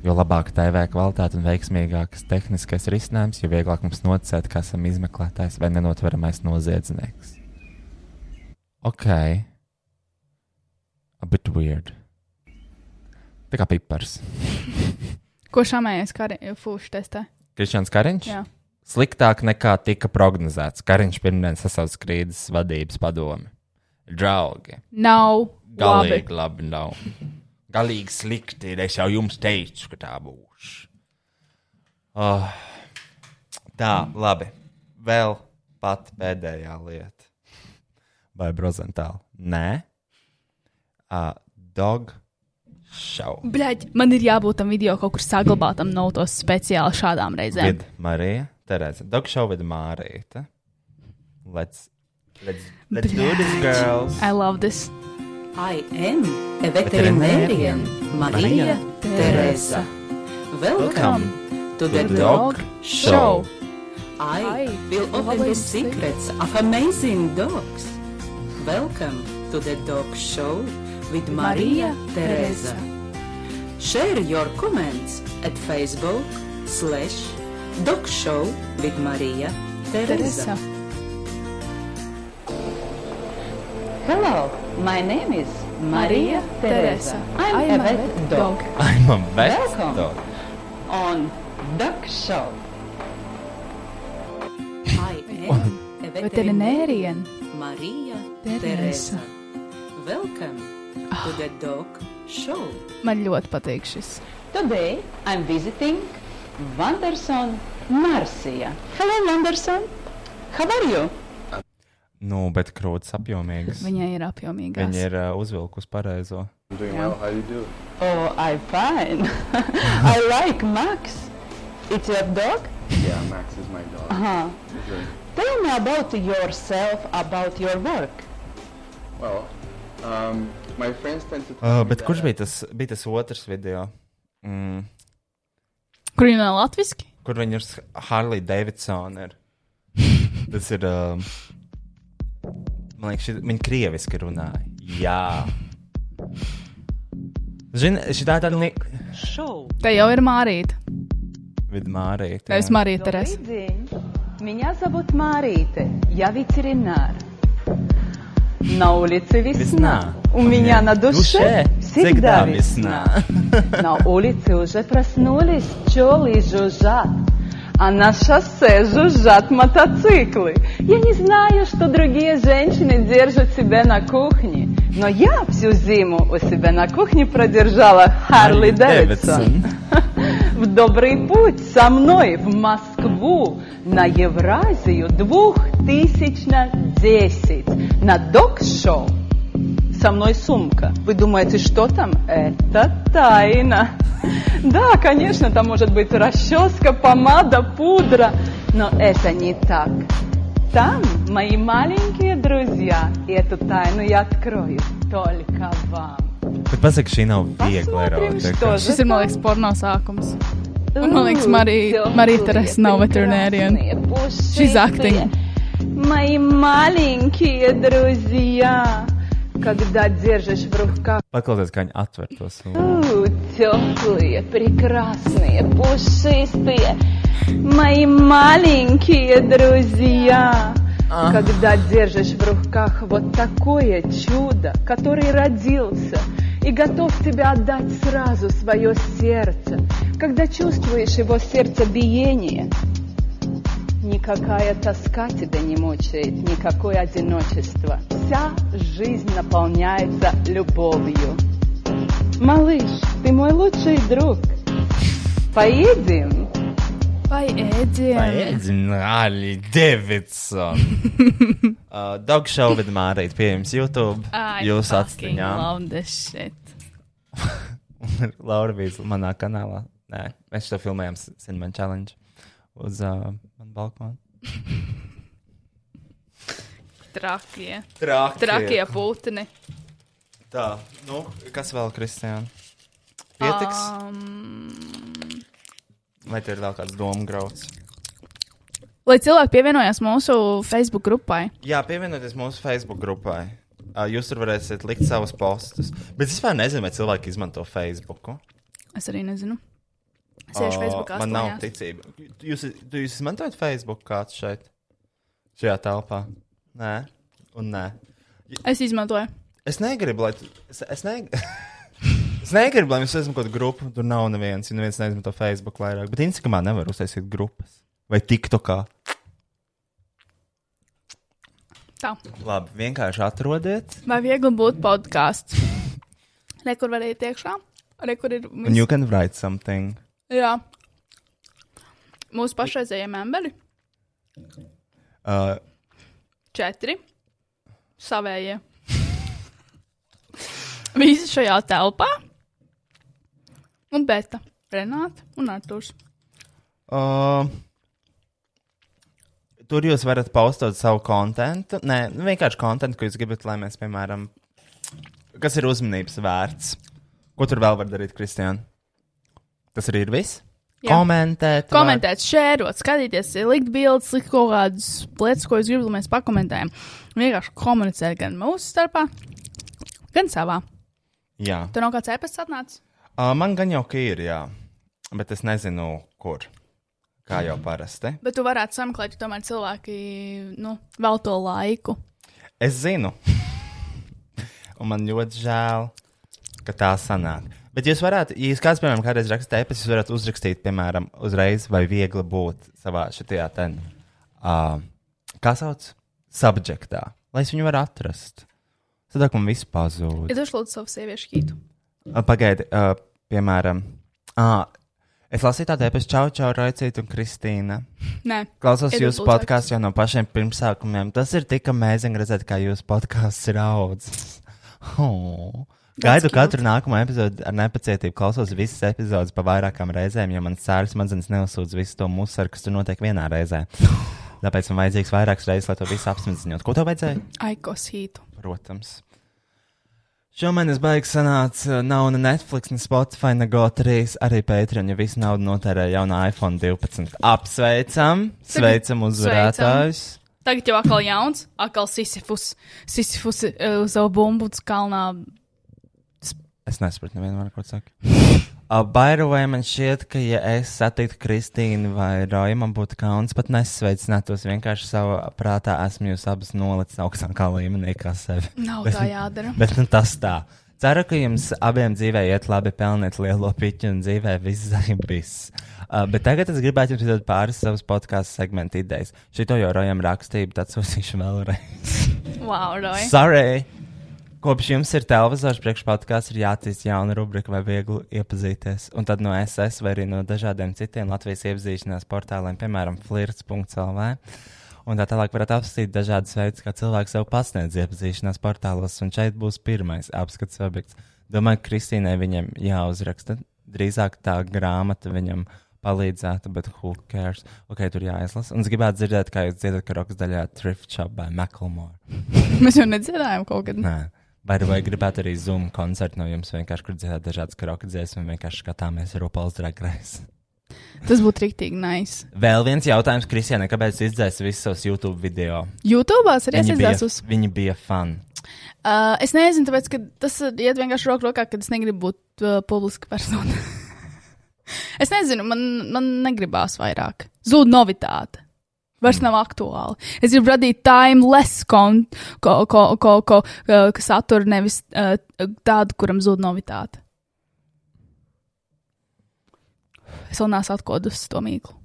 Speaker 1: Jo labāka TV kvalitāte un veiksmīgāks tehniskais risinājums, jo vieglāk mums noticēt, ka esam izmeklētājs vai nenotveramais noziedznieks. Ok, a bit weird. Tā kā pipars.
Speaker 2: Ko šāmējies fūšu testē?
Speaker 1: Kristians Kariņš.
Speaker 2: Jā.
Speaker 1: Sliktāk nekā tika prognozēts. Kariņš pirmdien sasauc krīzes vadības padomi. Draugi.
Speaker 2: Nav labi.
Speaker 1: Galīgi labi nav. Galīgi slikti. ir, Es jau jums teicu, ka tā būs. Oh. Tā, labi. Vēl pat pēdējā lieta. Vai brozentāli? Nē. Uh, dog show.
Speaker 2: Bļaļ, man ir jābūt tam video kaut kur saglabātam, nav tos speciāli šādām reizēm.
Speaker 1: With Marija, Terēza. Dog show with Mārīta. Let's, let's, let's do this,
Speaker 2: Bļaļ,
Speaker 1: girls!
Speaker 2: I love this.
Speaker 8: I am a veterinarian, Maria Teresa. Welcome to the dog show. I will open the secrets of amazing dogs. Welcome to the dog show with Maria Teresa. Share your comments at Facebook slash dog show with Maria Teresa. Hello, my name is Maria Teresa. I'm, a vet dog.
Speaker 1: I'm a vet
Speaker 8: Welcome.
Speaker 1: dog.
Speaker 8: on Duck Show. I am a veterinarian, Maria
Speaker 2: Teresa.
Speaker 8: Teresa. Welcome to the Dog Show.
Speaker 2: Man ļoti patīk šis.
Speaker 8: Today I'm visiting Wanderson Marcia. Hello, Wanderson. How are you?
Speaker 1: Nu, bet krūtis apjomīgs.
Speaker 2: Viņai ir apjomīgās.
Speaker 1: Viņa ir uh, uzvilkusi pareizo.
Speaker 8: Doing well. How you do? Oh, I'm fine. [LAUGHS] I like Max. It's your dog?
Speaker 9: Yeah, Max is my dog.
Speaker 8: Uh-huh.
Speaker 9: He's a-
Speaker 8: Tell me about yourself, about your work.
Speaker 9: Well, um, my friends tend to.
Speaker 1: Uh, bet kurš bija tas, bija tas otrs video? Mm,
Speaker 2: Kur viņa ir latviski?
Speaker 1: kur viņa ir s- Harley Davidson?
Speaker 2: [LAUGHS]
Speaker 1: Ir? Tas ir. Um, man liekas, šit- viņa krieviski runāja. Jā. Zini, šī tā ir tāda līnija.
Speaker 2: Te jau ir Mārīta.
Speaker 1: Vidmārīte.
Speaker 2: Tā ir Marija Teresa.
Speaker 8: день. Меня зовут Марите. Я ветеринар. На улице весна.
Speaker 1: Весна.
Speaker 8: У меня на душе всегда весна. На улице уже проснулись пчелы и жужжат. А на шоссе жужжат мотоциклы. Я не знаю, что другие женщины держат себя на кухне. Но я всю зиму у себя на кухне продержала Харли Дэвидсон. В добрый путь со мной в Москву на Евразию 2010 на док-шоу. Со мной сумка. Вы думаете, что там? Это тайна. Да, конечно, там может быть расческа, помада, пудра, но это не так. Там мои маленькие друзья, и эту тайну я открою только вам.
Speaker 1: Bet pasaka, šī nav viegla erotika.
Speaker 8: Šis
Speaker 2: ir, man liekas, porno sākums. Un, man liekas, Marija, Marija Teresa nav veterinārija. She's acting.
Speaker 8: Мои маленькие друзья, когда держишь в руках
Speaker 1: Paklausies, kā viņi atver to sūdu.
Speaker 8: У, теплые, прекрасные, пушистые, мои маленькие друзья. Когда держишь в руках вот такое чудо, который родился и готов тебе отдать сразу свое сердце, когда чувствуешь его сердцебиение, никакая тоска тебя не мучает, никакое одиночество. Вся жизнь наполняется любовью. Малыш, ты мой лучший друг. Поедем?
Speaker 2: Paēdzi.
Speaker 1: Edzināli Davidson. uh, Dog show with Mārīt pieejams YouTube. Jūs
Speaker 2: I
Speaker 1: atstiņā.
Speaker 2: love this shit.
Speaker 1: [LAUGHS] Laura Vīsla manā kanālā. Nē, mēs to filmējām s- Cinnamon Challenge uz uh, manu balkonu.
Speaker 2: Trakie.
Speaker 1: Trakie.
Speaker 2: Trakie putni.
Speaker 1: Tā, nu, kas vēl, Kristija?
Speaker 2: Ah.
Speaker 1: Pietiks?
Speaker 2: Um,
Speaker 1: Vai tev ir vēl kāds domu grauds?
Speaker 2: lai cilvēki pievienojās mūsu Facebook grupai.
Speaker 1: Jā, pievienoties mūsu Facebook grupai. Uh, Jūs tur varēsiet likt savus postus. Bet es vēl nezinu, vai cilvēki izmanto Facebook.
Speaker 2: Es arī nezinu. Es iešu Facebookā.
Speaker 1: Man nav
Speaker 2: astoņās.
Speaker 1: ticība. Jūs, tu- jūs izmantojat Facebook kāds šeit? Šajā telpā? Nē, un nē.
Speaker 2: Es izmantoju.
Speaker 1: Es negribu, lai. tu- Es, es, ne... [LAUGHS] es negribu, lai jums ir kaut kāda grupa. Tur nav nevienas. Ja neviens neizmanto Facebook vairāk. Bet Instagramā nevar uztaisīt grupas. Vai TikTokā?
Speaker 2: Tā.
Speaker 1: Labi, vienkārši atrodiet.
Speaker 2: Vai viegli būt podkāsts? Rekur var iet iekšā, rekur ir.
Speaker 1: Un jūs varat write something.
Speaker 2: Jā. Mūsu pašreizējie memberi
Speaker 1: Uh,
Speaker 2: - četri. Savējie. Visi šajā telpā. Un Bēta, Renāta un Artūrs.
Speaker 1: Uh, tur jūs varat paustot savu kontekstu. Nē, nu, vienkārši kontekstu, ko jūs gribat, lai mēs, piemēram, kas ir uzmanības vērts. Ko tur vēl var darīt, Kristija? Tas arī ir viss.
Speaker 2: Jā.
Speaker 1: Komentēt. var.
Speaker 2: Komentēt, šērot, skatīties, likt bildes, likt kaut kādas lietas, ko jūs gribat, lai mēs pakomentējam. Vienkārši komunicēt gan mūsu starpā, gan savā.
Speaker 1: Jā,
Speaker 2: Tur nav kāds ēpasts atnācis.
Speaker 1: uh, man gan jau ka ir, jā. Bet es nezinu, kur. Kā jau parasti.
Speaker 2: Bet tu varētu sameklēt, ja tomēr cilvēki nu, vēl to laiku.
Speaker 1: Es zinu. Un man ļoti žēl, ka tā sanāk. Bet jūs varētu, ja jūs kāds, piemēram, kādreiz rakstīt ēpas, jūs varat uzrakstīt, piemēram, uzreiz, vai viegli būt savā šajā ten, uh, kā sauc, subjektā, lai es viņu varētu atrast. Tad man viss pazūd.
Speaker 2: Ir dažs lūdzu savu sieviešu hītu.
Speaker 1: Uh, Pagaidi, uh, piemēram, uh, es lasīju tādu ēpas, čau, čau, raicīt un Kristīna.
Speaker 2: Nē.
Speaker 1: Klausos
Speaker 2: Ir
Speaker 1: jūsu
Speaker 2: dubultvārds.
Speaker 1: podkāstu jau no pašiem pirmsākumiem. Tas ir tik amazing redzēt, kā jūsu podkāsts ir audzis. Oh.
Speaker 7: That's
Speaker 1: Gaidu katru nākamo epizodi ar nepacietību. Klausos visas epizodes pa vairākām reizēm, jo man sāras smadzenes neuzsūdz visu to musaru, kas tur notiek vienā reizē. Tāpēc man vajadzīgs vairākas reizes, lai to visu apsmedziņot. Ko tev vajadzēja?
Speaker 2: Aikos hītu.
Speaker 1: Protams. Šomēnes baigs sanāca, eh, nav ne Netflix, ne Spotify, ne GO3, arī Patreon, ja visu naudu notērē jaunā iPhone 12. Apsveicam, sveicam uzvarētājus!
Speaker 2: Tagad jau atkal jauns, atkal Sisifus, Sisifus uh, uz savu bumbu uz kalnā.
Speaker 1: Es nesaprotu, nevienmēr, ko saka. [LAUGHS] Uh, by the way, man šķiet, ka, ja es satiktu Kristīnu vai Roju, man būtu kauns pat nesveicinātos. Vienkārši savā prātā esmu jūs abas nolicis augstākā līmenī, kā sevi.
Speaker 2: Nav
Speaker 1: [LAUGHS] Bet-
Speaker 2: tā jādara.
Speaker 1: Bet nu, tas tā. Ceru, ka jums abiem dzīvē iet labi, pelniet lielo piķu un dzīvē viss zaimbis. Uh, bet tagad es gribētu jums iedot pāris savas podkāstu segmentu idejas. Šito jau Rojam rakstīju, tad sūtīšu vēlreiz.
Speaker 2: Wow, Roy.
Speaker 1: Sorry! Kopš jums ir televizors priekšpodkās, ir jāattīst jauna rubrika, vai viegli iepazīties. Un tad no SS vai arī no dažādiem citiem Latvijas iepazīšanās portāliem, piemēram, flirts.lv. Un tā tālāk varat apskatīt dažādas veidus, kā cilvēks sev pasniedz iepazīšanās portālos. Un šeit būs pirmais apskates objekts. Domāju, ka Kristīnai viņam jāuzraksta. Drīzāk tā grāmata viņam palīdzētu, bet who cares? Ok, tur jāizlasa. Un es gribētu dzirdēt, kā jūs dziedat karokas daļā Thrift Shop vai Macklemore.
Speaker 2: Mēs jau nedzirdējām kaut kad.
Speaker 1: Nē, vai arī gribētu arī Zoom koncertu no jums, vienkārši kur dzirdēt dažādas karokas, un vienkārši skatāmies Rupaul's drag race.
Speaker 2: Tas būtu rīktīgi nice.
Speaker 1: Vēl viens jautājums, Kristiāne, kāpēc tu izdzēsi visus savus YouTube video?
Speaker 2: YouTube arī es
Speaker 1: bija,
Speaker 2: izdzēsu uz.
Speaker 1: viņi bija fani.
Speaker 2: Uh, es nezinu, tāpēc, ka tas uh, iet vienkārši roku rokā, kad es negribu būt uh, publiska persona. [LAUGHS] es nezinu, man, man negribās vairāk. Zūd novitāte. Vairs nav aktuāli. Es gribu radīt timeless kon, ko, ko, ko, ko, uh, kas satura nevis uh, tādu, kuram zūd novitāte. Es vēl neesmu atkodusi to mīklu.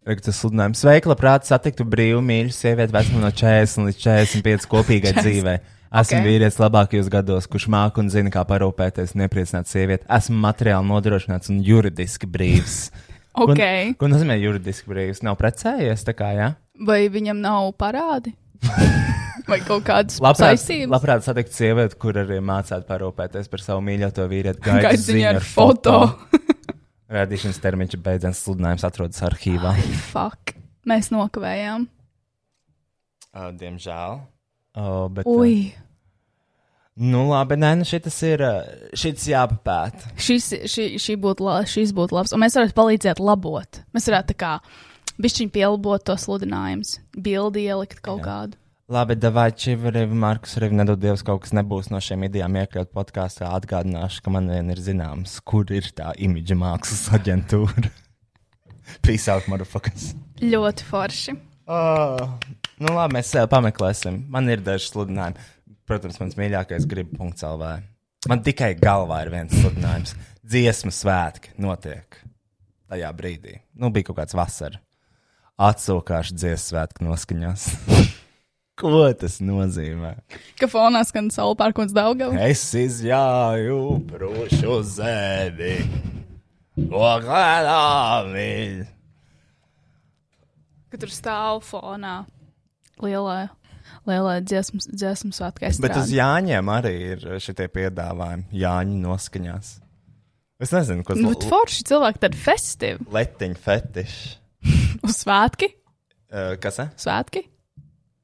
Speaker 1: Tagad tas sludinājums. Sveika, labprāt, satiktu brīvu mīļu sievieti vecumā no 40 līdz 45
Speaker 2: [LAUGHS]
Speaker 1: kopīgai
Speaker 2: 40.
Speaker 1: dzīvē. Esmu
Speaker 2: Ok.
Speaker 1: okay. vīrietis labākajos gados, kurš māku un zina, kā parūpēties un iepriecināt sievieti. Esmu materiāli nodrošināts un juridiski brīvs.
Speaker 2: [LAUGHS] Ok.
Speaker 1: Ko, ko nozīmē juridiski brīvs? Nav precējies tā kā, jā? Ja?
Speaker 2: Vai viņam nav parādi? Vai kaut kādas
Speaker 1: Labprāt,
Speaker 2: saistības?
Speaker 1: labprāt satikt sievieti, kur arī mācāt parūpēties par savu mīļoto vīrieti.
Speaker 2: Gaidu
Speaker 1: Gaidzi
Speaker 2: ziņu
Speaker 1: ziņu
Speaker 2: ar foto.
Speaker 1: Radīšanas termiņš ir beidzies, sludinājums atrodas arhīvā.
Speaker 2: Fuck. Mēs nokavējām.
Speaker 1: Uh, diemžēl. Uh, bet, uh,
Speaker 2: Ui,
Speaker 1: Nu, labi, nē, nu šis ir uh, šis jāpapēta.
Speaker 2: šis, šī, šī būtu, la, šis būtu labs. Un mēs varētu palīdzēt labot. Mēs varētu tā kā bišķiņ pielabot to sludinājumus, bildi ielikt kaut Jā. kādu.
Speaker 1: Labi, Davai, Čivarīvi, Markus, arī nedod Dievs, kaut kas nebūs no šiem idejām iekļaut podkāstā. Atgādināšu, ka man vien ir zināms, kur ir tā imidža mākslas aģentūra. [LAUGHS] Peace out, motherfuckers.
Speaker 2: Ļoti forši.
Speaker 1: Uh, nu, labi, mēs uh, pameklēsim. Man ir daži sludinājumi. Protams, mans mīļākais gribi punkts LV. Man tikai galvā ir viens sludinājums. Dziesmu svētki notiek tajā brīdī. Nu, bija kaut kāds vasara. Atsūkāšu dziesmu svētku noskaņās. [LAUGHS] Ko tas nozīmē?
Speaker 2: Ka fonā skan saule pārkons Daugava.
Speaker 1: Es izjāju prūšu zemi, ko gaidāmi.
Speaker 2: Ka tur stāv fonā lielā, lielā dziesmas, dziesmas svētkais.
Speaker 1: Bet uz Jāņiem arī ir šie piedāvājumi Jāņu noskaņās. Es nezinu, kas
Speaker 2: Nu, bet forši cilvēki tad festīvi.
Speaker 1: Letiņa fetišs.
Speaker 2: Uz svētki?
Speaker 1: Uh, Kas? e?
Speaker 2: Svētki?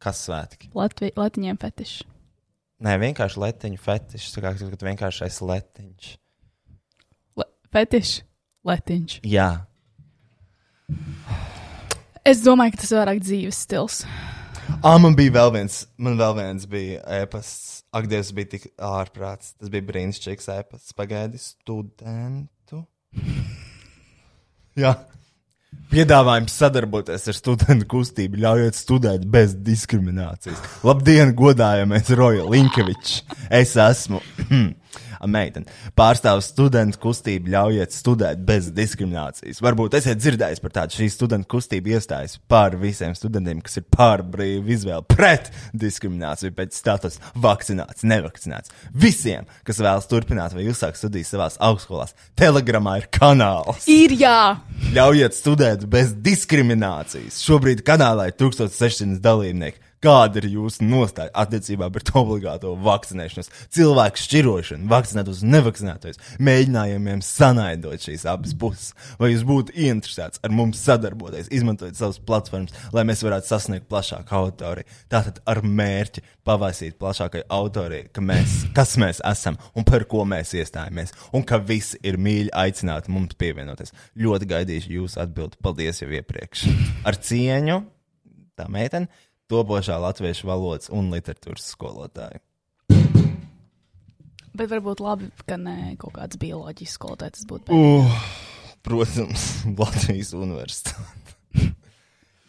Speaker 1: Kas svētki?
Speaker 2: Latvi, Latviņiem fetiši.
Speaker 1: Nē, vienkārši letiņu fetišs. Tā kā tas vienkārši ir letiņš.
Speaker 2: Le, fetiši? Letiņš.
Speaker 1: Jā,
Speaker 2: Es domāju, ka tas ir vairāk dzīves stils.
Speaker 1: Ah, man bija vēl viens, man vēl viens bija ēpasts. Ak, Dievs, bija tik ārprāts. Tas bija brīnišķīgs ēpasts. Pagaidi, studentu. Jā. Piedāvājums sadarboties ar studentu kustību, ļaujot studēt bez diskriminācijas. Labdien, godājamais Roja Linkevičs. Es esmu hmm, meitene. Pārstāvu studentu kustību, ļaujiet studēt bez diskriminācijas. Varbūt esat dzirdējis par tādu šī studentu kustību iestājas par visiem studentiem, kas ir pār brīvu izvēli pret diskrimināciju pēc status vakcinēts, nevakcinēts. Visiem, kas vēlas turpināt vai uzsākt studijas savās augstskolās, telegramā ir kanāls.
Speaker 2: Ir jā,
Speaker 1: Ļaujiet studēt bez diskriminācijas. Šobrīd kanālā ir 1600 dalībnieki. Kāda ir jūsu nostāja attiecībā pret obligāto vakcinēšanos, cilvēku šķirošanu, vakcinētos un nevakcinētos, mēģinājumiem sanaidot šīs abas puses? Vai jūs būtu interesēts ar mums sadarboties, izmantojot savas platformas, lai mēs varētu sasniegt plašāku auditoriju? Tātad ar mērķi pavaisīt plašākai auditorijai, ka mēs, kas mēs esam un par ko mēs iestājāmies, un ka visi ir mīļi aicināti mums pievienoties. Ļoti gaidīšu jūsu atbildi. Paldies jau iepriekš. Ar cieņu! tā meitene, topošā latviešu valodas un literatūras skolotāja.
Speaker 2: bet varbūt labi, ka ne kaut kāds bioloģisks skolotājs tas būtu.
Speaker 1: Uh, protams, [LAUGHS] Latvijas universitāte.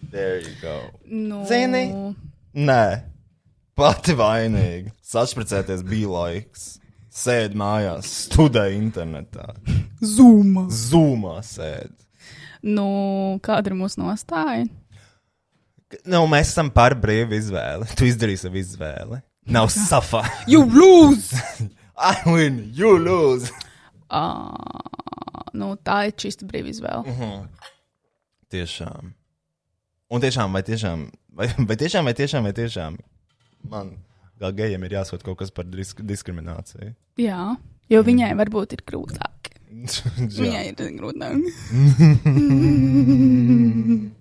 Speaker 1: There you go.
Speaker 2: Nu,
Speaker 1: Zini? Nē, pati vainīga. Sašpricēties bija laiks. Sēd mājās, studē internetā.
Speaker 2: Zūma.
Speaker 1: Zūmā sēd.
Speaker 2: Nu, kāda ir mūsu nostāja?
Speaker 1: Nu, mēs esam par brīvu izvēli. Tu izdarīji savu izvēli. Nav safa.
Speaker 2: You lose!
Speaker 1: [LAUGHS] I win, you lose!
Speaker 2: Uh, nu, tā ir čista brīva izvēle. Uh
Speaker 1: -huh. Tiešām. Un tiešām, vai tiešām, vai, vai tiešām, vai tiešām, vai tiešām man kā gejam ir jāsūt kaut kas par disk diskrimināciju. [LAUGHS]
Speaker 2: Jā, jo
Speaker 1: Mhm.
Speaker 2: viņai varbūt ir grūtāk. Viņai
Speaker 1: Jā.
Speaker 2: ir grūtāk.
Speaker 1: [LAUGHS]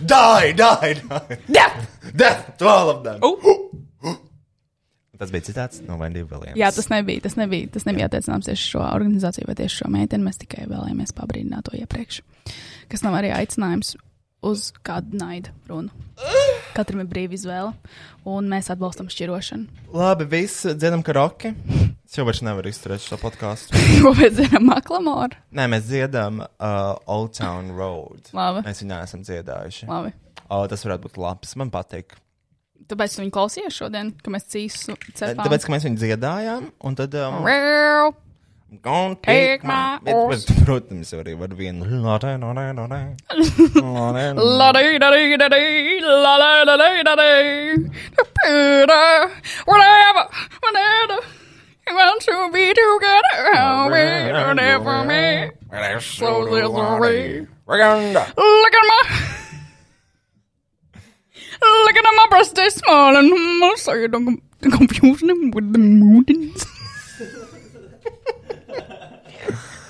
Speaker 1: Die, die, die! Death! Death to all of them! Oh. Tas bija citāts no Vendija Viljams.
Speaker 2: Jā, tas nebija, tas nebija, tas nebija attiecināms tieši šo organizāciju vai tieši šo meiteni. Mēs tikai vēlējāmies pabrīdināt to iepriekš. Kas nav arī aicinājums uz kādu naidu
Speaker 1: [GASPS]
Speaker 2: runu. Katram ir brīva izvēle, un mēs atbalstam šķirošanu.
Speaker 1: Labi, viss dzirdam karaoke. Es jau vairs nevaru izturēt šo podkāstu.
Speaker 2: [LAUGHS] Ko mēs zinām, Maklamoru?
Speaker 1: Nē, mēs dziedam uh, Old Town Road.
Speaker 2: Labi.
Speaker 1: Mēs viņu neesam dziedājuši.
Speaker 2: Labi.
Speaker 1: O, tas varētu būt labs. Man patīk.
Speaker 2: Tāpēc tu viņu klausies šodien, ka mēs cīsu cepām.
Speaker 1: Tāpēc, ka mēs viņu dziedājām, un tad. Um,
Speaker 2: Well,
Speaker 1: Don't
Speaker 2: Take my
Speaker 1: bet,
Speaker 2: horse.
Speaker 1: bet, protams, jau arī var
Speaker 2: [LAUGHS]
Speaker 1: vienu. Lorē, lorē, lorē. Lorē, lorē.
Speaker 2: la-dee-da-dee-da-dee, la-la-la-dee-da-dee, da-dee-da, Whatever, whenever you want to be together, I'll be there for me.
Speaker 7: So little Marie.
Speaker 2: Look at my. Look at my breast, they small and I'm sorry, don't com- confuse them with the mountains. [LAUGHS]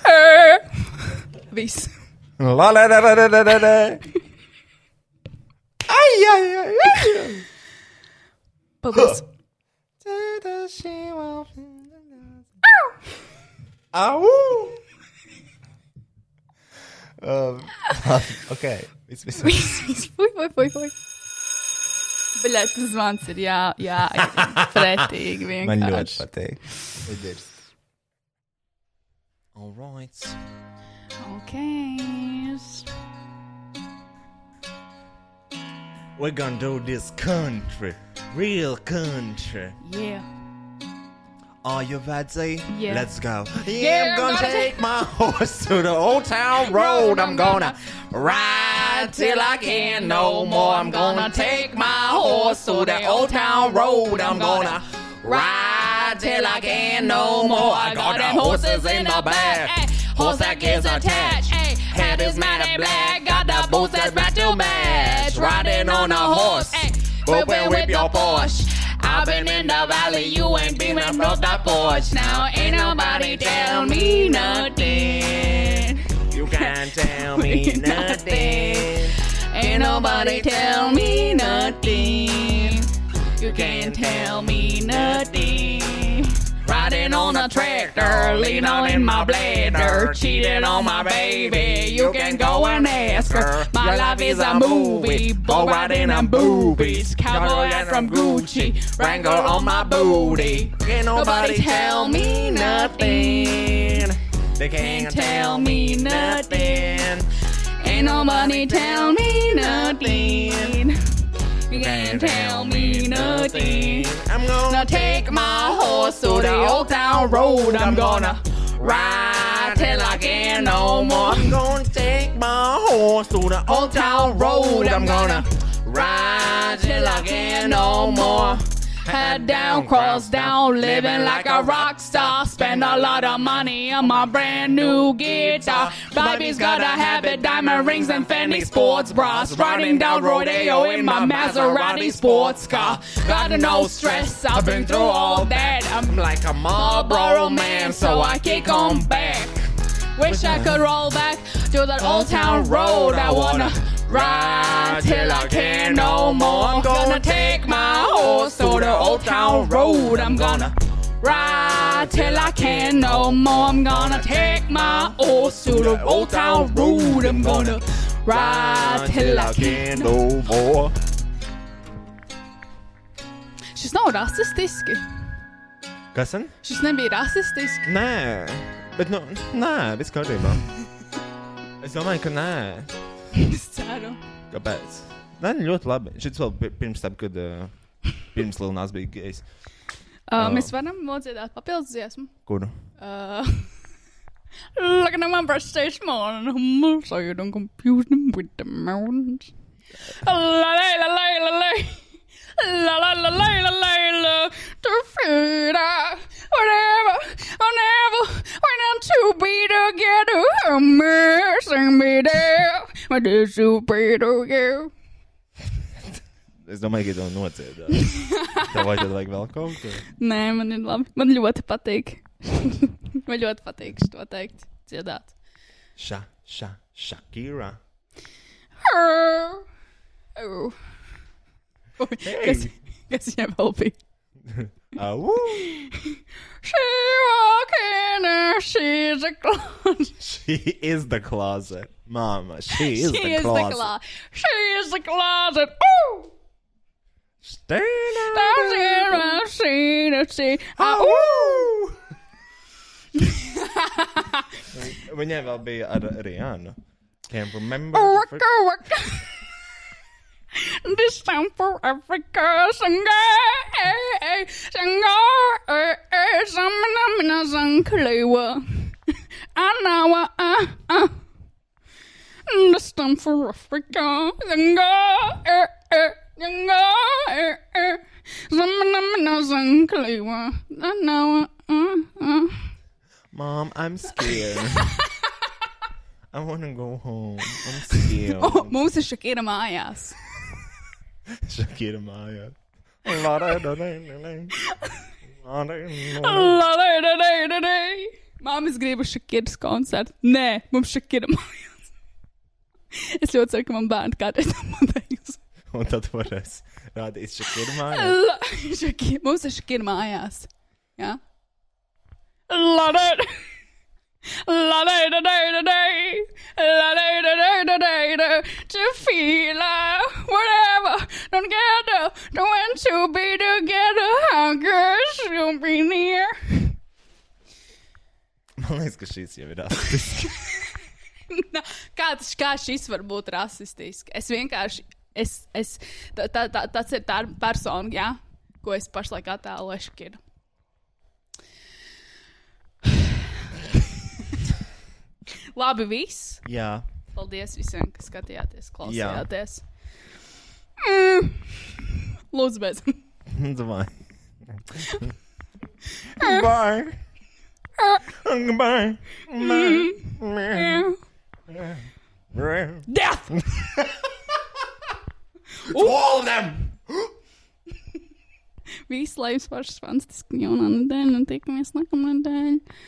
Speaker 2: Eh,
Speaker 7: Viss.
Speaker 2: [LAUGHS]
Speaker 1: La, la, la, la, la, la, la, la. Ai, ai, ai, ai.
Speaker 7: Paldies.
Speaker 1: [LAUGHS] Au! Um, [LAUGHS] ok, viss, viss. viss.
Speaker 7: Viss, viss.
Speaker 1: [LAUGHS]
Speaker 7: Fui, fui, fui, fui. Bļaļ, tas zvans ir jā, jā, [LAUGHS] ir pretīgi vienkārši.
Speaker 1: Man ļoti patīk. Idirst. All right.
Speaker 7: Okay.
Speaker 1: We're gonna do this country, real country.
Speaker 7: Yeah.
Speaker 1: Are you ready?
Speaker 7: Yeah.
Speaker 1: Let's go. [LAUGHS] Yeah,
Speaker 7: Yeah,
Speaker 1: I'm gonna
Speaker 7: I'm gonna
Speaker 1: take my horse to the old town road. I'm gonna ride till I can no more. I'm gonna take my horse to the old town road. I'm gonna ride till I can no more. I got them horses in the back. Horse that is attached. Head is matted black. Got the boots that's red to match. Riding on a horse. Booping with your Porsche. I've been in the valley, you ain't been up off the porch. Now ain't nobody tell me nothing. You can't tell
Speaker 7: [LAUGHS]
Speaker 1: me nothing.
Speaker 7: Ain't nobody tell me nothing. You can't tell me nothing. Riding on a tractor, lean on in my bladder, cheating on my baby. You can go and ask her. [LAUGHS] My life is a movie, bull riding on boobies, cowboy hat from Gucci, wrangle on my booty. Can't nobody tell me nothing. They can't tell me nothing. Ain't nobody tell me nothing. You can't tell me nothing. I'm gonna take my horse to the old town road. I'm gonna ride till I can no more. I'm gonna take my horse to the old town road. I'm gonna ride till I can no more. Head down, cross down, living like a rock star. Spend a lot of money on my brand new guitar. Baby's got a habit, diamond rings and Fendi sports bras. Riding down rodeo in my Maserati sports car. Got no stress, I've been through all that. I'm like a Marlboro man, so I kick on back. Wish I could roll back to that old town road. I wanna ride till I can no more. I'm gonna take my horse to the old town road. I'm gonna ride till I can no more. I'm gonna take my horse to the old town road. I'm gonna ride till I can no more.
Speaker 1: more.
Speaker 7: Šis nav rasistiski.
Speaker 1: Kas sen?
Speaker 7: Šis nebija rasistisks.
Speaker 1: Nē, bet nu, nē, viss kārtībā. Es domāju, ka nē.
Speaker 7: Es ceru.
Speaker 1: Kāpēc? Nē, nu, ļoti labi. Šis vēl pi- pirms tam, kad uh, pirms Lielnās bija gejs.
Speaker 7: Uh, mēs varam nodziedāt papildus dziesmu.
Speaker 1: Kuru?
Speaker 7: Uh, [LAUGHS] Looking at my frustration on I'm so you don't confuse them with the mountains. La la la la la la la la la la la la la to feed I whatever I never when I'm to be together I'm missing me there but this to be together
Speaker 1: Es domāju, ka to nociedās. Tev vajag vajag vēl kaut ko.
Speaker 7: Nē, man ir labi. Man ļoti patīk. [LAUGHS] man ļoti patīk šo teikt, dziedāt.
Speaker 1: Ša, ša, šakīra.
Speaker 7: Au. Ui, Kas, kas viņam vēl bija?
Speaker 1: Au!
Speaker 7: She walking and she's a clown.
Speaker 1: She is the closet. Mama, she is
Speaker 7: she
Speaker 1: the
Speaker 7: is the
Speaker 1: closet.
Speaker 7: closet. She is the closet. Ooh! Down here I've seen a sea. Ooh!
Speaker 1: Viņai vēl bija ar Rianu. Can't remember.
Speaker 7: Waka waka. This time for Africa, eh, Sanga, Sanga, Samina, Sankalewa, Anawa, ah, ah. This time for Africa, eh, Sanga, Sanga, Samina, Sankalewa, Anawa, ah, ah.
Speaker 1: Mom, I'm scared. I want to go home. I'm scared.
Speaker 7: Oh,
Speaker 2: Oh.
Speaker 7: Mums ir šakīra mājās.
Speaker 1: Shakira [LAUGHS] Maya. La, da, da, da, da, da. La, da, da, da.
Speaker 7: La-da-da-da-da-da.
Speaker 2: Māmas grib uz Šakiras koncertu. Nē, mums Šakira mājās. Es ļoti ceru, ka man bērni
Speaker 7: [LAUGHS]
Speaker 2: kādreiz to pateiks.
Speaker 1: Un tad varēs rādīt Šakiru
Speaker 7: [LAUGHS]
Speaker 1: mājās.
Speaker 2: La- Shakira- Mums ir Šakira mājās. Jā. Ladai! Ladai, dadai, dadai! Ladai, dadai, dadai, dadai! To feel uh, whatever! Don't get up! Don't want to be together! How good should be near!
Speaker 1: Man liekas, ka šīs jau ir [LAUGHS] rasistiski.
Speaker 2: Na, kā, tas, kā šis var būt rasistisks? Es vienkārši. Es, es, tā, tā, tā, tas ir tā persona, jā, ko es pašlaik attēlošu. Kiru. [SIGHS] Labi, viss.
Speaker 1: Jā.
Speaker 2: Paldies visiem, kas skatījāties,
Speaker 1: Jā.
Speaker 2: klausījāties. Mm. Lūdzu, bez. [LAUGHS]
Speaker 1: [LAUGHS] Domāju. Goodbye.
Speaker 2: Uh,
Speaker 1: Goodbye.
Speaker 2: mm,
Speaker 1: Mm.
Speaker 7: [LAUGHS]
Speaker 2: Death!
Speaker 7: all of them! [LAUGHS]
Speaker 2: Viss laiks pašas fantastiski jaunā nedēļa, un tiekamies nākamā nedēļa.